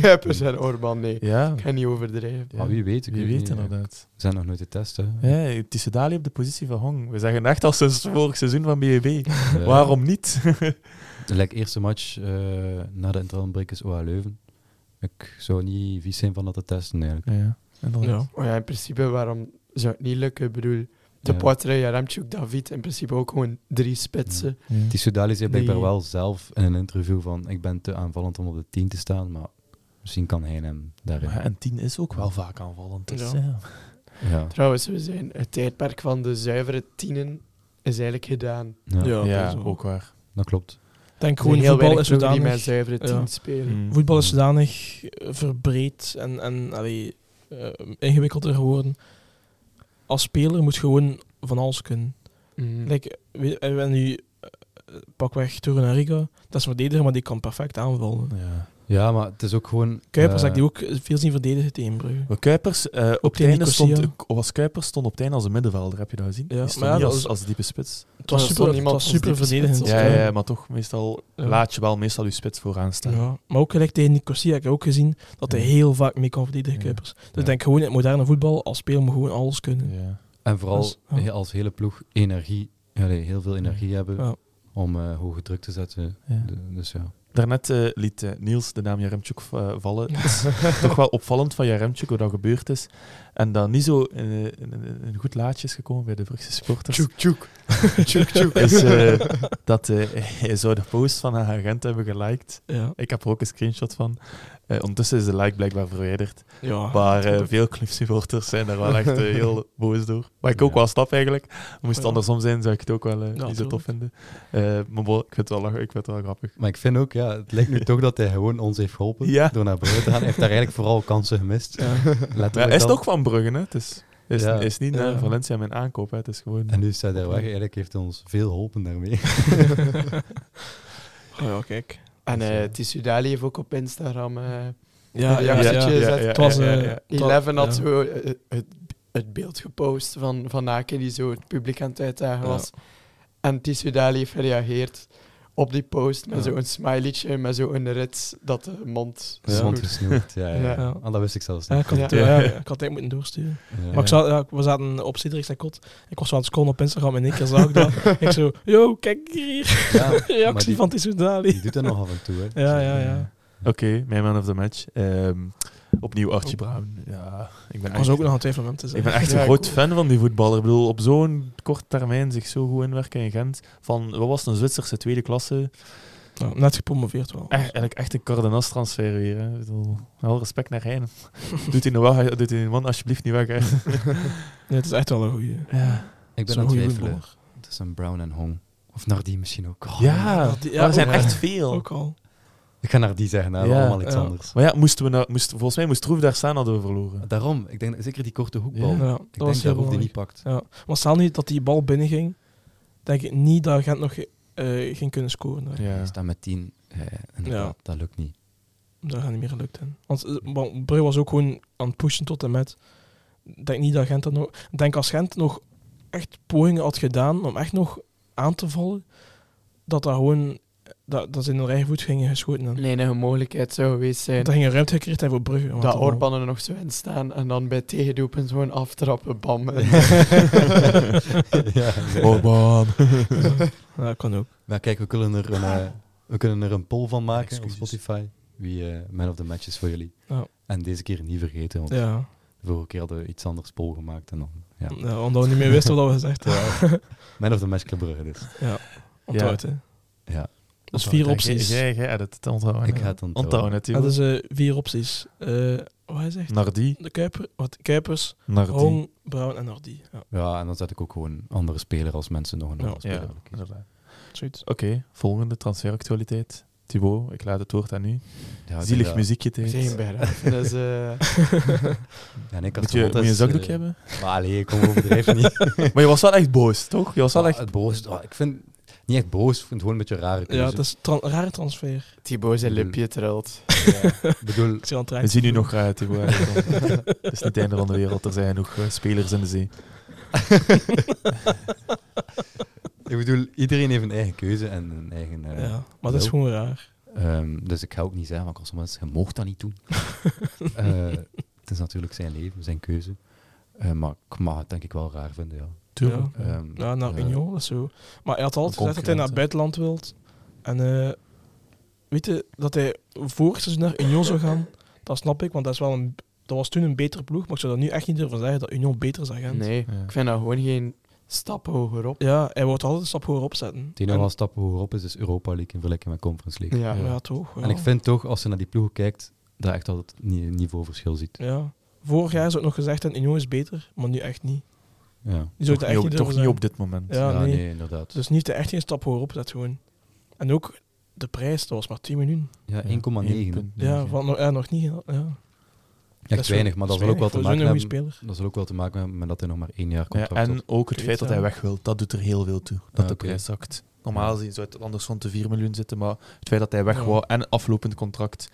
Speaker 4: Kuipers en Orban. Nee, ik
Speaker 3: Ja,
Speaker 4: ga niet overdrijven.
Speaker 3: Ja.
Speaker 1: Maar wie weet, ik
Speaker 3: wie
Speaker 1: weet
Speaker 3: weet
Speaker 1: niet, eh,
Speaker 3: inderdaad.
Speaker 1: We zijn nog nooit te testen.
Speaker 3: Ja, het is Dali op de positie van Hong. We zeggen echt al sinds vorig seizoen van BEB.
Speaker 1: Eh,
Speaker 3: Waarom [LAUGHS] niet?
Speaker 1: De like, eerste match eh, na de interlandbreek is OA Leuven. Ik zou niet vies zijn van dat te testen eigenlijk.
Speaker 3: ja,
Speaker 2: Ja.
Speaker 4: Oh ja, in principe, waarom zou het niet lukken? Ik bedoel, de
Speaker 1: Ja.
Speaker 4: Poitre, Jaramchuk, David, in principe ook gewoon drie spitsen.
Speaker 1: Die Soudali zei blijkbaar
Speaker 4: Nee.
Speaker 1: wel zelf in een interview van ik ben te aanvallend om op de 10 te staan, maar misschien kan hij hem daarin.
Speaker 3: Maar en 10 is ook wel vaak aanvallend. Dus,
Speaker 2: Ja.
Speaker 3: ja.
Speaker 1: Ja.
Speaker 4: Trouwens, we zijn het tijdperk van de zuivere tienen is eigenlijk gedaan.
Speaker 1: Ja,
Speaker 2: Ja,
Speaker 3: Ja,
Speaker 2: sowieso.
Speaker 3: ook waar.
Speaker 1: dat klopt.
Speaker 2: denk
Speaker 4: Er zijn
Speaker 2: gewoon,
Speaker 4: heel
Speaker 2: voetbal
Speaker 4: weinig
Speaker 2: is
Speaker 4: ploegen die
Speaker 2: zodanig...
Speaker 4: met zuivere
Speaker 2: Ja.
Speaker 4: tien spelen.
Speaker 3: Mm.
Speaker 2: Voetbal is zodanig eh, verbreed en, en allee, eh, ingewikkelder geworden. Als speler moet je gewoon van alles kunnen.
Speaker 4: Mhm.
Speaker 2: Like, we, we hebben nu eh, pakweg Torunariga, dat is een verdediger, maar die kan perfect aanvallen.
Speaker 3: Ja.
Speaker 1: Ja, maar het is ook gewoon...
Speaker 2: Kuipers
Speaker 1: eh,
Speaker 2: had die ook veel zien verdedigen tegen Brugge.
Speaker 3: Maar Kuipers, eh, op het
Speaker 2: tegen
Speaker 3: einde
Speaker 2: Nicosia.
Speaker 3: stond, was Kuipers stond op het einde als een middenvelder, heb je dat gezien?
Speaker 2: Ja,
Speaker 3: Die
Speaker 2: maar
Speaker 3: stond
Speaker 2: ja,
Speaker 3: niet
Speaker 2: dat
Speaker 3: als,
Speaker 2: was-
Speaker 3: als diepe spits.
Speaker 2: Het was
Speaker 4: Maar er
Speaker 2: super,
Speaker 4: stond
Speaker 2: het
Speaker 4: niemand
Speaker 2: was
Speaker 4: als
Speaker 2: super
Speaker 4: diepe
Speaker 2: verdedigend.
Speaker 4: spits
Speaker 3: Ja,
Speaker 4: op,
Speaker 3: ja, maar toch, meestal
Speaker 2: Ja.
Speaker 3: laat je wel meestal je spits vooraan staan.
Speaker 2: Ja, maar ook gelijk tegen Nicosia heb ik ook gezien dat hij
Speaker 3: Ja.
Speaker 2: heel vaak mee kan verdedigen,
Speaker 3: Ja.
Speaker 2: Kuipers. Dus
Speaker 3: Ja.
Speaker 2: ik denk gewoon in het moderne voetbal, als speler moet je gewoon alles kunnen.
Speaker 3: Ja.
Speaker 1: En vooral
Speaker 2: Dus, ja.
Speaker 1: he- als hele ploeg energie, ja, nee, heel veel energie hebben
Speaker 2: Ja. Oh.
Speaker 1: om eh hoge druk te zetten.
Speaker 3: Ja.
Speaker 1: De- Dus ja.
Speaker 3: Daarnet eh, liet eh, Niels de naam Jaremchuk eh, vallen. [LAUGHS] Het is toch wel opvallend van Jaremchuk wat dat gebeurd is. En dat niet zo in, eh, in- in- in een goed laadje is gekomen bij de Brugse supporters.
Speaker 4: Tjoek, tjoek. tjoek, tjoek.
Speaker 3: Is eh, dat eh, hij zou de post van haar agent hebben geliked.
Speaker 2: Ja.
Speaker 3: Ik heb er ook een screenshot van. Eh, ondertussen is de like blijkbaar verwijderd.
Speaker 2: Ja.
Speaker 3: Maar eh, veel clubsupporters zijn daar wel echt eh, heel boos door. Wat ik ook
Speaker 1: Ja.
Speaker 3: wel snap eigenlijk. Moest het
Speaker 2: Ja.
Speaker 3: andersom zijn, zou ik het ook wel eh, niet zo
Speaker 2: tuurlijk.
Speaker 3: tof vinden. Eh, maar bon, ik vind het wel, lach- ik vind het wel grappig.
Speaker 1: Maar ik vind ook, ja, het lijkt nu toch dat hij gewoon ons heeft geholpen
Speaker 3: Ja.
Speaker 1: door naar buiten te gaan. Hij heeft daar eigenlijk vooral kansen gemist.
Speaker 2: Ja.
Speaker 1: Letterlijk
Speaker 3: Maar hij is
Speaker 1: dan.
Speaker 3: toch van Brugge, hè? Het is, is,
Speaker 1: Ja.
Speaker 3: is niet naar
Speaker 2: Ja.
Speaker 3: Valencia mijn aankoop, hè? Het is gewoon...
Speaker 1: En nu staat hij weg. Eigenlijk heeft hij ons veel geholpen daarmee. [LAUGHS]
Speaker 2: Oh ja, kijk.
Speaker 4: En eh Tissoudali heeft ook op Instagram eh,
Speaker 2: Ja,
Speaker 4: Ja,
Speaker 2: ja,
Speaker 4: ja, ja.
Speaker 2: Het was, eh, het was-
Speaker 4: 11 had
Speaker 2: ja.
Speaker 4: zo eh, het, het beeld gepost van Van Aken die zo het publiek aan het uitdagen
Speaker 2: Ja.
Speaker 4: was. En Tissou Dali heeft gereageerd op die post met
Speaker 2: Ja.
Speaker 4: zo'n smileytje, met zo'n rits dat de mond...
Speaker 1: Ja.
Speaker 4: zo-
Speaker 1: Zond gesnoerd. Ja, ja.
Speaker 4: Ja.
Speaker 1: Ah, dat wist ik zelfs
Speaker 2: Ja,
Speaker 1: niet.
Speaker 2: ik had, het-
Speaker 4: Ja.
Speaker 2: ja, ik had het eigenlijk moeten doorsturen.
Speaker 1: Ja.
Speaker 2: Maar ik zat, ja, we zaten op Cedric zijn kot. Ik was zo aan het scrollen op Instagram en ik zag ik dat. ik zo, yo, kijk hier.
Speaker 1: Ja, maar
Speaker 2: Reactie
Speaker 1: die-
Speaker 2: van Tissou Dali.
Speaker 1: Die doet dat nog af en toe. Hè.
Speaker 2: Ja, ja, ja.
Speaker 3: Oké, mijn man of the match. Ehm, opnieuw Archie Brown. Ja, ik
Speaker 2: Oh. Ik
Speaker 3: ben
Speaker 2: was
Speaker 3: echt-
Speaker 2: ook nog aan het twijfelen om hem te
Speaker 3: Ik
Speaker 2: zeggen.
Speaker 3: ben echt een
Speaker 4: Ja,
Speaker 3: groot
Speaker 4: ik-
Speaker 3: fan van die voetballer. Ik bedoel, op zo'n korte termijn zich zo goed inwerken in Gent. Van, wat was het, een Zwitserse tweede klasse?
Speaker 2: Ja, net gepromoveerd wel.
Speaker 3: Echt, eigenlijk echt een Cardenas transfer weer. Hè. Ik bedoel, wel respect naar
Speaker 2: [LAUGHS]
Speaker 3: Heijn. doet hij nou wel, doet hij die man alsjeblieft niet weg. Hè.
Speaker 2: Nee, het is echt wel een goeie.
Speaker 3: Ja,
Speaker 1: Ik ben
Speaker 2: Zo'n
Speaker 1: aan het
Speaker 2: goeie
Speaker 1: twijfelen.
Speaker 2: voetballer.
Speaker 1: Het is een Brown en Hong. Of Nardi misschien ook. Oh,
Speaker 3: ja,
Speaker 2: die- ja,
Speaker 3: maar er zijn
Speaker 2: ook-
Speaker 3: echt veel.
Speaker 2: Ook al.
Speaker 1: Ik ga Nardi zeggen, hè.
Speaker 3: Ja.
Speaker 1: allemaal iets
Speaker 2: Ja.
Speaker 1: anders.
Speaker 3: Maar ja, moesten we nou, moest, volgens mij moest Roef daar staan, hadden we verloren.
Speaker 1: Daarom, ik denk dat- zeker die korte hoekbal.
Speaker 3: Ja.
Speaker 2: Ja, dat
Speaker 1: Ik
Speaker 2: was
Speaker 1: denk dat
Speaker 2: heel
Speaker 1: Roef die niet
Speaker 2: belangrijk.
Speaker 1: pakt.
Speaker 2: Ja. Maar stel nu dat die bal binnenging, denk ik niet dat Gent nog eh, ging kunnen scoren. daar.
Speaker 1: Hij
Speaker 3: Ja.
Speaker 1: staat met 10. eh, inderdaad, dat lukt niet.
Speaker 2: Dat gaat niet meer gelukt zijn. Want eh, want Brugge was ook gewoon aan het pushen tot en met. Ik denk niet dat Gent dat nog... Ik denk als Gent nog echt pogingen had gedaan om echt nog aan te vallen, dat dat gewoon... Dat, dat ze in hun eigen voet gingen geschoten. hebben.
Speaker 4: De enige mogelijkheid zou geweest zijn
Speaker 2: Want er ging een ruimte gecreëerd hebben voor Brugge. om aan
Speaker 4: dat
Speaker 2: te vallen.
Speaker 4: [LAUGHS] Orban er nog zo in staan en dan bij tegendoepen zo'n
Speaker 2: [LAUGHS]
Speaker 4: aftrappen, bam. En-
Speaker 1: [LAUGHS] ja.
Speaker 3: Oh, [LAUGHS] Orban.
Speaker 2: Ja, dat kan ook.
Speaker 1: Maar kijk, we kunnen er een, eh, we kunnen er een poll van maken
Speaker 3: Excuses.
Speaker 1: op Spotify. Wie eh, man of the match is voor jullie.
Speaker 2: Ja.
Speaker 1: En deze keer niet vergeten, want
Speaker 2: Ja.
Speaker 1: de vorige keer hadden we iets anders poll gemaakt. En dan, ja.
Speaker 2: Ja, omdat we niet meer wisten wat we gezegd hadden.
Speaker 1: Ja. man of the match Club Brugge dus.
Speaker 2: Onthoud, hè.
Speaker 1: Ja.
Speaker 2: Dat is vier opties.
Speaker 3: Jij, jij edit het, onthouden.
Speaker 1: Ik ga het onthouden. Ah,
Speaker 3: Onthouden,
Speaker 2: Ja, dat is
Speaker 3: natuurlijk.
Speaker 2: eh, vier opties. Eh wat hij zegt?
Speaker 3: Nardi,
Speaker 2: De Kuiper, wat, Kuipers,
Speaker 3: Nardi.
Speaker 2: Hong, Brown en Nardi. Ja,
Speaker 1: Ja, en dan zet ik ook gewoon een andere speler als mensen nog een
Speaker 2: Ja.
Speaker 1: andere speler
Speaker 3: Ja,
Speaker 1: willen kiezen.
Speaker 3: inderdaad.
Speaker 2: zoiets.
Speaker 3: Oké, volgende transferactualiteit. Thibaut, ik laat het woord aan u.
Speaker 1: Ja, ik
Speaker 3: Zielig
Speaker 1: denk
Speaker 3: muziekje
Speaker 4: We
Speaker 3: tijd.
Speaker 4: zijn bij dat. Dus, eh,
Speaker 1: dat- Ja, en ik had
Speaker 3: Moet je, moet je een zakdoek
Speaker 1: [LAUGHS]
Speaker 3: hebben? [LAUGHS]
Speaker 1: Maar allee, ik kom overdrijven niet.
Speaker 3: maar je was wel echt boos, toch? Je was wel
Speaker 1: Maar
Speaker 3: echt...
Speaker 1: Het Ah, boos, oh, ik vind... Niet echt boos, ik vind het gewoon een beetje een rare
Speaker 2: Ja,
Speaker 1: keuze.
Speaker 2: het is tran- een rare transfer.
Speaker 4: Thibaut zijn
Speaker 1: Ik bedoel-
Speaker 4: lipje trilt.
Speaker 1: Ja. Ik bedoel,
Speaker 2: Ik zie aan het
Speaker 3: We
Speaker 2: rijden.
Speaker 3: zien u nog uit, Thibaut.
Speaker 1: [LAUGHS]
Speaker 3: Het is niet het einde van de wereld. Er zijn genoeg eh, spelers in de zee.
Speaker 1: ik bedoel, iedereen heeft een eigen keuze en een eigen... eh,
Speaker 2: Ja, maar dat is
Speaker 1: Zo.
Speaker 2: gewoon raar.
Speaker 1: ehm, dus ik ga ook niet zeggen, want als mensen, je mocht dat niet
Speaker 2: [LAUGHS]
Speaker 1: doen. Eh, het is natuurlijk zijn leven, zijn keuze. Eh, maar ik mag het denk ik wel raar vinden, ja.
Speaker 2: Tuurlijk.
Speaker 1: Ehm,
Speaker 2: Ja, naar
Speaker 1: eh,
Speaker 2: Union, dat is zo. Maar hij had altijd gezegd dat hij
Speaker 1: concurrent,
Speaker 2: naar
Speaker 1: hè.
Speaker 2: het buitenland wilt. En eh, weet je, dat hij vorig seizoen naar Union zou gaan, dat snap ik, want dat, is wel een, dat was toen een betere ploeg. Maar ik zou dat nu echt niet durven zeggen dat Union beter is dan Gent.
Speaker 4: Nee,
Speaker 3: Ja.
Speaker 4: ik vind dat gewoon geen stap hoger op.
Speaker 2: Ja, hij wordt altijd een stap hoger opzetten.
Speaker 1: Het enige
Speaker 2: En-
Speaker 1: wel stappen hogerop is, is Europa League in vergelijking met Conference League.
Speaker 4: Ja.
Speaker 2: Ja, toch. Ja.
Speaker 1: En ik vind toch, als je naar die ploegen kijkt, dat je echt al het ni- niveauverschil ziet.
Speaker 2: Ja. Vorig jaar is ook nog gezegd dat Union is beter, maar nu echt niet.
Speaker 1: Ja,
Speaker 2: Die zou
Speaker 3: Toch
Speaker 2: het
Speaker 3: niet
Speaker 2: echt
Speaker 3: op,
Speaker 2: niet
Speaker 3: toch
Speaker 2: durven
Speaker 3: niet op
Speaker 2: zeggen.
Speaker 3: dit moment.
Speaker 2: Ja,
Speaker 1: Ja,
Speaker 2: nee.
Speaker 1: nee. inderdaad.
Speaker 2: Dus niet de echt geen stap hoger opzet gewoon. En ook de prijs, dat was maar 10 miljoen.
Speaker 1: ja, 1,9.
Speaker 3: punt
Speaker 2: Ja,
Speaker 3: negen.
Speaker 2: van, ja nog niet. Ja. Dat
Speaker 1: Echt
Speaker 2: is
Speaker 1: weinig, maar dat zal ook wel te
Speaker 2: weinig voor
Speaker 1: maken
Speaker 2: zo'n goede
Speaker 1: hebben...
Speaker 2: speler.
Speaker 1: Dat zal ook wel te maken hebben met dat hij nog maar één jaar
Speaker 3: Ja,
Speaker 1: contract had.
Speaker 3: en ook het
Speaker 2: Ik
Speaker 3: feit dat
Speaker 2: weet
Speaker 3: hij
Speaker 2: het,
Speaker 3: weg wil, dat doet er heel veel toe. Dat
Speaker 1: Ah,
Speaker 3: de
Speaker 1: oké.
Speaker 3: prijs zakt. Normaal gezien zou het anders rond de 4 miljoen zitten, maar het feit dat hij weg
Speaker 2: Ja.
Speaker 3: wou en aflopend contract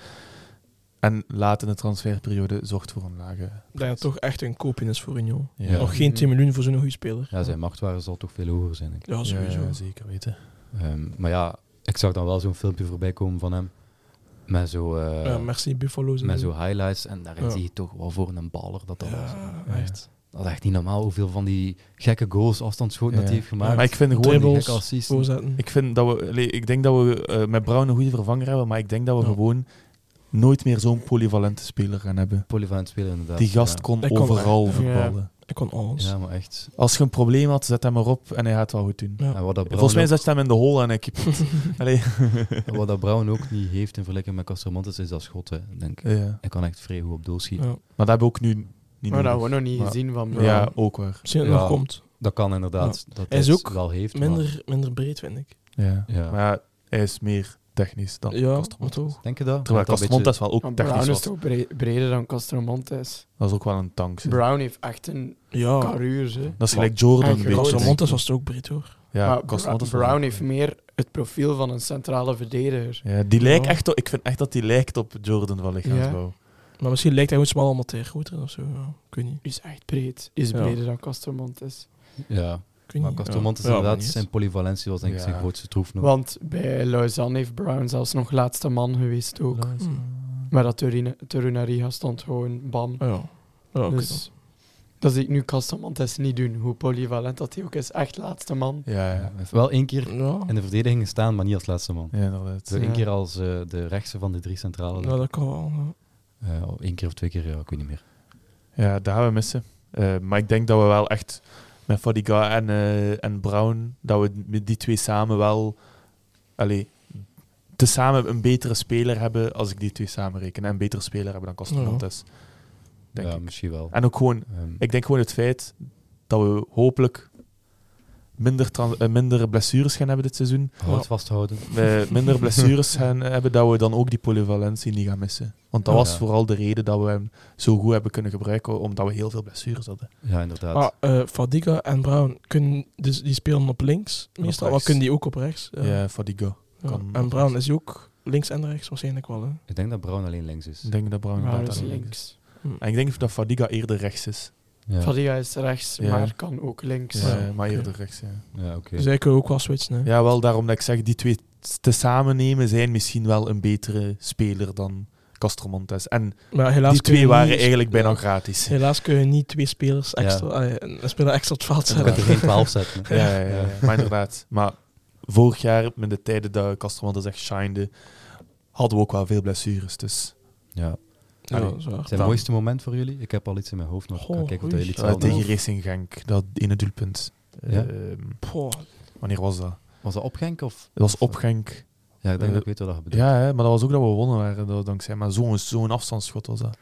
Speaker 3: en laat in de transferperiode zorgt voor een lage.
Speaker 2: Ik denk dat het toch echt een koopje is voor Union.
Speaker 1: Ja.
Speaker 2: Nog geen 10 miljoen voor zo'n goede speler.
Speaker 1: Ja, zijn marktwaarde zal toch veel hoger zijn. denk ik.
Speaker 2: Ja, sowieso.
Speaker 3: Ja, zeker weten.
Speaker 1: Ehm, maar ja, ik zag dan wel zo'n filmpje voorbij komen van hem. Met zo, eh,
Speaker 2: Ja, merci Buffalo's. en
Speaker 1: met zo highlights. En daarin
Speaker 2: Ja.
Speaker 1: zie je toch wel voor een baller dat dat was.
Speaker 2: Ja, echt.
Speaker 1: Dat is echt niet normaal hoeveel van die gekke goals afstandsschoten dat
Speaker 3: Ja.
Speaker 1: hij heeft gemaakt.
Speaker 3: Maar ik vind gewoon
Speaker 1: Gewoon die
Speaker 2: Dribbles,
Speaker 1: gekke assists.
Speaker 2: Voorzetten.
Speaker 3: Ik, vind dat we, allee, ik denk dat we eh, met Brown een goede vervanger hebben, maar ik denk dat we
Speaker 2: Ja.
Speaker 3: gewoon nooit meer zo'n polyvalente speler gaan hebben.
Speaker 1: Polyvalent spelen inderdaad.
Speaker 3: Die gast
Speaker 1: ja.
Speaker 3: kon
Speaker 2: Hij kon
Speaker 3: overal
Speaker 4: echt-
Speaker 3: voetballen.
Speaker 2: Ik kon alles.
Speaker 1: Ja, maar echt.
Speaker 3: Als je een probleem had, zet hem erop en hij gaat het wel goed doen.
Speaker 2: Ja.
Speaker 1: En wat dat Brown,
Speaker 3: Volgens mij
Speaker 1: ook,
Speaker 3: zet je hem in de hole en hij keept het. Allee.
Speaker 1: wat dat Brown ook niet heeft in vergelijking met Castramontes is dat schot, hè, denk ik.
Speaker 3: Ja.
Speaker 1: Hij kan echt vrij goed op doel schieten.
Speaker 2: Ja.
Speaker 3: Maar dat hebben we ook nu niet
Speaker 4: Maar
Speaker 3: nodig.
Speaker 4: dat gewoon nog niet
Speaker 3: Maar-
Speaker 4: gezien van
Speaker 3: Ja,
Speaker 4: Brown.
Speaker 3: ook waar.
Speaker 2: Misschien dat
Speaker 1: Ja.
Speaker 2: het nog komt.
Speaker 1: Dat kan inderdaad. Dat hij
Speaker 2: is
Speaker 1: het
Speaker 2: ook
Speaker 1: wel heeft. maar-
Speaker 2: Minder, minder breed, vind ik.
Speaker 3: Ja.
Speaker 1: Ja.
Speaker 3: Maar ja, hij is meer technisch dan
Speaker 2: ja,
Speaker 3: Castromontes.
Speaker 2: maar toch.
Speaker 1: Denk je dat?
Speaker 3: Terwijl
Speaker 1: Dat een beetje-
Speaker 3: Castromontes wel ook
Speaker 4: Want
Speaker 3: technisch
Speaker 4: Brown is
Speaker 3: was.
Speaker 4: toch bre- breder dan Castromontes.
Speaker 3: Dat is ook wel een tank. zeg.
Speaker 4: Brown heeft echt een
Speaker 3: Oh.
Speaker 2: Ja,
Speaker 4: carrure, hè.
Speaker 3: Dat is gelijk Jordan
Speaker 4: En
Speaker 3: een beetje.
Speaker 2: Castromontes was het ook breed, hoor.
Speaker 3: Ja,
Speaker 4: Maar Bra-
Speaker 3: Castromontes was
Speaker 4: Brown
Speaker 3: ook-
Speaker 4: heeft meer het profiel van een centrale verdediger.
Speaker 3: Ja, die lijkt
Speaker 2: Ja.
Speaker 3: echt op, ik vind echt dat die lijkt op Jordan van lichaamsbouw.
Speaker 2: Maar misschien lijkt hij gewoon smal allemaal tegen groter of zo. Ja, ik weet niet.
Speaker 4: Is echt breed. Is
Speaker 2: Ja.
Speaker 4: breder dan Castromontes.
Speaker 1: Ja,
Speaker 2: Ik weet
Speaker 1: maar
Speaker 2: niet.
Speaker 1: Castromontes
Speaker 2: Ja. Ja,
Speaker 1: inderdaad,
Speaker 2: maar niet.
Speaker 1: zijn polyvalentie was denk ik
Speaker 3: Ja.
Speaker 1: zijn grootste troef nog.
Speaker 4: Want bij Lausanne heeft Brown zelfs nog laatste man geweest ook.
Speaker 3: Nice.
Speaker 4: Maar dat Torina- Torunariga stond gewoon bam.
Speaker 2: Ja, ja. ja oké dan.
Speaker 4: dus dat zie ik nu Castromontes niet doen. Hoe polyvalent dat hij ook is. Echt laatste man.
Speaker 3: Ja,
Speaker 1: Ja,
Speaker 3: ja.
Speaker 1: hij heeft wel één keer
Speaker 2: Ja.
Speaker 1: in de verdediging gestaan, maar niet als laatste man.
Speaker 3: Ja, inderdaad.
Speaker 1: Dus één
Speaker 4: Ja.
Speaker 1: keer als eh, de rechtse van de drie centrale.
Speaker 2: ja, dat kan wel. ja.
Speaker 1: Eh, of één keer of twee keer, ja, ik weet niet meer.
Speaker 3: Ja, dat gaan we missen. Eh, maar ik denk dat we wel echt met Fadiga en, eh, en Brown, dat we met die twee samen wel. Allee, tezamen een betere speler hebben als ik die twee samen reken. En een betere speler hebben dan Castellantes. Denk
Speaker 1: ja,
Speaker 3: ik.
Speaker 1: misschien wel.
Speaker 3: En ook gewoon,
Speaker 1: Ehm,
Speaker 3: ik denk gewoon het feit dat we hopelijk minder, tran- eh, minder blessures gaan hebben dit seizoen.
Speaker 1: Houd vasthouden.
Speaker 3: We minder blessures gaan eh, hebben, dat we dan ook die polyvalentie niet gaan missen. Want dat
Speaker 1: Ja.
Speaker 3: was vooral de reden dat we hem zo goed hebben kunnen gebruiken, omdat we heel veel blessures hadden.
Speaker 1: Ja, inderdaad.
Speaker 2: Ah, eh, Fadiga en Brown, kunnen, dus die spelen op links meestal,
Speaker 3: rechts.
Speaker 2: maar kunnen die ook op rechts? Ja.
Speaker 3: Ja, Fadiga.
Speaker 2: Ja.
Speaker 3: kan op
Speaker 2: En Brown
Speaker 3: rechts.
Speaker 2: is die ook links en rechts waarschijnlijk wel, hè?
Speaker 1: Ik denk dat Brown alleen links is.
Speaker 3: Ik denk dat Brown
Speaker 4: Brown
Speaker 3: inderdaad
Speaker 4: is
Speaker 3: daar
Speaker 4: links.
Speaker 3: En ik denk dat Fadiga eerder rechts is.
Speaker 1: Ja,
Speaker 4: Fadiga is rechts,
Speaker 3: Ja.
Speaker 4: maar kan ook links.
Speaker 3: Ja,
Speaker 2: Ja,
Speaker 3: maar
Speaker 2: oké.
Speaker 3: eerder rechts, ja.
Speaker 1: ja oké.
Speaker 2: Dus hij kunnen ook wel switchen, hè?
Speaker 3: Ja, wel daarom dat ik zeg, die twee t- tezamen nemen zijn misschien wel een betere speler dan Castromontes. En
Speaker 2: Maar helaas
Speaker 3: die
Speaker 2: kun je
Speaker 3: twee waren
Speaker 2: niet-
Speaker 3: eigenlijk bijna
Speaker 2: Ja.
Speaker 3: gratis. Ja,
Speaker 2: Helaas kun je niet twee spelers
Speaker 1: Ja.
Speaker 2: extra, ah, ja, een speler extra op het veld
Speaker 1: Je kunt er
Speaker 2: zetten.
Speaker 1: geen 12 zetten. hè.
Speaker 3: ja, ja, ja. maar inderdaad. Maar vorig jaar, met de tijden dat Castromontes echt shinede, hadden we ook wel veel blessures. Dus
Speaker 1: Ja.
Speaker 2: Ja,
Speaker 3: Allee.
Speaker 2: dat is
Speaker 1: [LAUGHS]
Speaker 2: waar.
Speaker 1: Zijn mooiste moment voor jullie? Ik heb al iets in mijn hoofd, maar ik ga
Speaker 2: Goh,
Speaker 1: kijken of
Speaker 2: oei.
Speaker 1: dat jullie
Speaker 3: eh,
Speaker 1: hetzelfde
Speaker 3: tegen
Speaker 1: hebben.
Speaker 3: Racing Genk, dat ene doelpunt.
Speaker 1: Ja.
Speaker 3: Ehm,
Speaker 2: Poh,
Speaker 3: wanneer was dat?
Speaker 1: Was dat op Genk? Of?
Speaker 3: Dat was op Genk.
Speaker 1: Ja, ik denk
Speaker 3: Eh,
Speaker 1: dat ik weet wat dat je bedoelt.
Speaker 3: Ja, hè, maar dat was ook dat we gewonnen waren dat, dankzij. Maar zo'n zo'n afstandsschot was dat.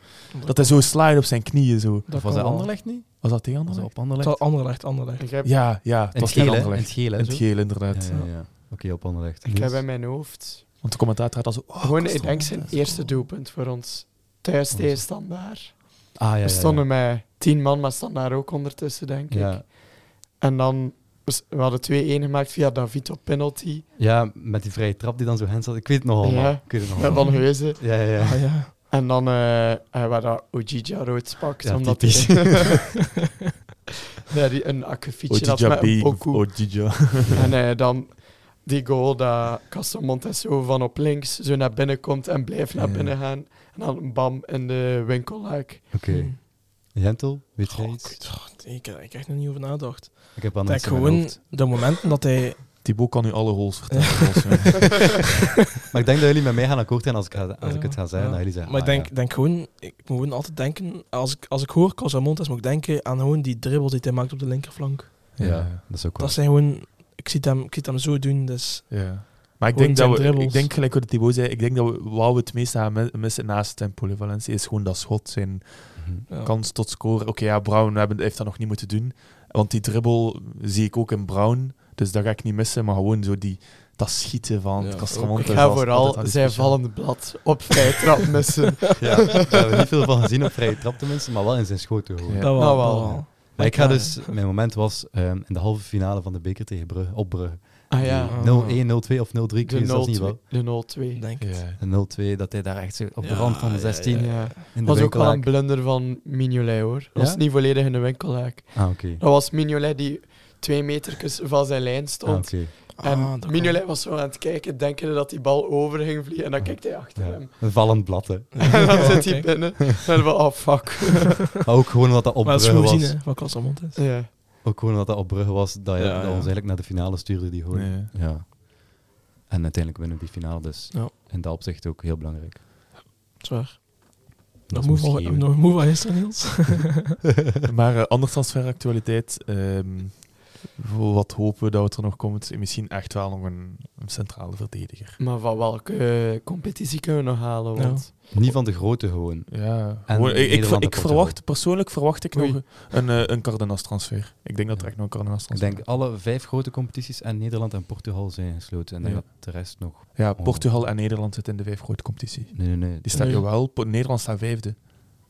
Speaker 3: Dat hij zo slide op zijn knieën. Zo.
Speaker 1: Of was
Speaker 2: kan
Speaker 1: dat
Speaker 2: wel.
Speaker 1: Anderlecht niet?
Speaker 3: Was dat tegen
Speaker 1: Was dat
Speaker 3: anderen?
Speaker 1: op Anderlecht?
Speaker 2: Het was Anderlecht, Anderlecht.
Speaker 4: Ik heb,
Speaker 3: Ja, ja. Het
Speaker 1: In
Speaker 3: was
Speaker 1: het gele, hè? in
Speaker 3: tegen
Speaker 1: het
Speaker 3: Anderlecht.
Speaker 1: gele. hè,
Speaker 3: In het
Speaker 1: zo?
Speaker 3: geel, inderdaad.
Speaker 1: Ja, ja, ja. Oké, op Anderlecht.
Speaker 4: ik heb in mijn hoofd
Speaker 3: Want de commentator had al zo... Oh,
Speaker 4: gewoon, ik
Speaker 3: Castel,
Speaker 4: denk, zijn
Speaker 3: Castel.
Speaker 4: eerste doelpunt voor ons. Thuis tegen Standaard.
Speaker 1: Ah, ja, ja,
Speaker 4: We
Speaker 1: ja.
Speaker 4: stonden met tien man, maar Standaard ook ondertussen, denk ik.
Speaker 1: Ja,
Speaker 4: En dan Dus we hadden 2-1 gemaakt via David op penalty.
Speaker 1: Ja, met die vrije trap die dan zo hen zat. Ik weet het nog allemaal.
Speaker 4: Ja.
Speaker 1: Ik weet het nog
Speaker 4: Met
Speaker 1: allemaal.
Speaker 4: eh, Van Heuzen.
Speaker 1: Ja, ja, ja.
Speaker 2: Ah, ja.
Speaker 4: En dan eh eh, waar dat Ojija rood pakt.
Speaker 1: Ja,
Speaker 4: omdat
Speaker 1: typisch. [LAUGHS]
Speaker 4: hij- [LAUGHS] ja, die een akkefietje had
Speaker 3: Ojija
Speaker 4: met een
Speaker 3: B.
Speaker 4: pokoe.
Speaker 3: Ojija.
Speaker 1: [LAUGHS]
Speaker 4: En eh, dan die goal dat Casamontes zo van op links zo naar binnen komt en blijft naar
Speaker 3: Ja.
Speaker 4: binnen gaan. En dan bam in de winkelhaak.
Speaker 1: Oké. Gentel, weet jij
Speaker 2: Oh,
Speaker 1: iets?
Speaker 2: kut. Oh, nee, ik heb ik heb er niet over nagedacht.
Speaker 1: Ik heb
Speaker 2: Dat ik
Speaker 1: anders in mijn
Speaker 2: gewoon
Speaker 1: hoofd.
Speaker 2: de momenten dat hij...
Speaker 3: Thibaut kan u alle roles
Speaker 1: [LAUGHS]
Speaker 3: vertellen. volgens mij.
Speaker 1: Maar ik denk dat jullie met mij gaan akkoord zijn als ik, ga- als
Speaker 2: Ja,
Speaker 1: ik het ga zeggen.
Speaker 2: ja.
Speaker 1: Dat jullie zeggen,
Speaker 2: Maar ik
Speaker 1: ah, [LAUGHS]
Speaker 2: denk,
Speaker 1: ja.
Speaker 2: denk gewoon... Ik moet gewoon altijd denken... Als ik, als ik hoor Casamontes, moet ik denken aan gewoon die dribbels die hij maakt op de linkerflank.
Speaker 1: Ja, dat is ook wel.
Speaker 2: Dat zijn gewoon... Ik zie hem, ik zie hem zo doen, dus...
Speaker 3: Ja. Maar ik
Speaker 2: Gewoon
Speaker 3: denk, dat
Speaker 2: zijn
Speaker 3: we, ik
Speaker 2: dribbles.
Speaker 3: denk gelijk wat Thibaut zei, ik denk dat we, wat we het meest gaan mi- missen naast Tempoli Valencia is gewoon dat schot, zijn
Speaker 1: Mhm.
Speaker 2: Ja.
Speaker 3: kans tot scoren. Oké, ja, Brown hebben- heeft dat nog niet moeten doen, want die dribbel zie ik ook in Brown, dus dat ga ik niet missen, maar gewoon zo die, dat schieten van
Speaker 2: Ja,
Speaker 3: Castramonte.
Speaker 4: Ik ga vooral zijn vallende blad op vrij
Speaker 1: [LAUGHS]
Speaker 4: trap missen.
Speaker 1: Ja, daar hebben we niet veel van gezien op vrije trap tenminste, maar wel in zijn schoten gewoon.
Speaker 3: Ja.
Speaker 2: Dat wel,
Speaker 4: Nou
Speaker 2: dat
Speaker 4: wel.
Speaker 2: wel.
Speaker 1: Maar ik ga
Speaker 2: Ja.
Speaker 1: dus, mijn moment was ehm, in de halve finale van de beker tegen Brugge, op Brugge.
Speaker 4: Ah
Speaker 1: Ja. Oh.
Speaker 4: ja,
Speaker 1: 0-1, 0-2 of 0-3, ik
Speaker 4: de
Speaker 1: weet zelfs niet
Speaker 4: 0-2.
Speaker 1: wel.
Speaker 4: De 0-2.
Speaker 2: Denk ik.
Speaker 3: Ja.
Speaker 1: En 0-2, dat hij daar echt zo op de rand van de 16
Speaker 4: Ja.
Speaker 1: in de
Speaker 4: was ook wel een
Speaker 1: winkelhaak.
Speaker 4: blunder van Mignolet hoor. Dat was
Speaker 1: Ja?
Speaker 4: niet volledig in de winkelhaak.
Speaker 1: Ah, oké.
Speaker 4: Dat was Mignolet die twee metertjes van zijn lijn stond.
Speaker 1: Ah, oké.
Speaker 4: En
Speaker 2: Ah, dat
Speaker 4: Mignolet was zo aan het kijken, denkende dat die bal over ging vliegen. En dan kijkt hij achter
Speaker 1: Ja.
Speaker 4: hem.
Speaker 1: Een vallend blad,
Speaker 2: [LAUGHS]
Speaker 1: hè.
Speaker 4: En
Speaker 2: [LAUGHS]
Speaker 4: dan
Speaker 2: Ja,
Speaker 4: zit hij
Speaker 2: kijk.
Speaker 4: binnen. En dan van, oh fuck.
Speaker 1: Maar ook gewoon omdat dat op
Speaker 2: Maar dat is
Speaker 1: Brugge
Speaker 2: goed
Speaker 1: was.
Speaker 2: zien, hè, wat Casamontes.
Speaker 4: Ja.
Speaker 1: Ook gewoon omdat dat op Brugge was, dat, je-
Speaker 2: Ja,
Speaker 1: dat
Speaker 2: ja.
Speaker 1: ons eigenlijk naar de finale stuurde, die gewoon.
Speaker 3: Ja.
Speaker 1: Ja. En uiteindelijk winnen we die finale, dus
Speaker 2: Ja.
Speaker 1: in dat opzicht ook heel belangrijk.
Speaker 2: Zwaar.
Speaker 1: Dat
Speaker 2: Nog
Speaker 1: is
Speaker 2: moe van-
Speaker 1: misschien-
Speaker 2: nog moe van
Speaker 1: [LAUGHS]
Speaker 2: gisteren, Niels?
Speaker 3: Maar eh andere transferactualiteit, ehm, voor wat hopen we dat het er nog komt, misschien echt wel nog een, een centrale verdediger.
Speaker 4: Maar van welke eh, competitie kunnen we nog halen?
Speaker 2: Ja.
Speaker 4: Want
Speaker 1: Niet van de grote gewoon.
Speaker 3: Ja,
Speaker 1: En
Speaker 3: gewoon- ik, ik,
Speaker 1: Nederland en
Speaker 3: ik
Speaker 1: Portugal.
Speaker 3: verwacht, persoonlijk verwacht ik
Speaker 4: Oei.
Speaker 3: nog een, eh, een Cardenas-transfer. Ik denk dat er
Speaker 1: Ja.
Speaker 3: echt nog een Cardenas-transfer
Speaker 1: Ik denk alle vijf grote competities en Nederland en Portugal zijn gesloten. En ik denk
Speaker 3: Ja.
Speaker 1: dat de rest nog.
Speaker 3: Ja,
Speaker 1: Oh.
Speaker 3: Portugal en Nederland zitten in de vijf grote competitie.
Speaker 1: Nee, nee, nee.
Speaker 3: Die staat
Speaker 2: Nee.
Speaker 3: jawel, Po- Nederland staat vijfde.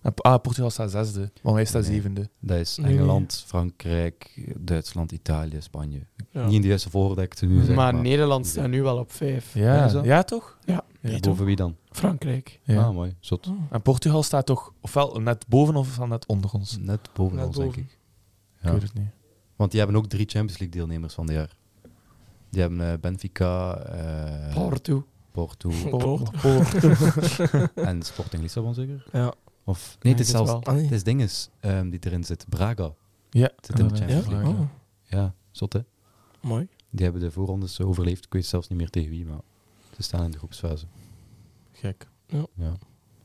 Speaker 3: En- Ah, Portugal staat zesde, want wij staan
Speaker 1: Nee.
Speaker 3: zevende.
Speaker 1: Dat is
Speaker 2: Nee, nee.
Speaker 1: Engeland, Frankrijk, Duitsland, Italië, Spanje.
Speaker 2: Ja.
Speaker 1: Niet in de juiste volgorde dat ik het nu zeg.
Speaker 4: maar
Speaker 1: Maar,
Speaker 4: Nederland staat nu wel op vijf.
Speaker 1: Ja,
Speaker 3: Ja,
Speaker 1: is dat?
Speaker 3: ja, toch?
Speaker 4: Ja.
Speaker 2: Nee, toch?
Speaker 1: boven wie dan?
Speaker 4: Frankrijk.
Speaker 3: Ja.
Speaker 1: Ah, mooi. Zot.
Speaker 2: Oh.
Speaker 3: En Portugal staat toch ofwel net boven of wel net onder ons?
Speaker 1: Net boven
Speaker 2: Net
Speaker 1: ons,
Speaker 2: boven.
Speaker 1: denk ik.
Speaker 3: Ik
Speaker 1: Ja.
Speaker 3: weet het niet.
Speaker 1: Want die hebben ook drie Champions League deelnemers van dit jaar. Die hebben eh, Benfica, eh,
Speaker 4: Porto.
Speaker 1: Porto
Speaker 3: [LAUGHS]
Speaker 2: Poort.
Speaker 1: en Sporting Lissabon zeker?
Speaker 2: Ja.
Speaker 1: Of, nee, het is
Speaker 4: Ik denk
Speaker 1: zelfs...
Speaker 2: Ah,
Speaker 4: wel.
Speaker 2: nee.
Speaker 1: Het is dinges ehm, die erin zit. Braga.
Speaker 3: Ja,
Speaker 1: Zit in de
Speaker 3: inderdaad.
Speaker 1: Champions
Speaker 2: Ja?
Speaker 1: League.
Speaker 3: Braga.
Speaker 2: Oh,
Speaker 1: Ja, zot hè?
Speaker 2: mooi.
Speaker 1: Die hebben de voorrondes overleefd. Ik weet zelfs niet meer tegen wie, maar ze staan in de groepsfase.
Speaker 3: Gek.
Speaker 1: Ja.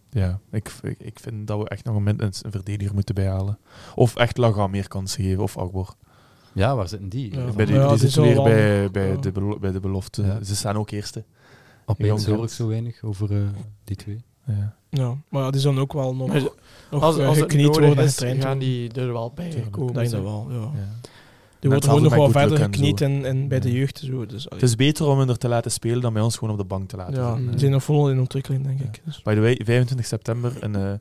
Speaker 3: Ja, ik, ik, ik vind dat we echt nog een, min- een verdediger moeten bijhalen. Of echt Laga meer kansen geven, of Akbor.
Speaker 1: ja, waar zitten die?
Speaker 2: Ja.
Speaker 3: Bij die,
Speaker 2: Ja,
Speaker 3: die
Speaker 2: die
Speaker 3: zitten
Speaker 2: zullen
Speaker 3: weer
Speaker 2: wel-
Speaker 3: bij, bij,
Speaker 2: ja.
Speaker 3: de belo- bij de belofte.
Speaker 1: Ja.
Speaker 3: Ze staan ook eerste.
Speaker 1: Opeens
Speaker 3: Jong
Speaker 1: hoor ik zo weinig over eh, die twee.
Speaker 3: Ja.
Speaker 2: Ja, maar ja, die zullen ook wel nog,
Speaker 4: Maar
Speaker 2: nog
Speaker 4: Dus Als,
Speaker 2: eh,
Speaker 4: als het
Speaker 2: geknield
Speaker 4: nodig
Speaker 2: worden en
Speaker 4: is,
Speaker 2: getraind
Speaker 4: gaan
Speaker 2: worden.
Speaker 4: die er wel bij
Speaker 3: Tuurlijk.
Speaker 4: komen.
Speaker 2: Ik denk dat
Speaker 4: zeg.
Speaker 2: wel, ja. Die
Speaker 3: Ja. Met
Speaker 2: wordt gewoon
Speaker 3: hetzelfde
Speaker 2: nog
Speaker 3: bij
Speaker 2: wel
Speaker 3: Goodluck
Speaker 2: verder
Speaker 3: en
Speaker 2: gekniet
Speaker 3: zo.
Speaker 2: en, en bij de
Speaker 3: Ja.
Speaker 2: jeugd. en Zo. Dus, allee.
Speaker 3: Het is beter om hen er te laten spelen dan bij ons gewoon op de bank te laten.
Speaker 2: ja,
Speaker 3: zitten.
Speaker 2: die zijn nog volop in ontwikkeling, denk ik. Dus,
Speaker 3: By the way, 25 september. En, eh,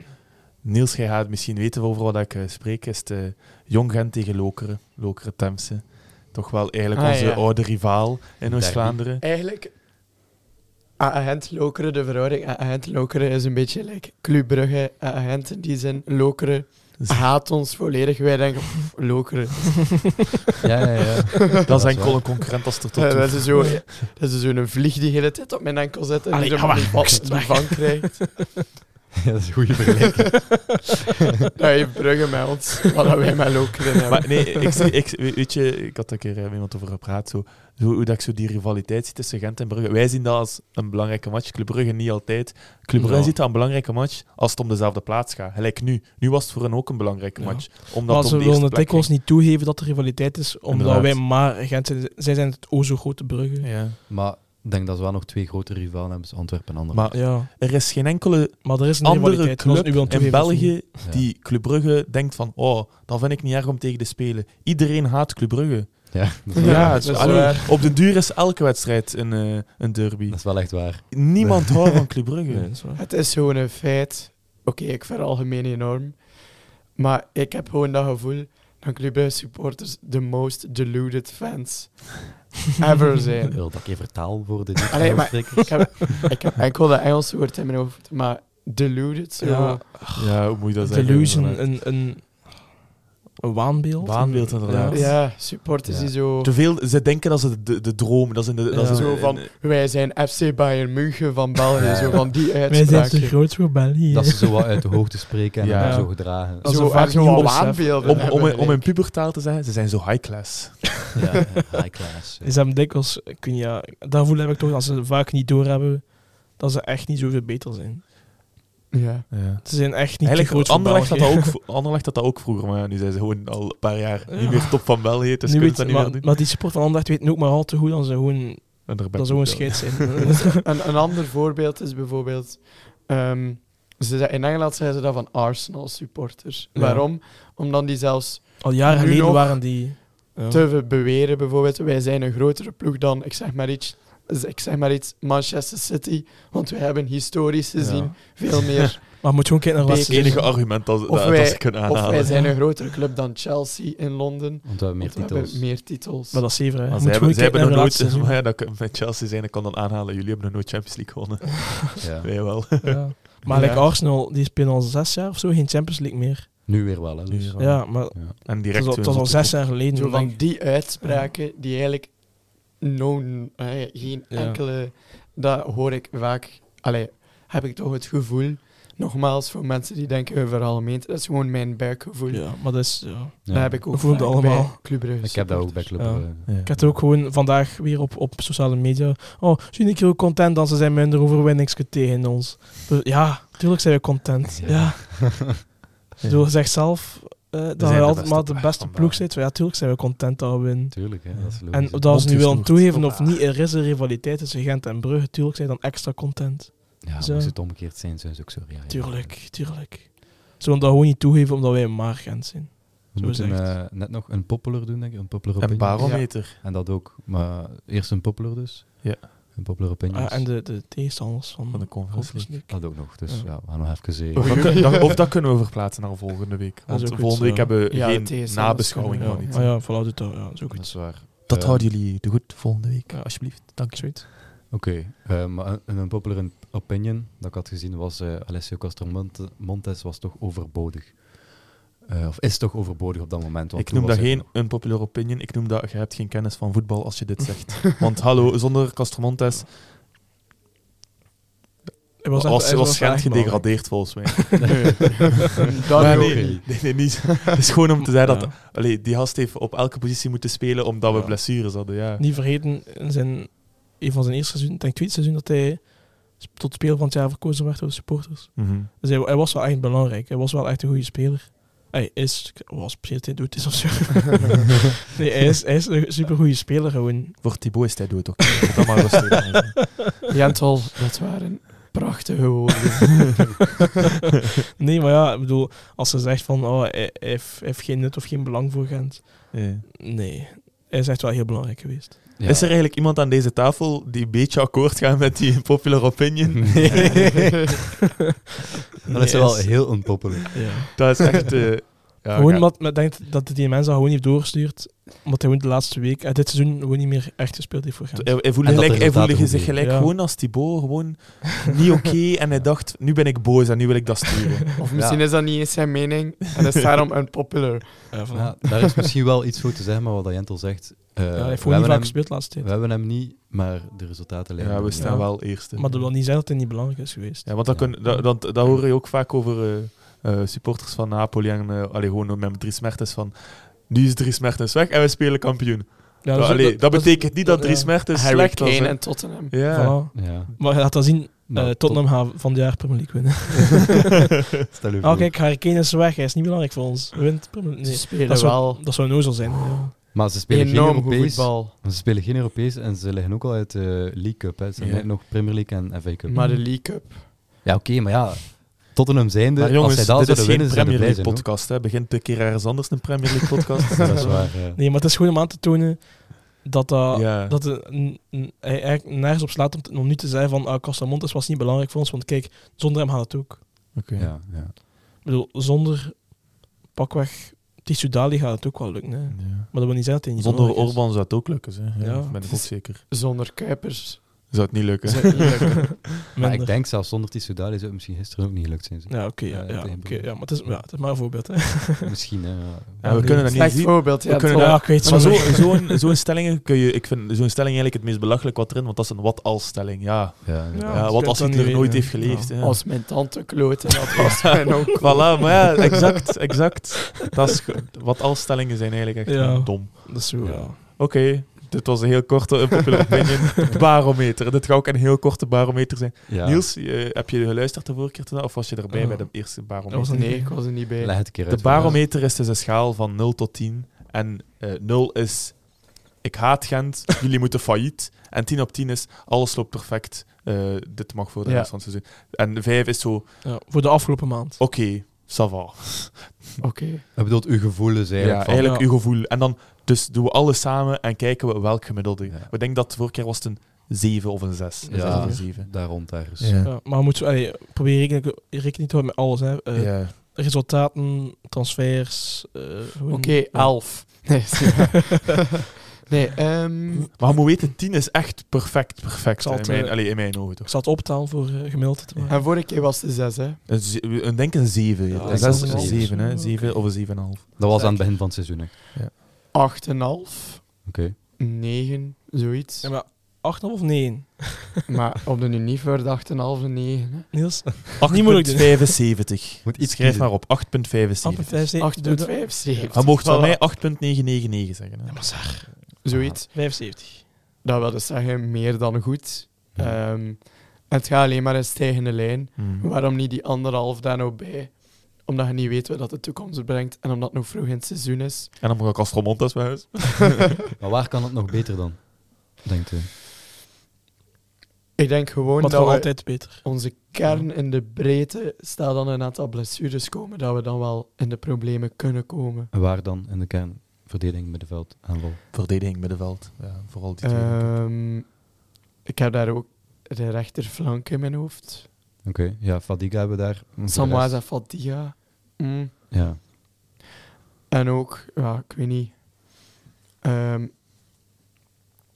Speaker 3: Niels, jij gaat het misschien weten over wat ik eh, spreek. Is het eh, Jong Gent tegen Lokeren. Lokeren Temse. Toch wel eigenlijk
Speaker 4: Ah,
Speaker 3: onze
Speaker 4: ja.
Speaker 3: oude rivaal in Oost-Vlaanderen.
Speaker 4: Eigenlijk, agent Lokeren, de verhouding agent Lokeren is een beetje like Club Brugge. Agenten die zijn Lokeren
Speaker 3: Dus
Speaker 4: haat ons volledig. Wij denken, pff, Lokeren.
Speaker 1: Ja, ja, ja.
Speaker 3: dat is
Speaker 1: waar.
Speaker 3: enkel een concurrent als er tot
Speaker 4: Ja,
Speaker 3: toe.
Speaker 4: [LAUGHS] dat is zo- dat is zo'n vlieg die de hele tijd op mijn enkel zit en
Speaker 2: Allee,
Speaker 4: die er
Speaker 2: ga
Speaker 4: maar
Speaker 2: maar.
Speaker 4: niet van-
Speaker 2: Kst,
Speaker 4: niet
Speaker 2: weg.
Speaker 4: van krijgt.
Speaker 1: [LAUGHS] Ja, dat is een goede vergelijking.
Speaker 4: Dat heeft Brugge met ons, wat wij met Lokeren hebben.
Speaker 3: Maar nee, ik, zie- ik, weet je, ik had daar een keer eh, met iemand over gepraat, zo, zo, hoe dat ik zo die rivaliteit zie tussen Gent en Brugge. Wij zien dat als een belangrijke match, Club Brugge niet altijd. Club Brugge
Speaker 2: Ja.
Speaker 3: ziet dat een belangrijke match als het om dezelfde plaats gaat. Gelijk nu. Nu was het voor hen ook een belangrijke
Speaker 2: Ja.
Speaker 3: match.
Speaker 2: maar
Speaker 3: Omdat het
Speaker 2: ze
Speaker 3: om de eerste
Speaker 2: willen het
Speaker 3: plek
Speaker 2: dikwijls niet toegeven dat er rivaliteit is, omdat
Speaker 3: Inderdaad.
Speaker 2: wij maar Gent zijn. Zij zijn het o zo grote Brugge.
Speaker 3: ging.
Speaker 2: Ja.
Speaker 3: Ja.
Speaker 1: maar ik denk dat ze wel nog twee grote rivalen hebben, dus Antwerpen en Anderlecht.
Speaker 3: Maar er is geen enkele
Speaker 2: Maar er is een
Speaker 3: andere
Speaker 2: rivaliteit. en als
Speaker 3: club
Speaker 2: het nu willen
Speaker 3: in
Speaker 2: toegeven, of niet.
Speaker 3: België
Speaker 1: Ja.
Speaker 3: die Club Brugge denkt van oh, dat vind ik niet erg om tegen te spelen. Iedereen haat Club Brugge.
Speaker 1: Ja,
Speaker 3: [LAUGHS]
Speaker 1: dat is,
Speaker 4: Ja,
Speaker 1: wel,
Speaker 4: dat
Speaker 3: het is-
Speaker 4: is
Speaker 3: allee,
Speaker 4: waar.
Speaker 3: op de duur is elke wedstrijd een, eh, een derby.
Speaker 1: dat is wel echt waar.
Speaker 3: Niemand houdt van Club Brugge.
Speaker 2: Nee, dat is
Speaker 3: [LAUGHS]
Speaker 2: waar.
Speaker 4: Het is gewoon een feit. Oké, ik veralgemeen enorm. Maar ik heb gewoon dat gevoel dan Clube supporters de most deluded fans
Speaker 2: [LAUGHS]
Speaker 4: ever zijn.
Speaker 1: Wil dat ik even vertaal voor de
Speaker 4: Allee, maar-
Speaker 1: niet-Afrikers?
Speaker 4: Ik heb,
Speaker 3: [LAUGHS]
Speaker 4: ik heb enkel dat Engelse woord in mijn hoofd, maar deluded, zo.
Speaker 2: Ja,
Speaker 3: Ja, hoe moet je dat zeggen?
Speaker 2: delusion,
Speaker 3: inderdaad?
Speaker 2: een, een, een waanbeeld.
Speaker 3: Waanbeeld,
Speaker 2: Een-
Speaker 3: inderdaad.
Speaker 2: Ja.
Speaker 4: Ja, supporters
Speaker 1: Ja.
Speaker 4: die zo...
Speaker 3: eh, Te veel, ze denken dat ze de, de droom, dat is in de, dat
Speaker 2: Ja.
Speaker 3: is
Speaker 4: Zo van, wij zijn FC Bayern München van België,
Speaker 1: Ja.
Speaker 4: zo van die
Speaker 2: Wij zijn
Speaker 4: uitspraak.
Speaker 2: te groot voor België. [LAUGHS]
Speaker 1: Dat ze zo wat uit de hoogte spreken en
Speaker 3: Ja.
Speaker 1: dan zo gedragen.
Speaker 2: Dat is
Speaker 4: zo
Speaker 2: een vaak
Speaker 4: en zo
Speaker 2: nieuw
Speaker 4: wat
Speaker 2: besef.
Speaker 4: waanbeelden
Speaker 3: om, om,
Speaker 4: hebben,
Speaker 3: om in
Speaker 4: like.
Speaker 3: pubertaal te zeggen, ze zijn zo high class.
Speaker 1: Ja, high class.
Speaker 2: Is hem dikwijls, ik weet niet, ja, dat voel heb ik toch dat ze vaak niet doorhebben dat ze echt niet zoveel beter zijn.
Speaker 4: Ja.
Speaker 3: Ja.
Speaker 2: Ze zijn echt niet te
Speaker 3: Eigenlijk,
Speaker 2: groot voor
Speaker 3: Anderlecht had,
Speaker 2: België.
Speaker 3: dat
Speaker 2: [LAUGHS]
Speaker 3: ook, vro- Anderlecht had dat ook vroeger, maar ja, nu zijn ze gewoon al een paar jaar
Speaker 2: Ja.
Speaker 3: niet meer top van België, dus
Speaker 2: Nu
Speaker 3: kunnen
Speaker 2: weet-
Speaker 3: ze dat niet
Speaker 2: maar,
Speaker 3: meer doen.
Speaker 2: maar die support van Anderlecht weten ook maar al te goed dat ze gewoon,
Speaker 3: En daar ben
Speaker 2: dat
Speaker 3: ik
Speaker 2: ze gewoon
Speaker 3: ook wel.
Speaker 2: scheid zijn. [LAUGHS]
Speaker 3: [LAUGHS]
Speaker 4: Een, een ander voorbeeld is bijvoorbeeld... ehm, ze, zei- in Engeland zeiden ze dat van Arsenal supporters.
Speaker 2: Ja.
Speaker 4: Waarom? Omdat die zelfs
Speaker 2: al jaren
Speaker 4: Nu
Speaker 2: geleden
Speaker 4: nog
Speaker 2: waren die... Ja.
Speaker 4: te we- beweren bijvoorbeeld, wij zijn een grotere ploeg dan, ik zeg maar iets, z- ik zeg maar iets Manchester City, want we hebben historisch gezien
Speaker 3: Ja.
Speaker 4: veel meer.
Speaker 2: Maar moet je gewoon kijken naar wat
Speaker 3: Het
Speaker 2: ze
Speaker 4: Beker.
Speaker 3: enige argument dat, dat,
Speaker 4: wij-
Speaker 3: dat ze kunnen
Speaker 4: of wij
Speaker 3: aanhalen.
Speaker 4: zijn een grotere club dan Chelsea in Londen.
Speaker 1: Want we hebben meer
Speaker 4: want we hebben
Speaker 1: titels.
Speaker 4: meer titels.
Speaker 2: Maar dat is zeven, hè.
Speaker 3: Maar
Speaker 2: Moet
Speaker 3: ze hebben,
Speaker 2: gewoon
Speaker 3: ze hebben nog
Speaker 2: kijken naar
Speaker 3: nooit,
Speaker 2: hun
Speaker 3: [LAUGHS] maar
Speaker 2: laatste
Speaker 3: ja, dat kan- met Chelsea zijn, ik kan dan aanhalen, jullie hebben nog nooit Champions League
Speaker 2: [LAUGHS]
Speaker 3: gewonnen.
Speaker 1: Ja.
Speaker 3: Wij wel.
Speaker 2: seizoen. Ja. Maar
Speaker 3: Ja.
Speaker 2: like Arsenal, die spelen al zes jaar of zo geen Champions League meer.
Speaker 1: Nu weer wel, hè. Dus.
Speaker 3: Ja.
Speaker 2: Ja, maar
Speaker 3: En
Speaker 2: het
Speaker 3: direct
Speaker 2: was al, het was al
Speaker 3: zo-
Speaker 2: zes jaar geleden.
Speaker 4: Zo van
Speaker 2: denk ik.
Speaker 4: die uitspraken die eigenlijk no, eh, geen
Speaker 2: Ja.
Speaker 4: enkele. Dat hoor ik vaak. Allee, heb ik toch het gevoel. Nogmaals, voor mensen die denken vooral meent, dat is gewoon mijn buikgevoel.
Speaker 2: ja, maar dat is... Ja.
Speaker 1: Ja.
Speaker 4: Dat heb ik ook
Speaker 2: Ik voel het
Speaker 4: vaak
Speaker 2: allemaal.
Speaker 4: bij Club Brugge
Speaker 1: Ik heb dat ook bij
Speaker 4: supporters.
Speaker 1: Club. eh,
Speaker 2: Ja.
Speaker 1: Brugge.
Speaker 3: Ja.
Speaker 2: Ik had ook gewoon vandaag weer op, op sociale media. Oh, zijn ik heel content dan ze zijn minder overwinningske tegen ons. Dus ja, tuurlijk zijn we content.
Speaker 1: Ja.
Speaker 2: Ja. Zo zegt zelf eh, dat
Speaker 3: zijn
Speaker 2: we
Speaker 3: de
Speaker 2: altijd
Speaker 3: beste
Speaker 2: maar de
Speaker 3: ploeg
Speaker 2: beste
Speaker 3: van
Speaker 2: ploeg
Speaker 3: België.
Speaker 2: zijn. Ja, tuurlijk zijn we content dat we winnen.
Speaker 1: Tuurlijk, hè.
Speaker 3: Ja.
Speaker 1: Dat is
Speaker 2: En
Speaker 1: logisch. hè.
Speaker 2: dat ze nu willen
Speaker 3: Mondgesnoerd.
Speaker 2: toegeven of
Speaker 3: Voilà.
Speaker 2: niet, er is een rivaliteit tussen Gent en Brugge. Tuurlijk zijn we dan extra content.
Speaker 1: Ja,
Speaker 2: Zo.
Speaker 1: moest het omgekeerd zijn, zijn ze ook zo. Ja, ja.
Speaker 2: Tuurlijk, tuurlijk. Ze willen dat gewoon niet toegeven omdat wij maar Gent zijn.
Speaker 1: We
Speaker 2: zo
Speaker 1: moeten
Speaker 2: gezegd.
Speaker 1: eh, net nog een popular doen, denk ik. Een popular
Speaker 3: Een
Speaker 1: opinion.
Speaker 3: barometer.
Speaker 1: En dat ook. Maar eerst een popular dus.
Speaker 3: Ja.
Speaker 1: Een popular opinion.
Speaker 2: Ah, en de, de tegenstanders van,
Speaker 3: Van de Conference
Speaker 2: Conference League.
Speaker 1: Dat ook nog. Dus
Speaker 2: Ja.
Speaker 1: ja, we gaan nog even zien.
Speaker 4: Oei.
Speaker 3: Of dat, kun-
Speaker 2: [LAUGHS]
Speaker 3: dat- of dat kunnen we verplaatsen naar volgende week.
Speaker 2: is
Speaker 3: Want
Speaker 2: ook goed,
Speaker 3: volgende week
Speaker 2: ja.
Speaker 3: hebben we
Speaker 4: Ja, het is,
Speaker 3: geen
Speaker 4: anders
Speaker 3: nabeschouwing
Speaker 4: kunnen
Speaker 3: van
Speaker 4: we
Speaker 2: Ja,
Speaker 3: iets.
Speaker 2: ah ja, voilà, doet dat. Ja, zo
Speaker 1: Dat
Speaker 2: goed.
Speaker 1: is waar.
Speaker 3: Dat
Speaker 1: Eh,
Speaker 3: houden jullie de goed volgende week,
Speaker 2: Ja.
Speaker 3: alsjeblieft. Dank je.
Speaker 2: Zoiets.
Speaker 1: Oké, eh, maar een, een popular opinion dat ik had gezien was eh Alessio Castromontes was toch overbodig. Eh, of is toch overbodig op dat moment. Want
Speaker 3: Ik
Speaker 1: toen
Speaker 3: noem dat
Speaker 1: was hij
Speaker 3: geen
Speaker 1: nog-
Speaker 3: unpopular opinion. Ik noem dat je hebt geen kennis van voetbal als je
Speaker 2: [LAUGHS]
Speaker 3: dit zegt. Want hallo, zonder Castromontes
Speaker 2: Hij
Speaker 3: was,
Speaker 2: echt-
Speaker 3: was,
Speaker 2: hij
Speaker 3: Gent
Speaker 2: echt belachelijk.
Speaker 3: gedegradeerd volgens
Speaker 2: [LAUGHS]
Speaker 3: mij.
Speaker 4: Dat
Speaker 3: Maar
Speaker 4: ook.
Speaker 3: nee, nee, nee, nee, niet. Het is gewoon
Speaker 2: [LAUGHS]
Speaker 3: om te zeggen dat
Speaker 2: Ja.
Speaker 3: allee, die gast heeft op elke positie moeten spelen omdat we
Speaker 2: Ja.
Speaker 3: blessures hadden. Ja.
Speaker 2: Niet vergeten, in zijn, een van zijn eerste seizoen, ik denk tweede seizoen, dat hij sp- tot speler van het jaar verkozen werd door de supporters.
Speaker 3: Mhm.
Speaker 2: Dus hij, hij was wel echt belangrijk. Hij was wel echt een goede speler. Hij is, ik- was precies hij doet is of zo.
Speaker 1: [LAUGHS]
Speaker 2: nee, hij is, hij is een supergoeie
Speaker 1: [LAUGHS]
Speaker 2: speler gewoon.
Speaker 3: Voor Thibaut is hij dood [LAUGHS] ook. Dat maar rustig.
Speaker 4: [LAUGHS] Jentel, dat waren prachtige woorden.
Speaker 2: Nee, maar ja, ik bedoel, als ze zegt van, oh, hij, hij heeft, hij heeft geen nut of geen belang voor Gent.
Speaker 3: Ja.
Speaker 2: Nee, hij is echt wel heel belangrijk
Speaker 1: [LAUGHS] [LAUGHS]
Speaker 2: geweest.
Speaker 1: Ja.
Speaker 3: Is er eigenlijk iemand aan deze tafel die een beetje akkoord gaat met die [LAUGHS] popular opinion?
Speaker 2: Mm.
Speaker 1: Dat is
Speaker 2: Nee,
Speaker 1: wel
Speaker 2: hij is-
Speaker 1: heel unpopular.
Speaker 2: ja.
Speaker 3: [LAUGHS] Dat is echt... eh, ja,
Speaker 2: gewoon
Speaker 3: ja.
Speaker 2: omdat men denkt dat hij die mensen dat gewoon heeft doorgestuurd. Omdat hij gewoon de laatste week, eh, dit seizoen, gewoon niet meer echt gespeeld heeft voor Gent.
Speaker 3: Hij, hij voelde,
Speaker 1: En dat
Speaker 3: gelijk, hij
Speaker 1: resultaat
Speaker 3: voelde
Speaker 1: er
Speaker 3: zich
Speaker 1: goed
Speaker 3: gelijk
Speaker 2: Ja.
Speaker 3: gewoon als Thibaut, gewoon niet oké. en hij dacht, nu ben ik boos en nu wil ik dat
Speaker 4: [LAUGHS]
Speaker 3: sturen.
Speaker 4: Of misschien is dat niet eens zijn mening en is daarom unpopular.
Speaker 2: Ja, voilà.
Speaker 1: Ja, daar is misschien wel iets voor te zeggen, maar wat dat Jentel zegt. eh,
Speaker 2: Ja, hij heeft
Speaker 1: we,
Speaker 2: gewoon niet
Speaker 1: hebben
Speaker 2: vaak
Speaker 1: hem,
Speaker 2: gespeeld de laatste
Speaker 1: we
Speaker 2: tijd.
Speaker 1: hebben hem niet, maar de resultaten lijken.
Speaker 3: Ja, we
Speaker 1: hem
Speaker 3: staan
Speaker 1: niet.
Speaker 3: wel eerste.
Speaker 2: Maar dat wil niet zeggen dat hij niet belangrijk is geweest.
Speaker 3: Ja, want dat,
Speaker 1: Ja.
Speaker 3: kun- dat, dat, dat hoor je ook vaak over eh, eh, supporters van Napoli en eh allee, gewoon met Dries Mertens van... Nu is Dries Mertens weg en we spelen kampioen.
Speaker 2: Ja,
Speaker 3: dat,
Speaker 2: dus
Speaker 3: allee,
Speaker 2: dat-
Speaker 3: dat,
Speaker 2: dat-
Speaker 3: betekent niet dat
Speaker 2: ja.
Speaker 3: Dries Mertens
Speaker 4: Harry
Speaker 3: slecht was.
Speaker 4: Kane
Speaker 3: hè.
Speaker 4: en Tottenham.
Speaker 3: Ja.
Speaker 2: voilà.
Speaker 1: Ja.
Speaker 2: Maar je laat dat zien, eh,
Speaker 1: Nou, tot-
Speaker 2: Tottenham gaat van het jaar Premier League winnen.
Speaker 1: Stel u
Speaker 2: Oh
Speaker 1: voor.
Speaker 2: kijk, Harry Kane is weg, hij is niet belangrijk voor ons. Hij Wint Premier League.
Speaker 4: Ze
Speaker 2: Nee,
Speaker 4: spelen
Speaker 2: dat,
Speaker 4: wel
Speaker 2: zou, dat zou een ozel zijn. Ja.
Speaker 1: Maar ze spelen geen
Speaker 4: enorm goed
Speaker 1: Europees.
Speaker 4: voetbal.
Speaker 1: Ze spelen geen Europees en ze liggen ook al uit de League Cup. Hè. Ze zijn
Speaker 3: Ja.
Speaker 1: net nog Premier League en FA Cup.
Speaker 4: Maar de League Cup.
Speaker 1: Ja, oké, maar ja. Tottenham zijnde,
Speaker 3: Maar
Speaker 1: als
Speaker 3: jongens,
Speaker 1: zij dat
Speaker 3: dit is
Speaker 1: zouden
Speaker 3: geen
Speaker 1: winnen, zijn ze
Speaker 3: Premier
Speaker 1: blij
Speaker 3: League
Speaker 1: zijn. hoor.
Speaker 3: podcast. Hè. Begint een keer ergens anders een Premier League
Speaker 1: [LAUGHS]
Speaker 3: podcast.
Speaker 1: Dat is
Speaker 3: [LAUGHS]
Speaker 1: waar, ja.
Speaker 2: Nee, maar het is gewoon om aan te tonen dat dat...
Speaker 3: Ja.
Speaker 2: Dat de- n- n- hij eigenlijk nergens op slaat om, te- om nu te zeggen van ah, Castamontes was niet belangrijk voor ons, want kijk, zonder hem gaat het ook.
Speaker 3: Oké.
Speaker 1: Ja, ja.
Speaker 2: Ik bedoel, zonder pakweg Tissu Dali gaat het ook wel lukken. Hè. Maar
Speaker 3: Ja.
Speaker 2: dat wil niet zeggen dat hij niet
Speaker 3: Zonder
Speaker 2: belangrijk is.
Speaker 3: Orban zou het ook lukken, hè? Ja,
Speaker 2: Ja.
Speaker 3: ben ik ook zeker.
Speaker 4: Zonder Kuipers.
Speaker 3: Zou het niet lukken?
Speaker 4: zou het niet lukken.
Speaker 1: Maar ik
Speaker 2: [LAUGHS] Minder.
Speaker 1: denk zelfs zonder Tissoudali zou het misschien gisteren ook niet gelukt zijn.
Speaker 2: Ja, oké. ja,
Speaker 1: Ja,
Speaker 2: ja,
Speaker 1: tegen
Speaker 2: oké,
Speaker 1: Brugge.
Speaker 2: ja, maar het is, ja, het is maar een voorbeeld.
Speaker 1: [LAUGHS]
Speaker 2: Hè.
Speaker 1: Misschien, hè. ja.
Speaker 3: Ja, we kunnen dat niet
Speaker 4: Slecht
Speaker 3: zien.
Speaker 4: voorbeeld. Ja,
Speaker 3: We kunnen
Speaker 2: [LAUGHS]
Speaker 4: het-
Speaker 2: Ja, ik weet
Speaker 3: Maar
Speaker 2: zo.
Speaker 3: zo- zo'n zo stellingen kun je, ik vind zo'n stelling eigenlijk het meest belachelijk wat erin, want dat is een wat-als-stelling. Ja.
Speaker 1: Ja,
Speaker 3: Ja,
Speaker 1: inderdaad.
Speaker 2: dat
Speaker 3: wat
Speaker 2: kan
Speaker 3: als
Speaker 2: dan
Speaker 3: Hitler
Speaker 2: niet
Speaker 3: nooit
Speaker 2: weten.
Speaker 3: heeft geleefd. Ja.
Speaker 4: Als mijn tante kloten dat was mijn
Speaker 3: [LAUGHS]
Speaker 4: ook.
Speaker 3: Voilà, maar ja, exact, exact. Dat is, ge- wat-als-stellingen zijn eigenlijk echt
Speaker 2: Ja.
Speaker 3: dom.
Speaker 2: Dat is zo, ja.
Speaker 3: Oké, dit was een heel korte unpopular opinion. De barometer. Dit gaat ook een heel korte barometer zijn.
Speaker 1: Ja.
Speaker 3: Niels, je- heb je geluisterd de vorige keer? te- Of was je erbij
Speaker 2: Eh,
Speaker 3: bij de eerste barometer?
Speaker 2: dat was een
Speaker 4: Nee, ik was er niet bij.
Speaker 1: Leg het een keer uit.
Speaker 3: De barometer is dus een schaal van 0 tot 10. En eh 0 is, ik
Speaker 2: [LAUGHS]
Speaker 3: haat Gent, jullie moeten failliet. En 10 op 10 is, alles loopt perfect. eh, dit mag voor de
Speaker 4: Ja.
Speaker 3: rest van het seizoen. En 5 is zo, oké,
Speaker 2: Ja, Voor de afgelopen maand.
Speaker 3: Oh, ça va.
Speaker 4: Oké.
Speaker 1: Ik bedoel, uw gevoelens
Speaker 3: Ja,
Speaker 1: eigenlijk.
Speaker 3: eigenlijk,
Speaker 1: van-
Speaker 2: Ja.
Speaker 3: uw gevoel. En dan, dus doen we alles samen en kijken we welk gemiddelde.
Speaker 1: Ja.
Speaker 3: We denken dat de vorige keer was het een 7 of een 6. Een
Speaker 1: Ja.
Speaker 3: zes of een 7.
Speaker 1: daar rond ergens.
Speaker 2: Ja, maar we moeten allee, probeer rekening, rekening te houden met alles. Hè. Eh,
Speaker 3: Ja.
Speaker 2: Resultaten, transfers. eh, gewoon-
Speaker 4: Oké, elf. [LAUGHS] Nee, sorry. nee ehm,
Speaker 3: Maar je moet weten, 10 is echt perfect, perfect.
Speaker 2: zal het,
Speaker 3: in, mijn,
Speaker 2: eh,
Speaker 3: allee, in mijn ogen toch.
Speaker 2: Ik zal het optalen voor eh, gemiddelde te maken.
Speaker 4: en vorige keer was het de zes, hè?
Speaker 3: Een ze- Een denk een 7.
Speaker 2: Ja,
Speaker 3: een 6
Speaker 1: zes
Speaker 3: een
Speaker 1: of
Speaker 3: 7, hè?
Speaker 2: zo,
Speaker 3: 7 of een 7,5.
Speaker 1: Dat was aan het begin van het seizoen. Hè.
Speaker 4: Acht en half,
Speaker 1: Oké.
Speaker 4: negen, zoiets.
Speaker 2: Ja, maar 8,5 of 9?
Speaker 4: Maar op de Unie voor de acht en half en negen.
Speaker 2: Niels?
Speaker 3: 8,75.
Speaker 2: [LAUGHS]
Speaker 1: Moet iets
Speaker 3: Schrijf
Speaker 1: kiezen.
Speaker 3: maar op 8,75.
Speaker 2: 8,75.
Speaker 4: Acht
Speaker 2: doe
Speaker 4: en
Speaker 2: dat.
Speaker 4: vijf,
Speaker 3: Je mocht van mij 8,999 zeggen. Hè?
Speaker 2: Ja, maar zeg,
Speaker 4: Zoiets.
Speaker 2: 75.
Speaker 4: Dat wil dus zeggen, meer dan goed.
Speaker 1: Ja.
Speaker 4: Ehm, het gaat alleen maar een stijgende lijn.
Speaker 3: Hmm.
Speaker 4: Waarom niet die anderhalf daar nou bij? Omdat je niet weet wat dat de toekomst brengt en omdat het nog vroeg in het seizoen is.
Speaker 3: En dan mag ik Astromontas bij huis.
Speaker 1: Maar waar kan het nog beter dan? Denkt u?
Speaker 4: Ik denk gewoon
Speaker 2: Wat
Speaker 4: dat
Speaker 2: wel
Speaker 4: we
Speaker 2: altijd beter.
Speaker 4: onze kern in de breedte, stel dan een aantal blessures komen, dat we dan wel in de problemen kunnen komen.
Speaker 1: En waar dan in de kern? Verdediging, middenveld, aanval.
Speaker 3: Verdediging middenveld. Ja, vooral die twee.
Speaker 2: Eh.
Speaker 4: Ehm, ik heb daar ook de rechterflank in mijn hoofd.
Speaker 1: Oké, ja, Fadiga hebben we daar. Voor de rest-
Speaker 4: Samuaza Fatiga. Mm.
Speaker 1: Ja.
Speaker 4: En ook, ja, ik weet niet. Ehm,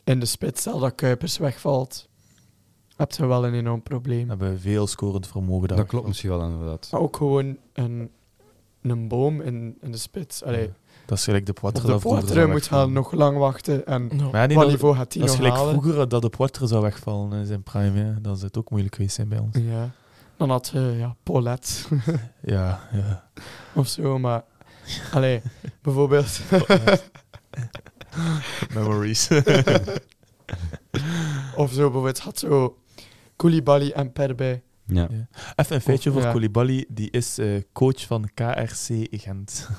Speaker 4: in de spits, stel dat Kuipers wegvalt, heb je wel een enorm probleem.
Speaker 3: hebben we veel scorend vermogen daar.
Speaker 1: Dat klopt Oh. misschien wel inderdaad.
Speaker 4: Maar ook gewoon een, een boom in, in de spits. Allee,
Speaker 3: Ja. Dat is gelijk de
Speaker 4: op
Speaker 3: Poitre.
Speaker 4: de
Speaker 3: dat vroeger
Speaker 4: Poitre
Speaker 3: zou
Speaker 4: moet
Speaker 3: wegvallen.
Speaker 4: gaan nog lang wachten. En
Speaker 2: No.
Speaker 3: Maar ja, nee,
Speaker 4: wat
Speaker 3: dat-
Speaker 4: niveau gaat hij
Speaker 3: dat is
Speaker 4: nog
Speaker 3: gelijk
Speaker 4: halen?
Speaker 3: vroeger dat de Poitre zou wegvallen in zijn prime. Hè. Dan zou het ook moeilijk geweest zijn bij ons.
Speaker 4: Ja. Dan had je ja, Paulet
Speaker 3: Ja, ja.
Speaker 4: [LAUGHS] of zo, maar... Allee, bijvoorbeeld...
Speaker 3: [LAUGHS]
Speaker 4: [LAUGHS]
Speaker 3: Memories.
Speaker 4: Of zo, bijvoorbeeld had zo Koulibaly en Perbij.
Speaker 1: Ja.
Speaker 3: [LAUGHS] Even een feitje voor
Speaker 4: Ja.
Speaker 3: Koulibaly. Die is eh, coach van KRC Gent.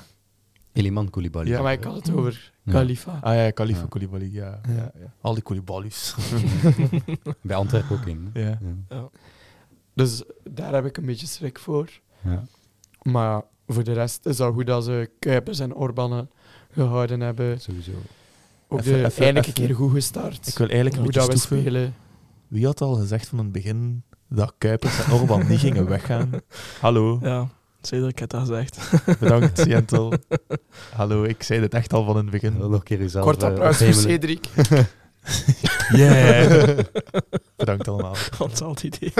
Speaker 1: Eliman Koulibaly.
Speaker 4: Ja, maar ik had het over
Speaker 1: Ja.
Speaker 4: Khalifa.
Speaker 3: Ah ja, Khalifa
Speaker 1: Ja.
Speaker 3: Koulibaly. Ja.
Speaker 4: Ja.
Speaker 3: Ja, ja. Al die Koulibaly's.
Speaker 1: [LAUGHS] Bij Antwerpen ook in.
Speaker 3: ja.
Speaker 1: Ja.
Speaker 4: Dus daar heb ik een beetje schrik voor.
Speaker 1: Ja.
Speaker 4: Maar voor de rest is dat goed dat ze Kuipers en Orbanen gehouden hebben.
Speaker 1: Sowieso.
Speaker 4: Ook
Speaker 3: Even-
Speaker 4: de
Speaker 3: even-
Speaker 4: eindelijk een
Speaker 3: even-
Speaker 4: keer goed
Speaker 3: [LAUGHS]
Speaker 4: gestart.
Speaker 3: Ik wil eigenlijk een
Speaker 4: hoe
Speaker 3: beetje
Speaker 4: dat we
Speaker 3: stoeven.
Speaker 4: spelen.
Speaker 3: Wie had al gezegd van het begin dat Kuipers en Orban niet gingen weggaan? Hallo,
Speaker 2: Ja, Cedric had dat gezegd. [LAUGHS]
Speaker 3: bedankt Jentel. [LAUGHS] Hallo, ik zei dit echt al van in het
Speaker 1: En dan
Speaker 3: begin.
Speaker 1: nog een keer jezelf.
Speaker 4: Kort
Speaker 1: eh,
Speaker 4: applaus voor
Speaker 1: ophemelen.
Speaker 4: Cedric.
Speaker 3: Yeah. [LAUGHS] bedankt allemaal.
Speaker 2: Ontzaald idee.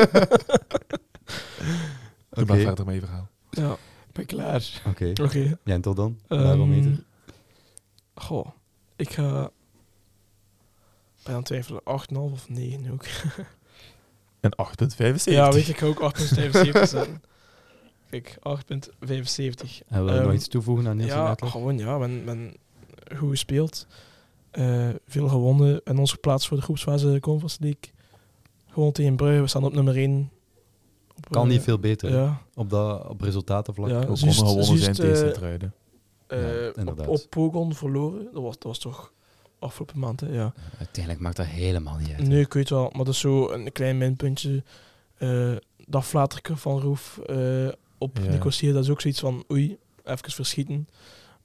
Speaker 3: Doe maar
Speaker 1: Oké.
Speaker 3: verder met je verhaal.
Speaker 2: Ja,
Speaker 4: Ik ben klaar.
Speaker 1: Oké.
Speaker 2: oké.
Speaker 1: Jentel dan?
Speaker 2: Ehm,
Speaker 1: Barometer.
Speaker 2: Goh, ik ga... Ik ben aan het twijfelen, 8,5 of 9 ook.
Speaker 3: Een
Speaker 2: [LAUGHS]
Speaker 3: 8,75.
Speaker 2: Ja, weet je, ik ga ook 8,75 zetten. [LAUGHS] Kijk, 8,75.
Speaker 1: En wil je
Speaker 2: ehm,
Speaker 1: nog iets toevoegen aan Niels en
Speaker 2: Ja,
Speaker 1: Edler?
Speaker 2: gewoon ja, men, men goed gespeeld. Eh, veel gewonnen en ons geplaatst voor de groepsfase de Conference League. Gewoon tegen Brugge, we staan op nummer 1. Op,
Speaker 1: Kan
Speaker 2: eh,
Speaker 1: niet veel beter. hè.
Speaker 2: Ja,
Speaker 1: Op, dat, op resultatenvlak.
Speaker 2: Ja,
Speaker 1: ook.
Speaker 3: Ook ongewonnen
Speaker 2: Juist,
Speaker 3: zijn
Speaker 2: eh,
Speaker 3: tegen Sint-Truiden.
Speaker 2: eh, op,
Speaker 1: inderdaad.
Speaker 2: op Pogon verloren, dat was, dat was toch afgelopen maand, hè? Ja.
Speaker 1: Uiteindelijk maakt dat helemaal niet uit. hè.
Speaker 2: Nee, ik weet wel, maar dat is zo een klein minpuntje. Eh, dat flaterke van Roef eh, op
Speaker 3: Ja.
Speaker 2: Nicosia, dat is ook zoiets van oei, even verschieten.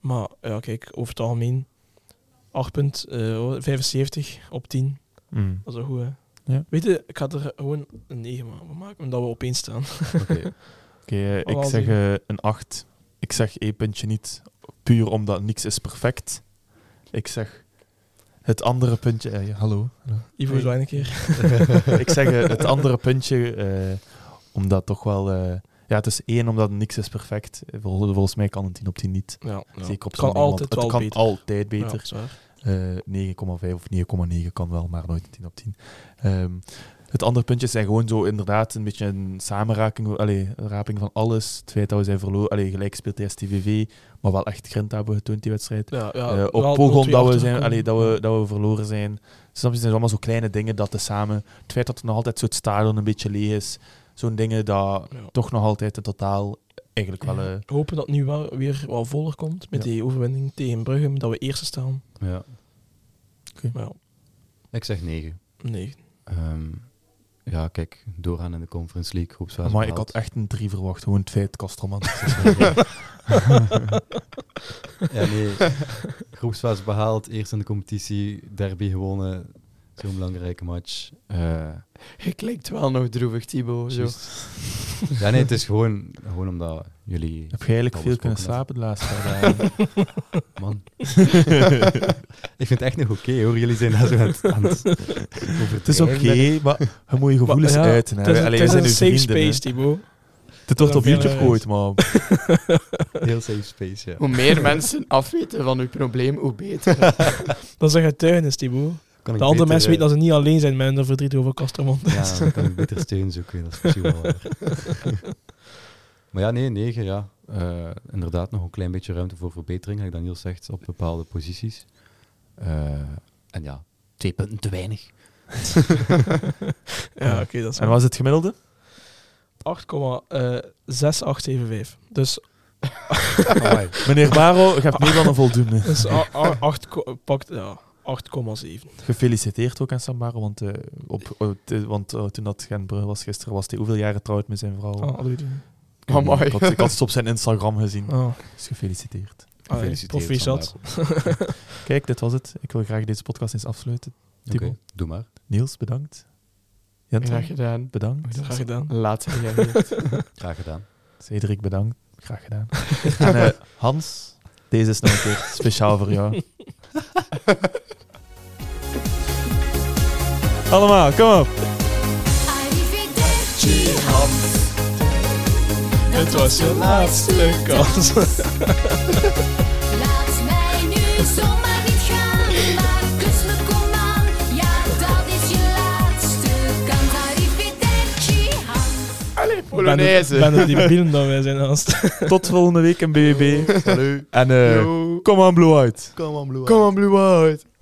Speaker 2: Maar ja, kijk, over het algemeen 8,75 op 10.
Speaker 3: Mm.
Speaker 2: Dat is wel goed, hè?
Speaker 3: Ja.
Speaker 2: Weet je, ik had er gewoon een 9 van maken, omdat we op één staan. [LAUGHS]
Speaker 1: Oké.
Speaker 3: Oké, eh, ik
Speaker 2: Al
Speaker 3: zeg
Speaker 2: zien.
Speaker 3: eh, een 8. Ik zeg één puntje niet. puur omdat niks is perfect. Ik zeg het andere puntje... eh, hallo. [LAUGHS] hallo.
Speaker 2: Ivo zo een keer.
Speaker 3: ik zeg eh, het andere puntje, eh, omdat toch wel... eh, ja, het is één, omdat niks is perfect. Eh, Vol- volgens mij kan een 10 op 10 niet.
Speaker 2: Ja, ja.
Speaker 3: Zeker
Speaker 2: kan
Speaker 3: op zo'n iemand.
Speaker 2: altijd
Speaker 3: het
Speaker 2: wel
Speaker 3: kan
Speaker 2: beter.
Speaker 3: altijd
Speaker 2: Ja,
Speaker 3: beter.
Speaker 2: dat is waar.
Speaker 3: Eh, 9,5 of 9,9 kan wel, maar nooit een 10 op 10. Ehm, het andere puntje zijn gewoon zo inderdaad een beetje een samenraking, allee, een raping van alles. Het feit dat we zijn verloren, allee, gelijk speelt de STVV, maar wel echt grind hebben getoond die wedstrijd.
Speaker 2: Ja, ja,
Speaker 3: Eh,
Speaker 2: wel
Speaker 3: op Pogon
Speaker 2: 0-2
Speaker 3: dat we, zijn,
Speaker 2: achtergekomen.
Speaker 3: allee, dat, we, dat we verloren zijn. Snap je, het zijn allemaal zo kleine dingen dat te samen... Het feit dat er nog altijd zo het stadion een beetje leeg is, zo'n dingen dat
Speaker 2: Ja.
Speaker 3: toch nog altijd in totaal eigenlijk wel... eh,
Speaker 2: hopen dat het nu wel weer wel voller komt met
Speaker 3: Ja.
Speaker 2: die overwinning tegen Brugge, dat we eerste staan.
Speaker 1: Ja.
Speaker 2: Maar ja,
Speaker 1: Ik zeg 9.
Speaker 2: nee.
Speaker 1: Ehm, ja, kijk, doorgaan in de Conference League, groepsfase.
Speaker 3: maar ik
Speaker 1: behaald.
Speaker 3: had echt een 3 verwacht, gewoon het feit Kastelman.
Speaker 1: Ja, nee. [LAUGHS] Groepsfase behaald, eerst in de competitie, derby gewonnen. Zo'n belangrijke match. Eh,
Speaker 4: Je klinkt wel nog droevig, Thibaut. Zo.
Speaker 1: juist. ja, nee, het is gewoon, gewoon omdat jullie...
Speaker 3: Heb je eigenlijk
Speaker 1: al
Speaker 3: veel kunnen
Speaker 1: besproken
Speaker 3: slapen de laatste paar dagen?
Speaker 1: Man.
Speaker 2: [LAUGHS]
Speaker 1: ik vind het echt nog oké, hoor. Jullie zijn daar zo aan het... Aan het
Speaker 3: Het is oké, maar je moet je gevoelens
Speaker 2: Maar ja,
Speaker 3: uiten.
Speaker 2: Het is,
Speaker 3: Hè. Allee,
Speaker 2: het
Speaker 3: we
Speaker 2: is
Speaker 3: zijn
Speaker 2: een
Speaker 3: nu
Speaker 2: safe
Speaker 3: vrienden, hè.
Speaker 2: space, Thibaut.
Speaker 3: Dit wordt op
Speaker 2: Ja,
Speaker 3: YouTube
Speaker 2: ja, ja.
Speaker 3: gegooid, maar
Speaker 1: Heel safe space, ja.
Speaker 4: Hoe meer mensen afweten van uw probleem, hoe beter.
Speaker 2: Dat is een getuigenis, Thibaut.
Speaker 1: Kan ik
Speaker 2: De andere
Speaker 1: beter,
Speaker 2: mensen
Speaker 1: eh,
Speaker 2: weten dat ze niet alleen zijn met hun verdriet over
Speaker 3: [LAUGHS]
Speaker 2: Castromont.
Speaker 1: Ja, dan kan ik beter steun zoeken. Dat is misschien wel waar. Maar ja, nee, 9, ja. Eh, inderdaad, nog een klein beetje ruimte voor verbetering, gelijk Daniel zegt, op bepaalde posities. Eh, en ja, twee punten te weinig.
Speaker 2: Ja, oké, dat is
Speaker 3: [LAUGHS] En wat is het gemiddelde?
Speaker 2: eh, 8,6875. Dus,
Speaker 3: Meneer Baro, je hebt meer dan een voldoende.
Speaker 2: dus a- a- acht ko- pakt ja, 8,7.
Speaker 3: [LAUGHS] Gefeliciteerd ook aan Sam Baro, want, eh, op, op- eh, want eh, toen dat Genbrugge was gisteren, was hij hoeveel jaren trouwd met zijn vrouw?
Speaker 2: Ah, doe je die.
Speaker 3: Ik weet niet,
Speaker 4: Amai.
Speaker 3: Ik, had, ik had het op zijn Instagram gezien.
Speaker 2: Ah,
Speaker 3: Dus gefeliciteerd.
Speaker 2: allee, profi zat.
Speaker 3: Kijk, dit was het. Ik wil graag deze podcast eens afsluiten.
Speaker 1: Oké,
Speaker 3: Timo.
Speaker 1: doe maar.
Speaker 3: Niels, bedankt.
Speaker 4: Graag
Speaker 3: Jent,
Speaker 4: gedaan.
Speaker 3: bedankt.
Speaker 2: Graag gedaan.
Speaker 4: Laat reageert.
Speaker 1: Graag gedaan.
Speaker 3: Cedric, bedankt. Graag
Speaker 1: [LAUGHS]
Speaker 3: gedaan. en eh, Hans, deze is nog een keer speciaal voor jou. Allemaal, kom op.
Speaker 5: Arrivederci Hans.
Speaker 2: Het was je laatste kans.
Speaker 5: Laat mij nu zomaar niet gaan. Maar kus me, kom aan. Ja, dat is je laatste kans. Arrivederci Hans.
Speaker 4: Allee,
Speaker 2: Ik
Speaker 4: Polonaise.
Speaker 2: ben het die bielen dat wij zijn naast.
Speaker 3: Tot volgende week in BBB.
Speaker 1: Salut.
Speaker 3: En eh, kom aan, Blue Out.
Speaker 1: Kom aan, Blue
Speaker 4: Kom aan, Blue Out.